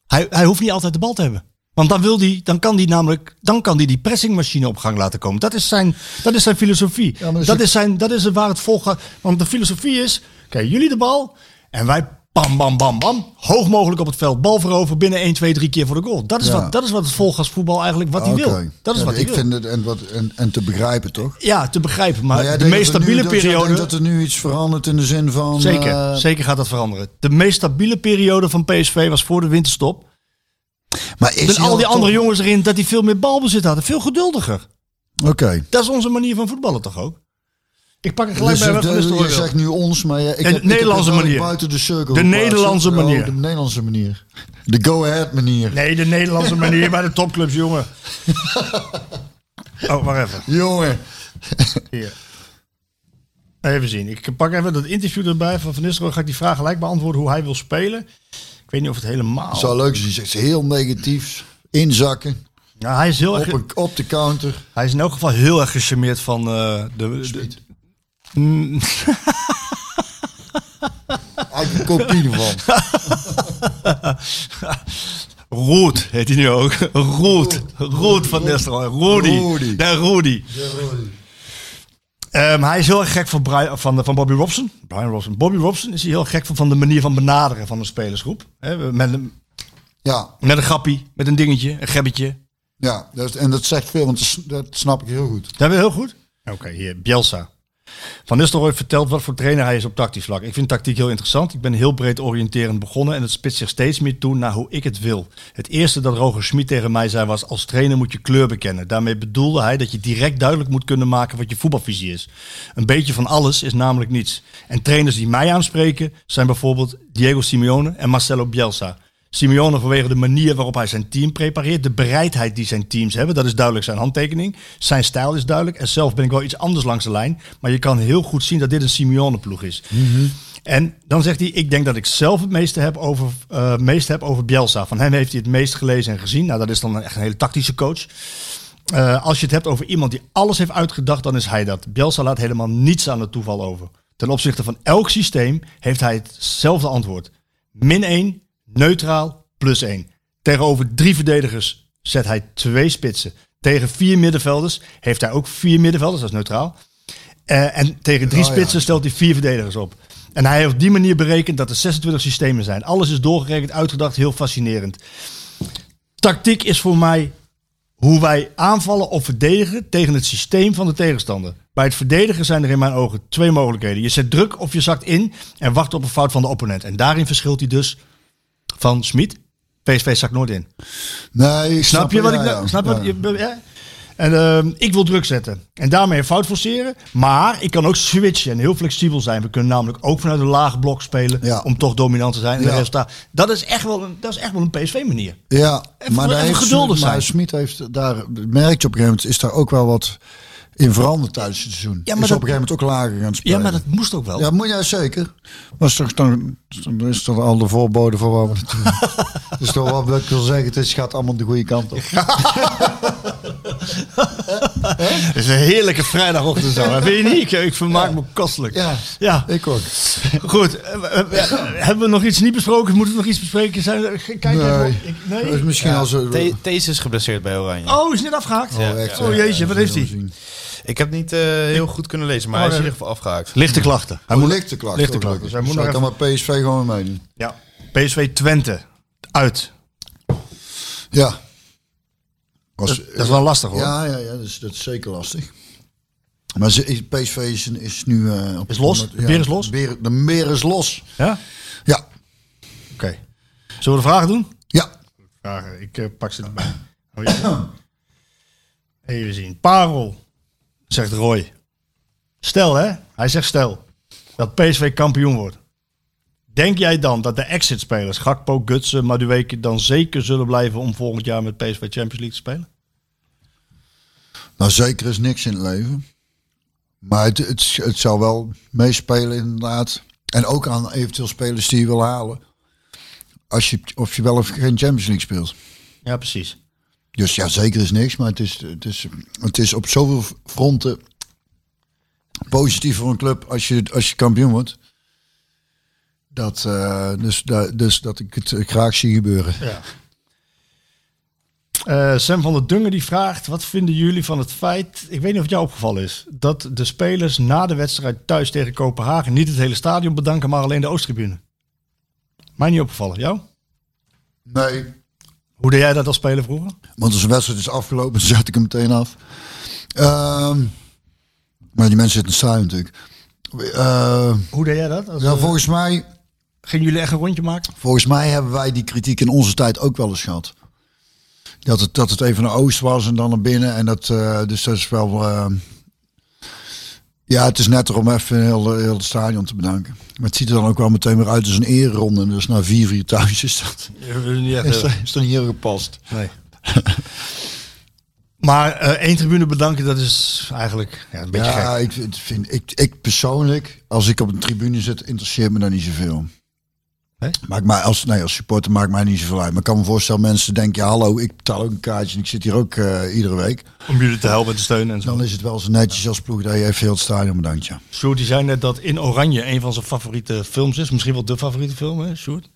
Speaker 1: Hij, hij hoeft niet altijd de bal te hebben. Want dan, wil die, dan kan hij namelijk dan kan die, die pressingmachine op gang laten komen. Dat is zijn, dat is zijn filosofie.
Speaker 2: maar dus dat
Speaker 1: dat,
Speaker 2: is ook-
Speaker 1: is zijn, dat is waar het vol gaat. Want de filosofie is, oké, jullie de bal en wij bam, bam, bam, bam. Hoog mogelijk op het veld. Bal veroveren binnen 1, 2, 3 keer voor de goal. Dat is,
Speaker 2: Ja.
Speaker 1: wat, dat is wat het volgasvoetbal eigenlijk wat hij
Speaker 2: Oké.
Speaker 1: wil. Dat is
Speaker 2: Ja,
Speaker 1: wat hij
Speaker 2: ik
Speaker 1: wil.
Speaker 2: vind het en, wat, en, en te begrijpen toch?
Speaker 1: Ja, te begrijpen. Maar,
Speaker 2: Maar jij
Speaker 1: de
Speaker 2: denkt
Speaker 1: meest
Speaker 2: dat er nu-
Speaker 1: stabiele
Speaker 2: dat- jij
Speaker 1: periode...
Speaker 2: denkt Dat er nu iets verandert in de zin van.
Speaker 1: Zeker,
Speaker 2: eh,
Speaker 1: zeker gaat dat veranderen. De meest stabiele periode van PSV was voor de winterstop.
Speaker 2: maar is
Speaker 1: Met
Speaker 2: hij
Speaker 1: al die
Speaker 2: dan
Speaker 1: andere
Speaker 2: toch-
Speaker 1: jongens erin, dat die veel meer balbezit hadden. Veel geduldiger.
Speaker 2: Oké.
Speaker 1: Dat is onze manier van voetballen toch ook? Ik pak het gelijk
Speaker 2: Dus
Speaker 1: bij
Speaker 2: het-
Speaker 1: wat gerust
Speaker 2: je
Speaker 1: oordeel.
Speaker 2: zegt nu ons, maar ja, ik
Speaker 1: De
Speaker 2: heb,
Speaker 1: Nederlandse
Speaker 2: ik heb het wel
Speaker 1: manier.
Speaker 2: buiten de cirkel.
Speaker 1: De
Speaker 2: geplaatst.
Speaker 1: Nederlandse
Speaker 2: Oh,
Speaker 1: manier.
Speaker 2: de Nederlandse manier. De go-ahead manier.
Speaker 1: Nee, de Nederlandse manier bij de topclubs, jongen. oh, maar even.
Speaker 2: Jongen.
Speaker 1: Hier. Even zien. Ik pak even dat interview erbij van Van Nistelrooy. Ga ik die vraag gelijk beantwoorden hoe hij wil spelen. Ik weet niet of het helemaal...
Speaker 2: Zou leuk zijn. Die zegt heel negatiefs. Inzakken.
Speaker 1: Nou, hij, is heel
Speaker 2: Op,
Speaker 1: erg,
Speaker 2: een, op de counter.
Speaker 1: hij is in elk geval heel erg gecharmeerd van eh, de, de,
Speaker 2: Uit een kopie ervan.
Speaker 1: Roet heet hij nu ook. Roet. Roet van Nistelrooy. Rudy.
Speaker 2: Rudy.
Speaker 1: De Rudy. Ehm, hij is heel erg gek van, Brian, van, van Bobby Robson. Brian Robson. Bobby Robson is hij heel gek van, van de manier van benaderen van de spelersgroep. Hè, we- met, een,
Speaker 2: Ja,
Speaker 1: met een grappie, met een dingetje, een gebbetje.
Speaker 2: ja. Dat, is- en dat zegt veel, want dat s- dat snap ik heel goed.
Speaker 1: Dat hebben we heel goed. Oké, hier. Bielsa. Van Nistelrooy vertelt wat voor trainer hij is op tactisch vlak. Ik vind tactiek heel interessant. Ik ben heel breed oriënterend begonnen en het spitst zich steeds meer toe naar hoe ik het wil. Het eerste dat Roger Schmid tegen mij zei was, als trainer moet je kleur bekennen. Daarmee bedoelde hij dat je direct duidelijk moet kunnen maken wat je voetbalvisie is. Een beetje van alles is namelijk niets. En trainers die mij aanspreken zijn bijvoorbeeld Diego Simeone en Marcelo Bielsa. Simeone vanwege de manier waarop hij zijn team prepareert. De bereidheid die zijn teams hebben. Dat is duidelijk zijn handtekening. Zijn stijl is duidelijk. En zelf ben ik wel iets anders langs de lijn. Maar je kan heel goed zien dat dit een Simeone-ploeg is. En dan zegt hij, ik denk dat ik zelf het meeste heb, over, eh meeste heb over Bielsa. Van hem heeft hij het meest gelezen en gezien. Nou, dat is dan echt een hele tactische coach. Eh, als je het hebt over iemand die alles heeft uitgedacht, dan is hij dat. Bielsa laat helemaal niets aan het toeval over. Ten opzichte van elk systeem heeft hij hetzelfde antwoord. Min 1, neutraal, plus 1. Tegenover drie verdedigers zet hij twee spitsen. Tegen vier middenvelders heeft hij ook vier middenvelders, dat is neutraal. Eh, en tegen drie
Speaker 2: Oh, ja.
Speaker 1: spitsen stelt hij vier verdedigers op. En hij heeft op die manier berekend dat er 26 systemen zijn. Alles is doorgerekend, uitgedacht, heel fascinerend. Tactiek is voor mij hoe wij aanvallen of verdedigen tegen het systeem van de tegenstander. Bij het verdedigen zijn er in mijn ogen twee mogelijkheden. Je zet druk of je zakt in en wacht op een fout van de opponent. En daarin verschilt hij dus van Smit. PSV zakt nooit in.
Speaker 2: Nee, ik
Speaker 1: Snap, je wat
Speaker 2: ja,
Speaker 1: ik nou-
Speaker 2: ja.
Speaker 1: snap je wat
Speaker 2: Ja.
Speaker 1: je- ja? En ehm, ik wil druk zetten en daarmee een fout forceren. Maar ik kan ook switchen en heel flexibel zijn. We kunnen namelijk ook vanuit een laag blok spelen
Speaker 2: Ja.
Speaker 1: om toch dominant te zijn. En de
Speaker 2: Ja.
Speaker 1: resultaat- dat is echt wel een, dat is echt wel een PSV manier.
Speaker 2: Ja,
Speaker 1: Even-
Speaker 2: maar daar
Speaker 1: even
Speaker 2: heeft
Speaker 1: geduldig
Speaker 2: Smit- maar
Speaker 1: zijn.
Speaker 2: Smit heeft daar, dat merk je op een gegeven moment, is daar ook wel wat in veranderd tijdens het seizoen.
Speaker 1: Ja,
Speaker 2: Ja,
Speaker 1: maar
Speaker 2: maar is
Speaker 1: dat-
Speaker 2: op een gegeven moment ook lager gaan
Speaker 1: Ja,
Speaker 2: spelen.
Speaker 1: maar dat moest ook wel.
Speaker 2: Ja, moet jij zeker. Maar is toch dan, dan is dat al de voorbode voor wat we naartoe gaan. Dus toch wat ik wil zeggen, het is- gaat allemaal de goede kant op.
Speaker 1: Het is een heerlijke vrijdagochtend zo. hè? Vind je niet? Ik- Ik vermaak me kostelijk.
Speaker 2: Ja,
Speaker 1: ja.
Speaker 2: ik ook.
Speaker 1: Goed. eh, eh, eh, Hebben we nog iets niet besproken? Moeten we nog iets bespreken? Zijn er, kijk even op.
Speaker 2: Nee,
Speaker 1: Ik-
Speaker 2: Dat is misschien al zo...
Speaker 7: Thees is geblesseerd bij Oranje.
Speaker 1: Oh, is net afgehaakt.
Speaker 2: Oh, echt,
Speaker 1: Oh,
Speaker 2: ja.
Speaker 1: jeetje, wat Oh, heeft
Speaker 2: Ja, dat
Speaker 1: hij?
Speaker 2: zullen we zien.
Speaker 7: Ik heb niet eh, heel goed kunnen lezen, maar hij is
Speaker 2: Oh,
Speaker 7: in ieder geval afgehaakt.
Speaker 1: Lichte klachten.
Speaker 2: Hij moet lichte klachten.
Speaker 1: Lichte klachten. Dus hij
Speaker 2: Hij
Speaker 1: moet nog
Speaker 2: moet dan maar PSV gewoon meedoen.
Speaker 1: Ja. PSV Twente. Uit.
Speaker 2: Ja.
Speaker 1: Dat,
Speaker 2: Was,
Speaker 1: dat is wel lastig hoor.
Speaker 2: Ja, ja, ja dat,
Speaker 1: dus
Speaker 2: is, dat is zeker lastig. Maar ze- is- PSV is, is nu... eh, op
Speaker 1: Is los? De beer is los?
Speaker 2: De beer, de beer is los.
Speaker 1: Ja?
Speaker 2: Ja.
Speaker 1: Oké. Zullen we de vragen doen?
Speaker 2: Ja.
Speaker 1: Vragen. Ik eh, pak ze erbij. Oh, ja. Even zien. Parel, zegt Roy. Stel hè, hij zegt stel, dat PSV kampioen wordt. Denk jij dan dat de exit-spelers, Gakpo, Gutsen, Madueke... dan zeker zullen blijven om volgend jaar met PSV Champions League te spelen?
Speaker 2: Nou, zeker is niks in het leven. Maar het, het, het zou wel meespelen inderdaad. En ook aan eventueel spelers die je wil halen. Als je, of je wel of geen Champions League speelt.
Speaker 1: Ja, precies.
Speaker 2: Dus ja, zeker is niks. Maar het is, het is, het is op zoveel fronten positief voor een club als je, als je kampioen wordt. Dat, eh, dus, da- dus dat ik het eh, graag zie gebeuren.
Speaker 1: Ja. Eh, Sam van der Dungen die vraagt: Wat vinden jullie van het feit, ik weet niet of het jou opgevallen is, dat de spelers na de wedstrijd thuis tegen Kopenhagen niet het hele stadion bedanken, maar alleen de Oosttribune? Mij niet opgevallen, jou?
Speaker 2: Nee.
Speaker 1: Hoe deed jij dat als speler vroeger?
Speaker 2: Want als de wedstrijd is afgelopen, zet ik hem meteen af. Ehm, maar die mensen zitten saai natuurlijk. Eh,
Speaker 1: Hoe deed jij dat? Als,
Speaker 2: ja,
Speaker 1: eh,
Speaker 2: volgens mij
Speaker 1: gingen jullie echt een rondje maken?
Speaker 2: Volgens mij hebben wij die kritiek in onze tijd ook wel eens gehad. Dat het, dat het even naar oost was en dan naar binnen. En dat, eh, dus dat is wel. eh, ja, het is netter om even heel, heel het stadion te bedanken. Maar het ziet er dan ook wel meteen weer uit als een eerronde. Dus na vier, vier thuis is dat. Is,
Speaker 1: eh,
Speaker 2: dat- is dan hier gepast.
Speaker 1: Nee. maar eh, één tribune bedanken, dat is eigenlijk ja, een beetje
Speaker 2: Ja,
Speaker 1: gek.
Speaker 2: ik, vind- vind, ik, ik persoonlijk, als ik op een tribune zit, interesseert me daar niet zoveel.
Speaker 1: Nee?
Speaker 2: Maakt mij als, nee, als supporter maakt mij niet zoveel uit. Maar ik kan me voorstellen, mensen denken, ja, hallo, ik betaal ook een kaartje en ik zit hier ook eh, iedere week.
Speaker 1: Om jullie te helpen en te steunen en zo.
Speaker 2: Dan is het wel zo netjes als ploeg dat je even heel het stadion bedankt, ja.
Speaker 1: Sjoerd, die zei net dat In Oranje een van zijn favoriete films is. Misschien wel de favoriete film, hè, Sjoerd?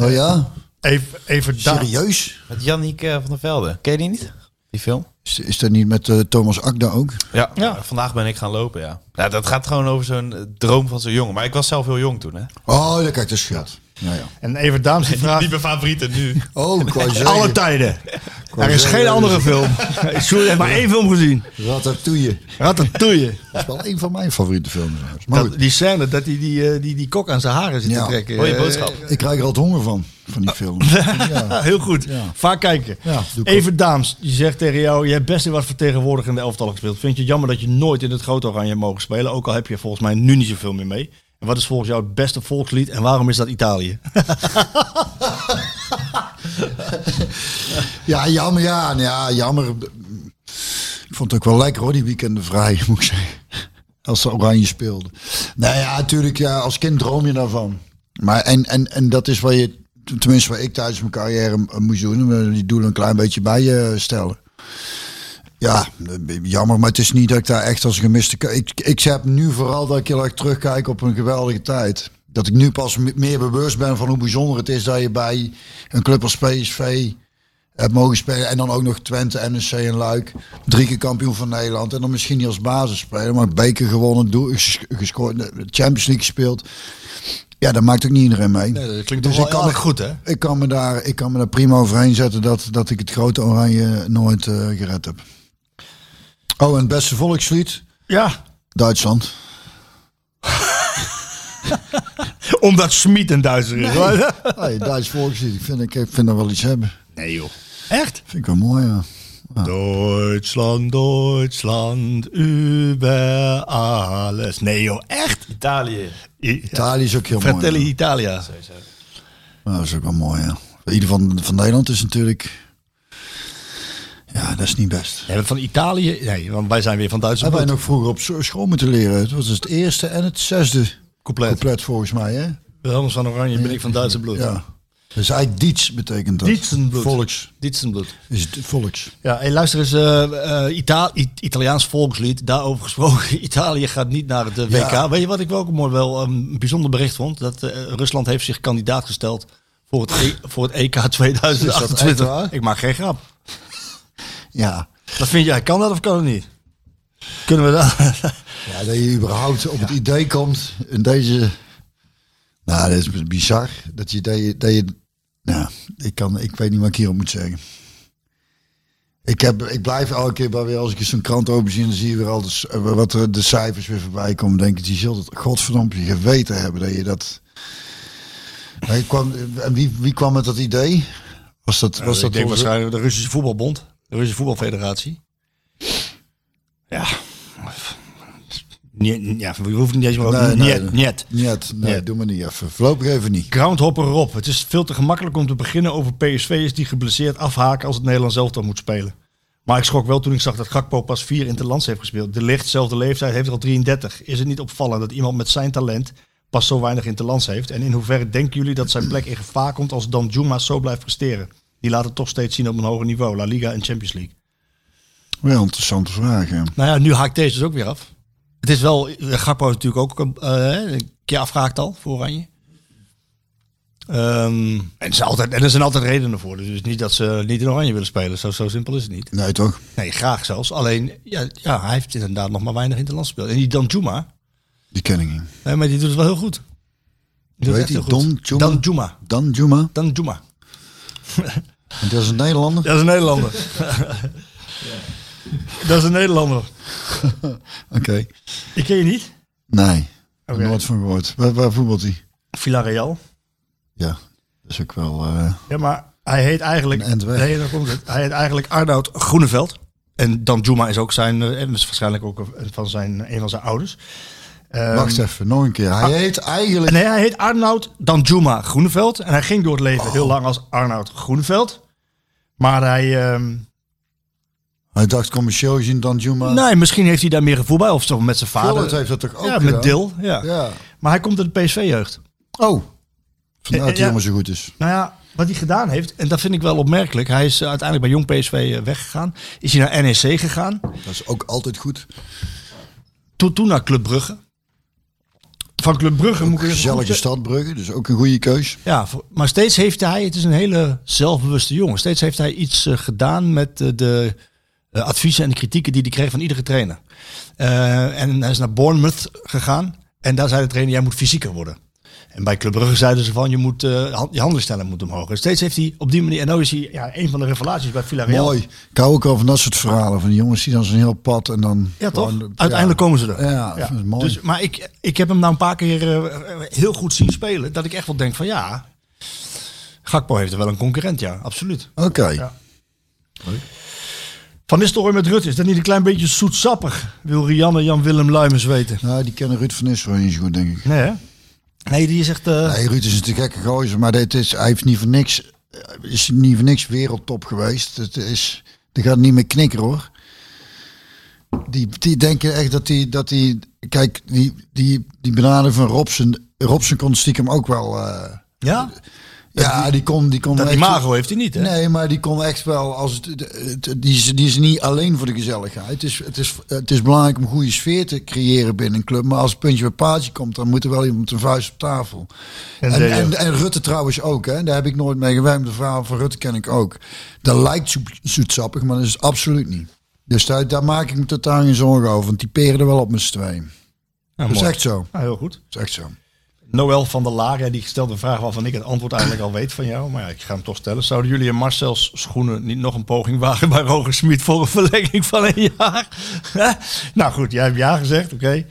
Speaker 2: Oh ja?
Speaker 1: Even, even daar.
Speaker 2: Serieus?
Speaker 7: Met Yannick eh, van der Velde. Ken je die niet? Die film?
Speaker 2: Is, is dat niet met eh, Thomas Akda ook?
Speaker 7: Ja. Vandaag ben ik gaan lopen, ja. ja dat gaat gewoon over zo'n eh, droom van zo'n jongen. Maar ik was zelf heel jong toen, hè?
Speaker 2: Oh, daar kijk, dat scheelt. Ja, ja.
Speaker 1: En even Daams die vraagt...
Speaker 7: mijn favorieten nu.
Speaker 2: Oh, ik wou je zeggen.
Speaker 1: Alle tijden.
Speaker 2: Ik
Speaker 1: Er is geen andere film. Sorry, ik heb maar één film gezien.
Speaker 2: Ratatouille.
Speaker 1: Ratatouille.
Speaker 2: Dat is wel een van mijn favoriete films. trouwens. Maar
Speaker 1: Dat,
Speaker 2: goed,
Speaker 1: die scène dat hij die, eh, die, die kok aan zijn haren zit
Speaker 2: Ja.
Speaker 1: te trekken.
Speaker 7: Mooie
Speaker 1: Eh,
Speaker 7: boodschap.
Speaker 2: ik krijg er altijd honger van, van die film. Ja.
Speaker 1: Ah, heel goed.
Speaker 2: Ja.
Speaker 1: Vaak kijken.
Speaker 2: Ja, doe ik
Speaker 1: Even Daams, je zegt tegen jou, je hebt best in wat vertegenwoordigende elftal gespeeld. Vind je het jammer dat je nooit in het grote oranje mogen spelen? Ook al heb je volgens mij nu niet zoveel meer mee. En wat is volgens jou het beste volkslied en waarom is dat Italië?
Speaker 2: Ja, jammer. Ja, nou ja, jammer. Ik vond het ook wel lekker hoor, die weekenden vrij, moet ik zeggen. Als ze oranje speelden. Nou ja, natuurlijk, ja, als kind droom je daarvan. Maar en, en, en dat is waar je, tenminste waar ik tijdens mijn carrière eh, moest doen. eh, Die doelen een klein beetje bij je stellen. Ja, eh, jammer, maar het is niet dat ik daar echt als een gemiste... ka- Ik, ik heb nu vooral dat ik heel erg terugkijk op een geweldige tijd. Dat ik nu pas me- meer bewust ben van hoe bijzonder het is dat je bij een club als PSV heb mogen spelen. En dan ook nog Twente, NEC en Luik. Drie keer kampioen van Nederland. En dan misschien niet als basis spelen, maar beker gewonnen, doel, ges- gescoord, de Champions League gespeeld. Ja, dat maakt ook niet iedereen mee.
Speaker 1: dus ik kan het goed, hè?
Speaker 2: Ik kan, me daar, ik kan me daar prima overheen zetten dat, dat ik het grote oranje nooit eh, gered heb. Oh, en het beste volkslied?
Speaker 1: Ja.
Speaker 2: Duitsland.
Speaker 1: Omdat Smit een Duitser is. hoor.
Speaker 2: Hey, Duits volkslied, ik vind, ik ik vind dat wel iets hebben.
Speaker 1: Nee, joh. Echt?
Speaker 2: Vind ik wel mooi, ja.
Speaker 1: Ah. Duitsland, Duitsland, über alles. Nee, joh, echt?
Speaker 7: Italië.
Speaker 1: I-
Speaker 2: Italië is ook heel mooi.
Speaker 1: Fratelli
Speaker 2: ja.
Speaker 1: Italia.
Speaker 2: Nou, dat is ook wel mooi, ja. Ieder van, van Nederland is natuurlijk... Ja, dat is niet best.
Speaker 1: Nee, van Italië? Nee, want wij zijn weer van Duitsland.
Speaker 2: Hebben wij nog vroeger op s- school moeten leren. Het was het eerste en het zesde
Speaker 1: Compleet.
Speaker 2: couplet volgens mij, hè?
Speaker 1: Helms van Oranje ben ik van Duitse bloed.
Speaker 2: Ja. Dus eigenlijk diets betekent dat.
Speaker 1: Dietzenbloed.
Speaker 2: Volks.
Speaker 1: Dietzenbloed.
Speaker 2: Is het volks.
Speaker 1: Ja, hey, luister eens, eh, eh, Ita- I- Italiaans volkslied, daarover gesproken. Italië gaat niet naar het eh, WK.
Speaker 2: Ja.
Speaker 1: Weet je wat ik ook mooi wel ehm, een bijzonder bericht vond? Dat eh, Rusland heeft zich kandidaat gesteld voor het, E- voor het EK
Speaker 2: echt
Speaker 1: 2028.
Speaker 2: waar?
Speaker 1: Ik maak geen grap.
Speaker 2: Ja.
Speaker 1: Wat vind jij? Kan dat of kan het niet? Kunnen we dat?
Speaker 2: ja. Dat je überhaupt op het idee komt in deze... Nou, dat is bizar. Dat je... Dat je, dat je nou, ik, kan, ik weet niet wat ik hierop moet zeggen. Ik, heb, ik blijf elke keer bij weer, als ik eens zo'n krant open zie, dan zie je weer al de, c- eh, wat er, de cijfers weer voorbij komen. Dan denk ik, die zult het godverdomd je geweten hebben dat je dat... Maar je kwam, en wie, wie kwam met dat idee? Was dat, was dat onze-
Speaker 1: Eh, waarschijnlijk de Russische voetbalbond, de Russische voetbalfederatie. Ja. Nee, Ja, we hoeven niet eens meer
Speaker 2: Nee,
Speaker 1: over.
Speaker 2: nee,
Speaker 1: Niet,
Speaker 2: nee.
Speaker 1: niet.
Speaker 2: Niet, nee,
Speaker 1: Niet.
Speaker 2: doe maar niet even. Voorlopig even niet.
Speaker 1: Groundhopper Rob, het is veel te gemakkelijk om te beginnen over PSV'ers die geblesseerd afhaken als het Nederlands elftal moet spelen. Maar ik schrok wel toen ik zag dat Gakpo pas vier interlands heeft gespeeld. De licht, zelfde leeftijd, heeft er al 33. Is het niet opvallend dat iemand met zijn talent pas zo weinig interlands heeft? En in hoeverre denken jullie dat zijn plek in gevaar komt als Danjuma zo blijft presteren? Die laat het toch steeds zien op een hoger niveau, La Liga en Champions League.
Speaker 2: Wel interessante vraag, hè.
Speaker 1: Nou ja, nu haakt deze dus ook weer af. Het is wel, eh, Gakpo is natuurlijk ook eh, een keer afgehaakt al voor Oranje. Ehm, en, het is altijd, en er zijn altijd redenen voor. Dus het is niet dat ze niet in Oranje willen spelen. Zo, zo simpel is het niet.
Speaker 2: Nee, toch?
Speaker 1: Nee, graag zelfs. Alleen, ja, ja hij heeft inderdaad nog maar weinig in het land gespeeld. En die Danjuma,
Speaker 2: Die ken ik niet.
Speaker 1: nee, maar die doet het wel heel goed. Die doet
Speaker 2: Weet
Speaker 1: het echt
Speaker 2: die?
Speaker 1: heel goed.
Speaker 2: Danjuma?
Speaker 1: Danjuma.
Speaker 2: Dan Juma.
Speaker 1: Danjuma.
Speaker 2: En dat is een Nederlander.
Speaker 1: Dat is een Nederlander. Dat is een Nederlander.
Speaker 2: Oké.
Speaker 1: Ik ken je niet.
Speaker 2: Nee.
Speaker 1: Oké.
Speaker 2: Nooit van gehoord. Waar, waar voetbalt hij?
Speaker 1: Villarreal.
Speaker 2: Ja. Dat is ook wel... eh,
Speaker 1: Ja, maar hij heet eigenlijk,
Speaker 2: Een end weg.
Speaker 1: nee, daar komt het. Hij heet eigenlijk Arnoud Groeneveld. En Dan Juma is ook zijn, eh, en is waarschijnlijk ook een van zijn, een van zijn ouders. Ehm, ah.
Speaker 2: Wacht even, nog een keer. Hij heet eigenlijk...
Speaker 1: Nee, hij heet Arnoud Dan Juma Groeneveld. En hij ging door het leven heel lang als Arnoud Groeneveld. Maar hij, ehm,
Speaker 2: Hij dacht commercieel gezien Dan Juma.
Speaker 1: nee, misschien heeft hij daar meer gevoel bij. Of zo met zijn vader.
Speaker 2: Volland heeft dat toch ook
Speaker 1: ja,
Speaker 2: gedaan?
Speaker 1: met Dil. Ja.
Speaker 2: Ja.
Speaker 1: Maar hij komt uit de PSV-jeugd.
Speaker 2: Oh. Vandaar
Speaker 1: Eh,
Speaker 2: dat
Speaker 1: ja.
Speaker 2: hij helemaal zo goed is.
Speaker 1: Nou ja, wat hij gedaan heeft, en dat vind ik wel opmerkelijk. Hij is eh, uiteindelijk bij Jong PSV eh, weggegaan. Is hij naar NEC gegaan.
Speaker 2: Dat is ook altijd goed.
Speaker 1: Toen, toen naar Club Brugge. Van Club Brugge moet ik even
Speaker 2: Gezellige
Speaker 1: goed eh, zeggen.
Speaker 2: stad Brugge, dus ook een goede keus.
Speaker 1: Ja, voor- maar steeds heeft hij, het is een hele zelfbewuste jongen. Steeds heeft hij iets eh, gedaan met eh, de eh, adviezen en de kritieken die hij kreeg van iedere trainer. Eh, en hij is naar Bournemouth gegaan. En daar zei de trainer, jij moet fysieker worden. En bij Club Brugge zeiden ze van, je moet eh, hand- je handelstellen moet omhoog. En steeds heeft hij op die manier, en nou is hij ja, een van de revelaties bij Villarreal.
Speaker 2: Mooi. Ik hou ook al van dat soort verhalen. Van die jongens die dan zo'n heel pad en dan...
Speaker 1: Ja, toch?
Speaker 2: gewoon-
Speaker 1: Uiteindelijk komen ze er.
Speaker 2: Ja, dat is mooi.
Speaker 1: Dus, maar ik, ik heb hem nou een paar keer eh, heel goed zien spelen. Dat ik echt wel denk van ja, Gakpo heeft er wel een concurrent, ja, absoluut.
Speaker 2: Oké.
Speaker 1: Van Nistelrooy met Rut, is dat niet een klein beetje zoetsappig? Wil Rianne Jan-Willem Luimens weten.
Speaker 2: Nou, die kennen Ruud van Nistelrooy niet zo goed, denk ik.
Speaker 1: Nee hè? Nee, die zegt... eh
Speaker 2: Nee, Ruud is natuurlijk gekke gozer, maar dit is, hij heeft niet voor niks, eh, is niet voor niks wereldtop geweest. Het is, die gaat niet meer knikken hoor. Die, die denken echt dat die, dat die, kijk, die, die, die benadering van Robson, Robson kon stiekem ook wel, eh,
Speaker 1: ja?
Speaker 2: ja, die kon, die kon
Speaker 1: Dat
Speaker 2: echt-
Speaker 1: imago heeft hij niet hè?
Speaker 2: Nee, maar die kon echt wel als het, het- die, is, die is niet alleen voor de gezelligheid. Het is, het, is, het is belangrijk om een goede sfeer te creëren binnen een club. Maar als het puntje bij paardje komt, dan moet er wel iemand een vuist op tafel. En, en, en, Rutte trouwens ook, hè? daar heb ik nooit mee gewerkt. De verhaal van Rutte ken ik ook. Dat lijkt zoet- zoetsappig, maar dat is het absoluut niet. Dus daar, daar maak ik me totaal geen zorgen over. Want die peren er wel op met z'n tweeën.
Speaker 1: Ja,
Speaker 2: Dat is
Speaker 1: mooi.
Speaker 2: echt zo.
Speaker 1: Ja, heel goed.
Speaker 2: Dat is echt zo.
Speaker 1: Noël van der Laar, ja, die stelde een vraag waarvan ik het antwoord eigenlijk al weet van jou. Maar ja, ik ga hem toch stellen. Zouden jullie en Marcel's schoenen niet nog een poging wagen bij Roger Smit voor een verlenging van een jaar? nou goed, jij hebt ja gezegd, oké.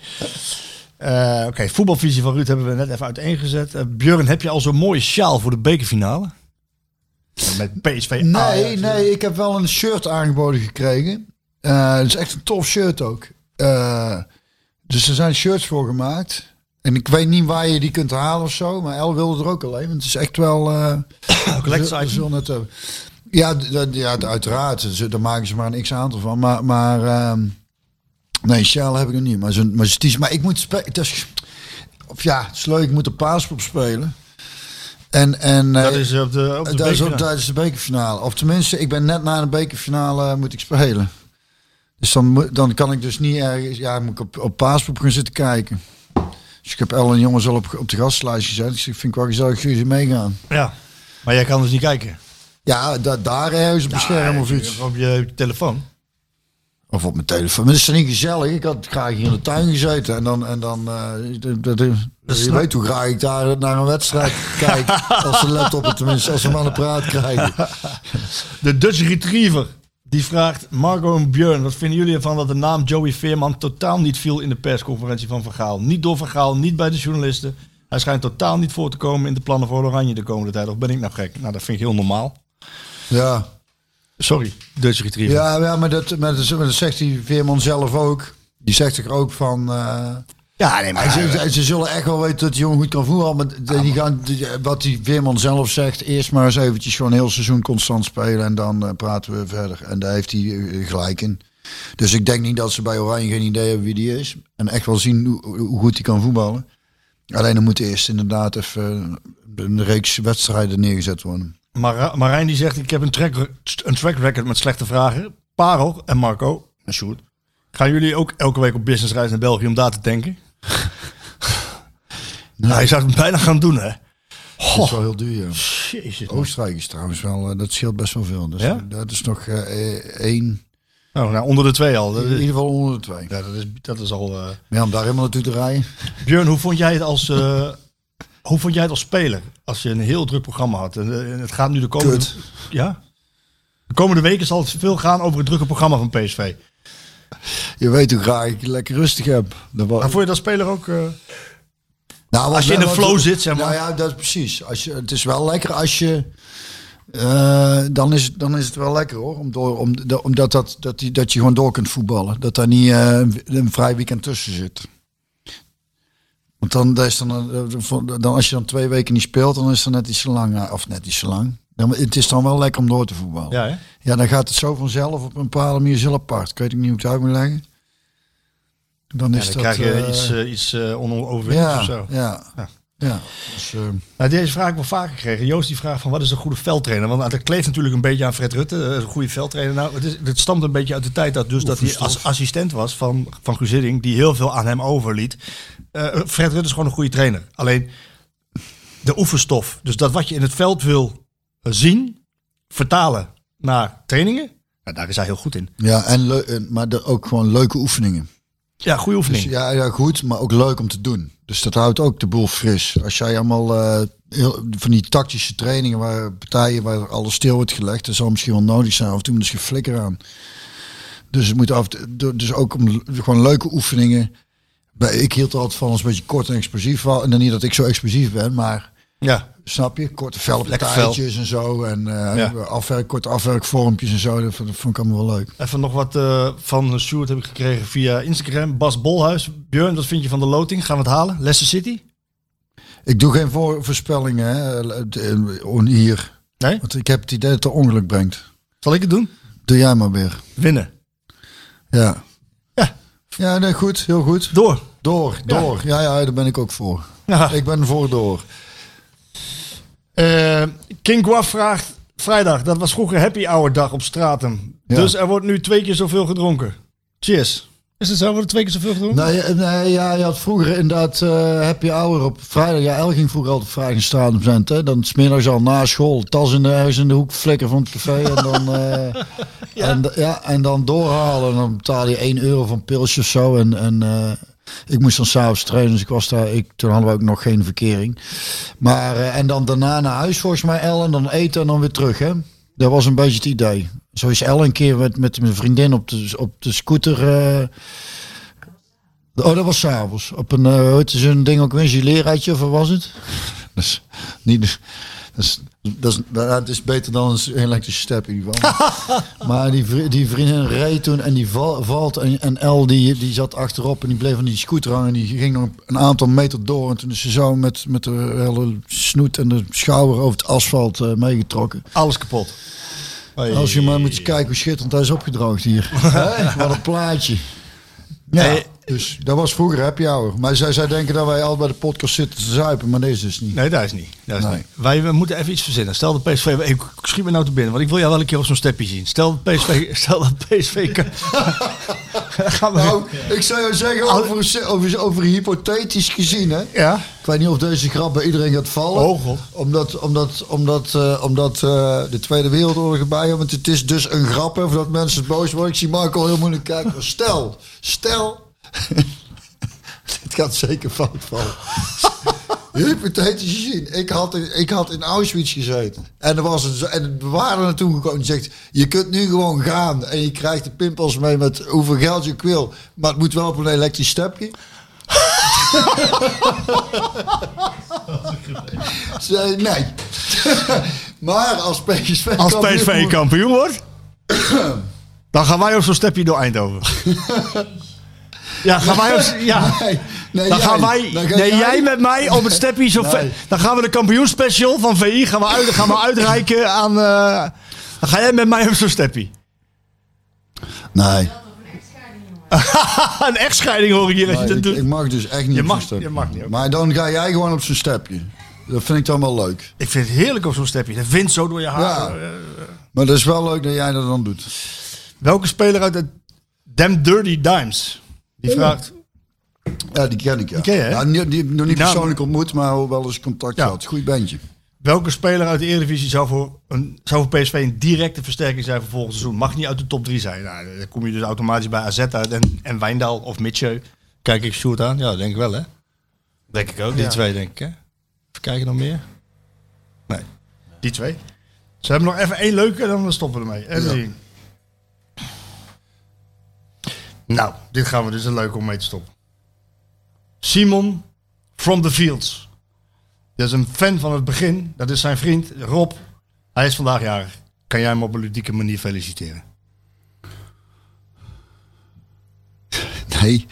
Speaker 1: Eh, oké, voetbalvisie van Ruud hebben we net even uiteengezet. Eh, Björn, heb je al zo'n mooie sjaal voor de bekerfinale? Met PSV
Speaker 2: Nee,
Speaker 1: Ajax.
Speaker 2: nee, ik heb wel een shirt aangeboden gekregen. Eh, het is echt een tof shirt ook. Eh, dus er zijn shirts voor gemaakt. En ik weet niet waar je die kunt halen of zo. Maar El wilde er ook alleen. Want het is echt wel... eh,
Speaker 1: collector's
Speaker 2: we- we
Speaker 1: item.
Speaker 2: zullen het hebben. Ja, d- d- ja, d- uiteraard. Ze- Daar maken ze maar een x-aantal van. Maar... maar ehm, Nee, Sjaal heb ik nog niet. Maar, zo'n, maar, zo'n t-shirt. maar ik moet... spe- het is- Of ja, het is leuk. Ik moet de paaspop spelen. En, en,
Speaker 1: Dat
Speaker 2: eh,
Speaker 1: is Dus op de, op de
Speaker 2: dat is ook
Speaker 1: bekerfinale.
Speaker 2: tijdens de bekerfinale. Of tenminste, ik ben net na de bekerfinale eh, moet ik spelen. Dus dan, moet- dan kan ik dus niet ergens... Ja, moet ik op, op Paaspop gaan zitten kijken. Dus ik heb El en jongens al op, op de gastlijst gezet. Dus ik vind het wel gezellig dat jullie meegaan.
Speaker 1: Ja, maar jij kan dus niet kijken.
Speaker 2: Ja, da, daar ergens op een scherm of iets.
Speaker 1: Op je telefoon.
Speaker 2: Of op mijn telefoon. Maar dat is dan niet gezellig. Ik had graag hier in de tuin gezeten. En dan... En dan eh, d- d- d- je
Speaker 1: snap-
Speaker 2: weet hoe graag ik daar naar een wedstrijd kijk. Als de laptop het tenminste, als ze hem aan de praat krijgen.
Speaker 1: De Dutch Retriever. Die vraagt Marco en Björn, wat vinden jullie ervan dat de naam Joey Veerman totaal niet viel in de persconferentie van Van Gaal? Niet door Van Gaal, niet bij de journalisten. Hij schijnt totaal niet voor te komen in de plannen voor Oranje de komende tijd. Of ben ik nou gek? Nou, dat vind ik heel normaal.
Speaker 2: Ja.
Speaker 1: Sorry, Dutch Retriever.
Speaker 2: Ja, ja maar, dat, maar dat dat zegt die Veerman zelf ook. Die zegt er ook van... eh,
Speaker 1: Ja, nee,
Speaker 2: hij zegt, ze zullen echt wel weten dat die jongen goed kan voetballen. Maar de- die gaan, die- wat die Veerman zelf zegt... eerst maar eens eventjes gewoon heel seizoen constant spelen... en dan eh, praten we verder. En daar heeft hij eh, gelijk in. Dus ik denk niet dat ze bij Oranje geen idee hebben wie die is. En echt wel zien hoe, hoe goed hij kan voetballen. Alleen dan moet eerst inderdaad even eh, een reeks wedstrijden neergezet worden.
Speaker 1: Mara- Marijn die zegt, ik heb een track, een track record met slechte vragen. Parel en Marco en Sjoerd. Gaan jullie ook elke week op businessreis naar België om daar te tanken? Nou, je zou het bijna gaan doen, hè?
Speaker 2: Dat is
Speaker 1: Oh.
Speaker 2: wel heel duur, ja.
Speaker 1: Jezus.
Speaker 2: Oostenrijk is trouwens wel, eh, dat scheelt best wel veel. Dus
Speaker 1: Ja?
Speaker 2: dat is nog eh, één,
Speaker 1: Nou, nou, onder de twee al. Dat
Speaker 2: in ieder
Speaker 1: is,
Speaker 2: geval onder de twee.
Speaker 1: ja, dat is, dat is al. eh.
Speaker 2: Ja, om daar helemaal naartoe te rijden.
Speaker 1: Björn, hoe vond jij het als. eh, hoe vond jij het als speler? Als je een heel druk programma had. En, eh, en het gaat nu de komende.
Speaker 2: Kut.
Speaker 1: Ja? De komende weken zal het veel gaan over het drukke programma van PSV.
Speaker 2: Je weet hoe graag ik het lekker rustig heb. Dat wa-
Speaker 1: Maar vond je dat speler ook. eh,
Speaker 2: nou, wat-
Speaker 1: als je in de
Speaker 2: wat-
Speaker 1: flow zit, zeg maar.
Speaker 2: Nou ja, dat is precies. Als je, het is wel lekker als je... eh, dan, is, het- dan is het wel lekker hoor. Om door, om, da- omdat dat, dat, die, dat je gewoon door kunt voetballen. Dat daar niet eh, een, een vrij weekend tussen zit. Want dan, dat is dan, een- dan, als je dan twee weken niet speelt, dan is het net iets te lang. eh, Of net iets te lang. Dan, het is dan wel lekker om door te voetballen.
Speaker 1: ja, hè?
Speaker 2: Ja, dan gaat het zo vanzelf op een bepaalde manier zelf apart. Ik weet ook niet hoe ik het uit moet leggen. Dan
Speaker 1: Ja,
Speaker 2: is
Speaker 1: dan
Speaker 2: dat...
Speaker 1: krijg je
Speaker 2: eh,
Speaker 1: iets, eh, iets eh onoverwinnelijks
Speaker 2: ja,
Speaker 1: of zo.
Speaker 2: ja,
Speaker 1: Ja.
Speaker 2: ja. Dus, eh,
Speaker 1: Nou, deze vraag heb ik wel vaker gekregen. Joost die vraagt van wat is een goede veldtrainer? Want nou, dat kleeft natuurlijk een beetje aan Fred Rutte, eh, een goede veldtrainer. Nou, het, is, het stamt een beetje uit de tijd dat, dus dat hij als assistent was van, van Guus Hiddink, die heel veel aan hem overliet. Eh, Fred Rutte is gewoon een goede trainer. Alleen de oefenstof, dus dat wat je in het veld wil eh, zien, vertalen naar trainingen, nou, daar is hij heel goed in.
Speaker 2: eh, ja, en leu- en- maar de, ook gewoon leuke oefeningen.
Speaker 1: Ja, goede oefening.
Speaker 2: Dus ja, ja, goed, maar ook leuk om te doen. Dus dat houdt ook de boel fris. Als jij allemaal eh, heel- van die tactische trainingen waar partijen waar alles stil wordt gelegd, dat zal misschien wel nodig zijn. Af en toe moet er eens geen flikker aan. Dus het moet af, dus ook om, gewoon leuke oefeningen. Bij- Ik hield er altijd van als een beetje kort en explosief. wa- En dan niet dat ik zo explosief ben, maar
Speaker 1: ja.
Speaker 2: snap je? Korte felle
Speaker 1: Lekker fel.
Speaker 2: partijtjes en zo. En eh
Speaker 1: Ja.
Speaker 2: afwerk, korte afwerkvormpjes en zo. Dat vond dat vond ik allemaal wel leuk.
Speaker 1: Even nog wat eh, van Stuart heb ik gekregen via Instagram. Bas Bolhuis. Björn, wat vind je van de loting? Gaan we het halen? Leicester City?
Speaker 2: Ik doe geen voor, voorspellingen hè, eh, on- hier.
Speaker 1: Nee?
Speaker 2: Want ik heb het idee dat het ongeluk brengt.
Speaker 1: Zal ik het doen?
Speaker 2: Doe jij maar weer.
Speaker 1: Winnen.
Speaker 2: Ja.
Speaker 1: Ja.
Speaker 2: Ja, nee, goed. Heel goed.
Speaker 1: Door.
Speaker 2: Door, door. Ja, ja, daar ben ik ook voor.
Speaker 1: Ja.
Speaker 2: Ik ben voor door.
Speaker 1: Eh, King Guaf vraagt... Vrijdag, dat was vroeger happy hour dag op Stratum.
Speaker 2: Ja.
Speaker 1: Dus er wordt nu twee keer zoveel gedronken. Cheers. Is het zo? Wordt er twee keer zoveel gedronken?
Speaker 2: Nee, eh, nee ja, je had vroeger inderdaad eh happy hour op vrijdag. Ja, El ging vroeger altijd op vrijdag in straat op zijn. hè. Dan smiddags al na school, tas in de huis in de hoek, flikker van het café. En dan, eh, en, ja, en dan doorhalen. En dan betaal je 1 euro van pilsje of zo. En, en eh, ik moest dan s'avonds trainen, dus ik was daar. Ik, toen hadden we ook nog geen verkering. Maar, eh, en dan daarna naar huis volgens mij, El. En dan eten en dan weer terug, hè. Dat was een beetje het idee. Zo is El een keer met, met mijn vriendin op de, op de scooter... eh, Oh, dat was s'avonds. Op een, eh hoe heet zo'n ding ook weer, een gileeruitje of wat was het? Dat is niet... Dat is, dat is, dat is beter dan een elektrische step in ieder geval. maar die, vri- die vriendin reed toen en die val- valt en, en El die, die zat achterop en die bleef aan die scooter hangen. En die ging nog een aantal meter door en toen is ze zo met, met de hele snoet en de schouder over het asfalt eh, meegetrokken.
Speaker 1: Alles kapot.
Speaker 2: Als je maar moet eens kijken hoe schitterend hij is opgedroogd hier. Hè? Wat een plaatje. Ja,
Speaker 1: Hey.
Speaker 2: dus dat was vroeger happy hour. Maar zij, zij denken dat wij al bij de podcast zitten te zuipen, maar deze is het niet.
Speaker 1: Nee, dat is niet. Dat is
Speaker 2: Nee.
Speaker 1: niet. Wij we moeten even iets verzinnen. Stel dat PSV... Ik schiet me nou te binnen, want ik wil jou wel een keer op zo'n stepje zien. Stel dat PSV... Stel dat PSV... kan- Gaan we...
Speaker 2: Nou, ik zou jou zeggen, over, over, over hypothetisch gezien, hè?
Speaker 1: Ja.
Speaker 2: Ik weet niet of deze grap bij iedereen gaat vallen.
Speaker 1: Oh, God.
Speaker 2: Omdat, omdat, omdat, eh, omdat eh, de Tweede Wereldoorlog erbij is. Want het is dus een grap, hè, voordat mensen boos worden. Ik zie Marco al heel moeilijk kijken. Maar stel, stel... Dit gaat zeker fout vallen. Hypothetisch gezien, ik had, in- ik had in Auschwitz gezeten. En, er was een, en we waren er toen gekomen. Die zegt, je kunt nu gewoon gaan. En je krijgt de pimpels mee met hoeveel geld je ook wil. Maar het moet wel op een elektrisch stepje. Zei, nee. maar als PSV
Speaker 1: Als
Speaker 2: kampioen
Speaker 1: PSV
Speaker 2: wordt-
Speaker 1: kampioen wordt, dan gaan wij op zo'n stepje door Eindhoven. ja, gaan wij op, ja.
Speaker 2: Nee, nee,
Speaker 1: Dan
Speaker 2: jij.
Speaker 1: gaan wij,
Speaker 2: Dan ga
Speaker 1: nee, jij met mij op het stepje. Zo
Speaker 2: Nee.
Speaker 1: Dan gaan we de kampioenspecial van VI gaan we, uit, gaan we uitreiken aan. eh, dan ga jij met mij op zo'n stepje.
Speaker 2: Nee,
Speaker 1: een echtscheiding hoor ik hier. als je
Speaker 2: nee,
Speaker 1: dat
Speaker 2: ik,
Speaker 1: doet.
Speaker 2: ik mag dus echt niet
Speaker 1: Je
Speaker 2: op
Speaker 1: mag-
Speaker 2: zo'n stepje.
Speaker 1: je mag niet, oké.
Speaker 2: Maar dan ga jij gewoon op zo'n stepje. Dat vind ik dan wel leuk.
Speaker 1: Ik vind het heerlijk op zo'n stepje. De wind zo door je haar.
Speaker 2: Ja. Maar dat is wel leuk dat jij dat dan doet.
Speaker 1: Welke speler uit de Damn Dirty Dimes? Die vraagt.
Speaker 2: Ja, die ken ik ja.
Speaker 1: ken je, hè?
Speaker 2: Ja, niet, die, nog niet
Speaker 1: naam.
Speaker 2: persoonlijk ontmoet, maar wel eens contact
Speaker 1: Ja.
Speaker 2: gehad. Goed bandje.
Speaker 1: Welke speler uit de Eredivisie zou voor, een, zou voor PSV een directe versterking zijn voor volgend seizoen? Mag niet uit de top 3 zijn. Nou, dan kom je dus automatisch bij AZ uit en, en Wijndal of Mitchell. Kijk ik Sjoerd aan? Ja, denk ik wel hè.
Speaker 7: Denk ik ook,
Speaker 1: Die
Speaker 7: ja.
Speaker 1: twee denk ik hè. Even kijken nog meer. Nee, die twee. Ze hebben nog even één leuke en dan stoppen we ermee. Even zien. Nou, dit gaan we dus een leuke om mee te stoppen. Simon from the Fields. Dat is een fan van het begin. Dat is zijn vriend Rob. Hij is vandaag jarig. Kan jij hem op een ludieke manier feliciteren?
Speaker 2: Nee.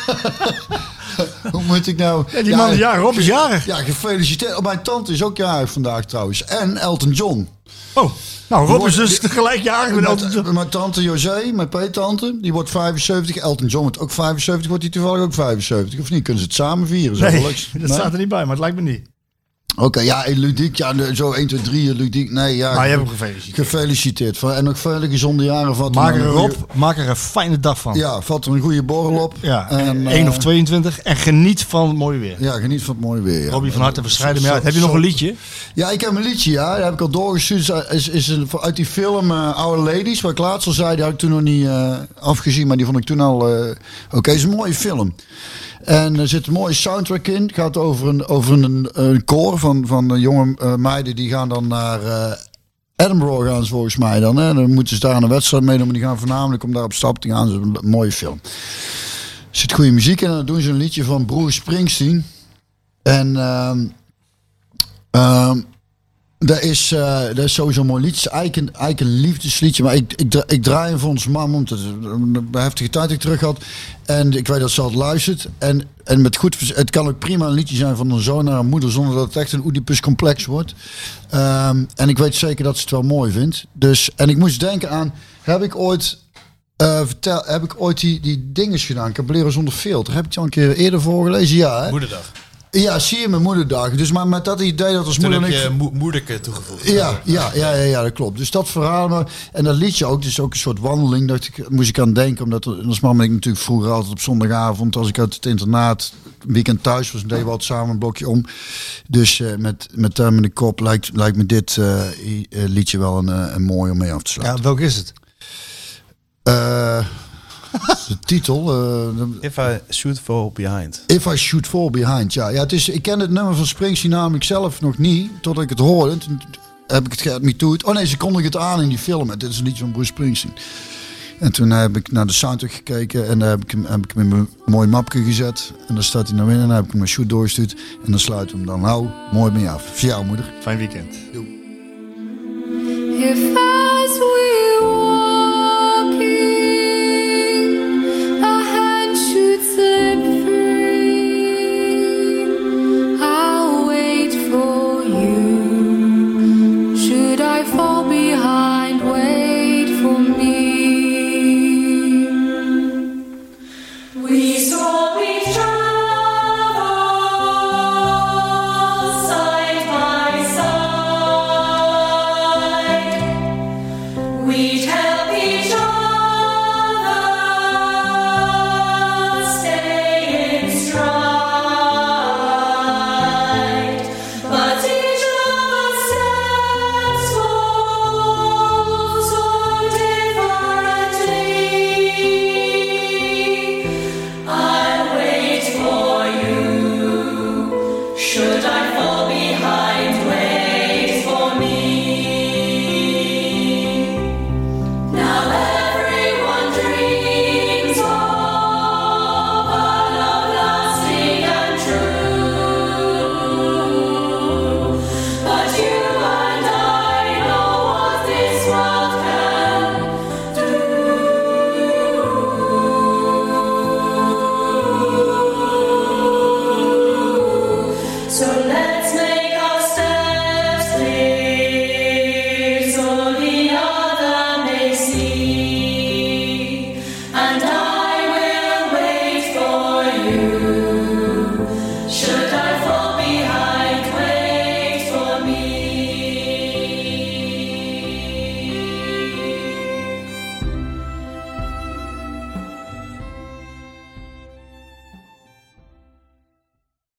Speaker 2: Hoe moet ik nou...
Speaker 1: Ja, die man, ja, Rob is jarig.
Speaker 2: Ja, gefeliciteerd. Oh, mijn tante is ook jarig vandaag trouwens. En Elton John.
Speaker 1: Oh, nou, Rob is dus
Speaker 2: Mooi.
Speaker 1: tegelijk jarig met Elton John.
Speaker 2: Mijn, mijn tante José, mijn peetante, die wordt 75. Elton John wordt ook 75. Wordt hij toevallig ook 75? Of niet? Kunnen ze het samen vieren? Zo
Speaker 1: Nee,
Speaker 2: leuk.
Speaker 1: dat staat er niet bij, maar het lijkt me niet.
Speaker 2: Oké, ja, en ludiek, ja, de- zo 1, 2, 3, ludiek, nee, ja.
Speaker 1: Maar je hebt hem gefeliciteerd.
Speaker 2: Gefeliciteerd. En nog vele gezonde jaren. Vat
Speaker 1: Maak
Speaker 2: een
Speaker 1: er,
Speaker 2: goeie-
Speaker 1: op, maak er een fijne dag van.
Speaker 2: Ja, vat er een goede borrel op.
Speaker 1: Ja,
Speaker 2: en,
Speaker 1: 1
Speaker 2: eh,
Speaker 1: of 22. En geniet van het mooie weer.
Speaker 2: Ja, geniet van het mooie weer. Ja.
Speaker 1: Robbie van harte verscheiden mee
Speaker 2: Zo-
Speaker 1: uit. Heb je
Speaker 2: zo-
Speaker 1: nog een liedje?
Speaker 2: Ja, ik heb een liedje, ja. Dat heb ik al doorgestuurd. Is, is een- uit die film eh Our Ladies, waar ik laatst al zei, die had ik toen nog niet eh, afgezien, maar die vond ik toen al. eh, Oké, is een mooie film. En er zit een mooie soundtrack in. Het gaat over een, over een, een koor van, van eh, jonge eh, meiden die gaan dan naar. eh, Edinburgh gaan ze volgens mij dan. Hè? Dan moeten ze daar aan een wedstrijd meedoen. Maar die gaan voornamelijk om daar op stap te gaan. Dat is een mooie film. Er zit goede muziek in. En dan doen ze een liedje van Broer Springsteen. En ehm, ehm, dat is, eh, dat is sowieso een mooi liedje. Eigenlijk een, eigenlijk een liefdesliedje. Maar ik, ik, dra- ik draai hem voor ons mam. Omdat het een heftige tijd die ik terug had. En ik weet dat ze het luistert. En, en met goed, vers- het kan ook prima een liedje zijn van een zoon naar een moeder. Zonder dat het echt een Oedipus complex wordt. Ehm, en ik weet zeker dat ze het wel mooi vindt. Dus, en ik moest denken aan... Heb ik ooit... eh, vertel, heb ik ooit die, die dinges gedaan? Caballero zonder filter. Heb ik die al een keer eerder voorgelezen? Ja, hè?
Speaker 7: Moederdag.
Speaker 2: Ja, zie je mijn moederdag. Dus maar met dat idee dat als
Speaker 7: Toen
Speaker 2: moeder
Speaker 7: heb
Speaker 2: en ik-
Speaker 7: je mo- moederke toegevoegd.
Speaker 2: ja, ja, ja, ja, ja, dat klopt. Dus dat verhaal. me. En dat liedje ook, dus ook een soort wandeling, dacht ik, moest ik aan denken. Omdat er- als man ben ik natuurlijk vroeger altijd op zondagavond, als ik uit het internaat een weekend thuis was, deden we altijd samen een blokje om. Dus eh, met, met duim in de kop lijkt, lijkt me dit eh, i- eh, liedje wel een, eh, een mooi om mee af te sluiten.
Speaker 1: Ja, welk is het?
Speaker 2: Eh, de titel, eh,
Speaker 7: If I shoot for behind.
Speaker 2: If I Shoot Fall Behind, ja. ja het is, ik ken het nummer van Springsteen namelijk zelf nog niet, totdat ik het hoorde. Toen heb ik het Get Me To It. Oh nee, ze kondigen het aan in die film. Dit is een liedje van Bruce Springsteen. En toen heb ik naar de soundtrack gekeken en daar heb ik hem, heb ik hem in mijn mooi mapje gezet. En daar staat hij naar binnen en dan heb ik hem een shoot doorgestuurd. En dan sluit hem dan nou mooi mee af. Voor jou, moeder.
Speaker 1: Fijn weekend.
Speaker 8: If I was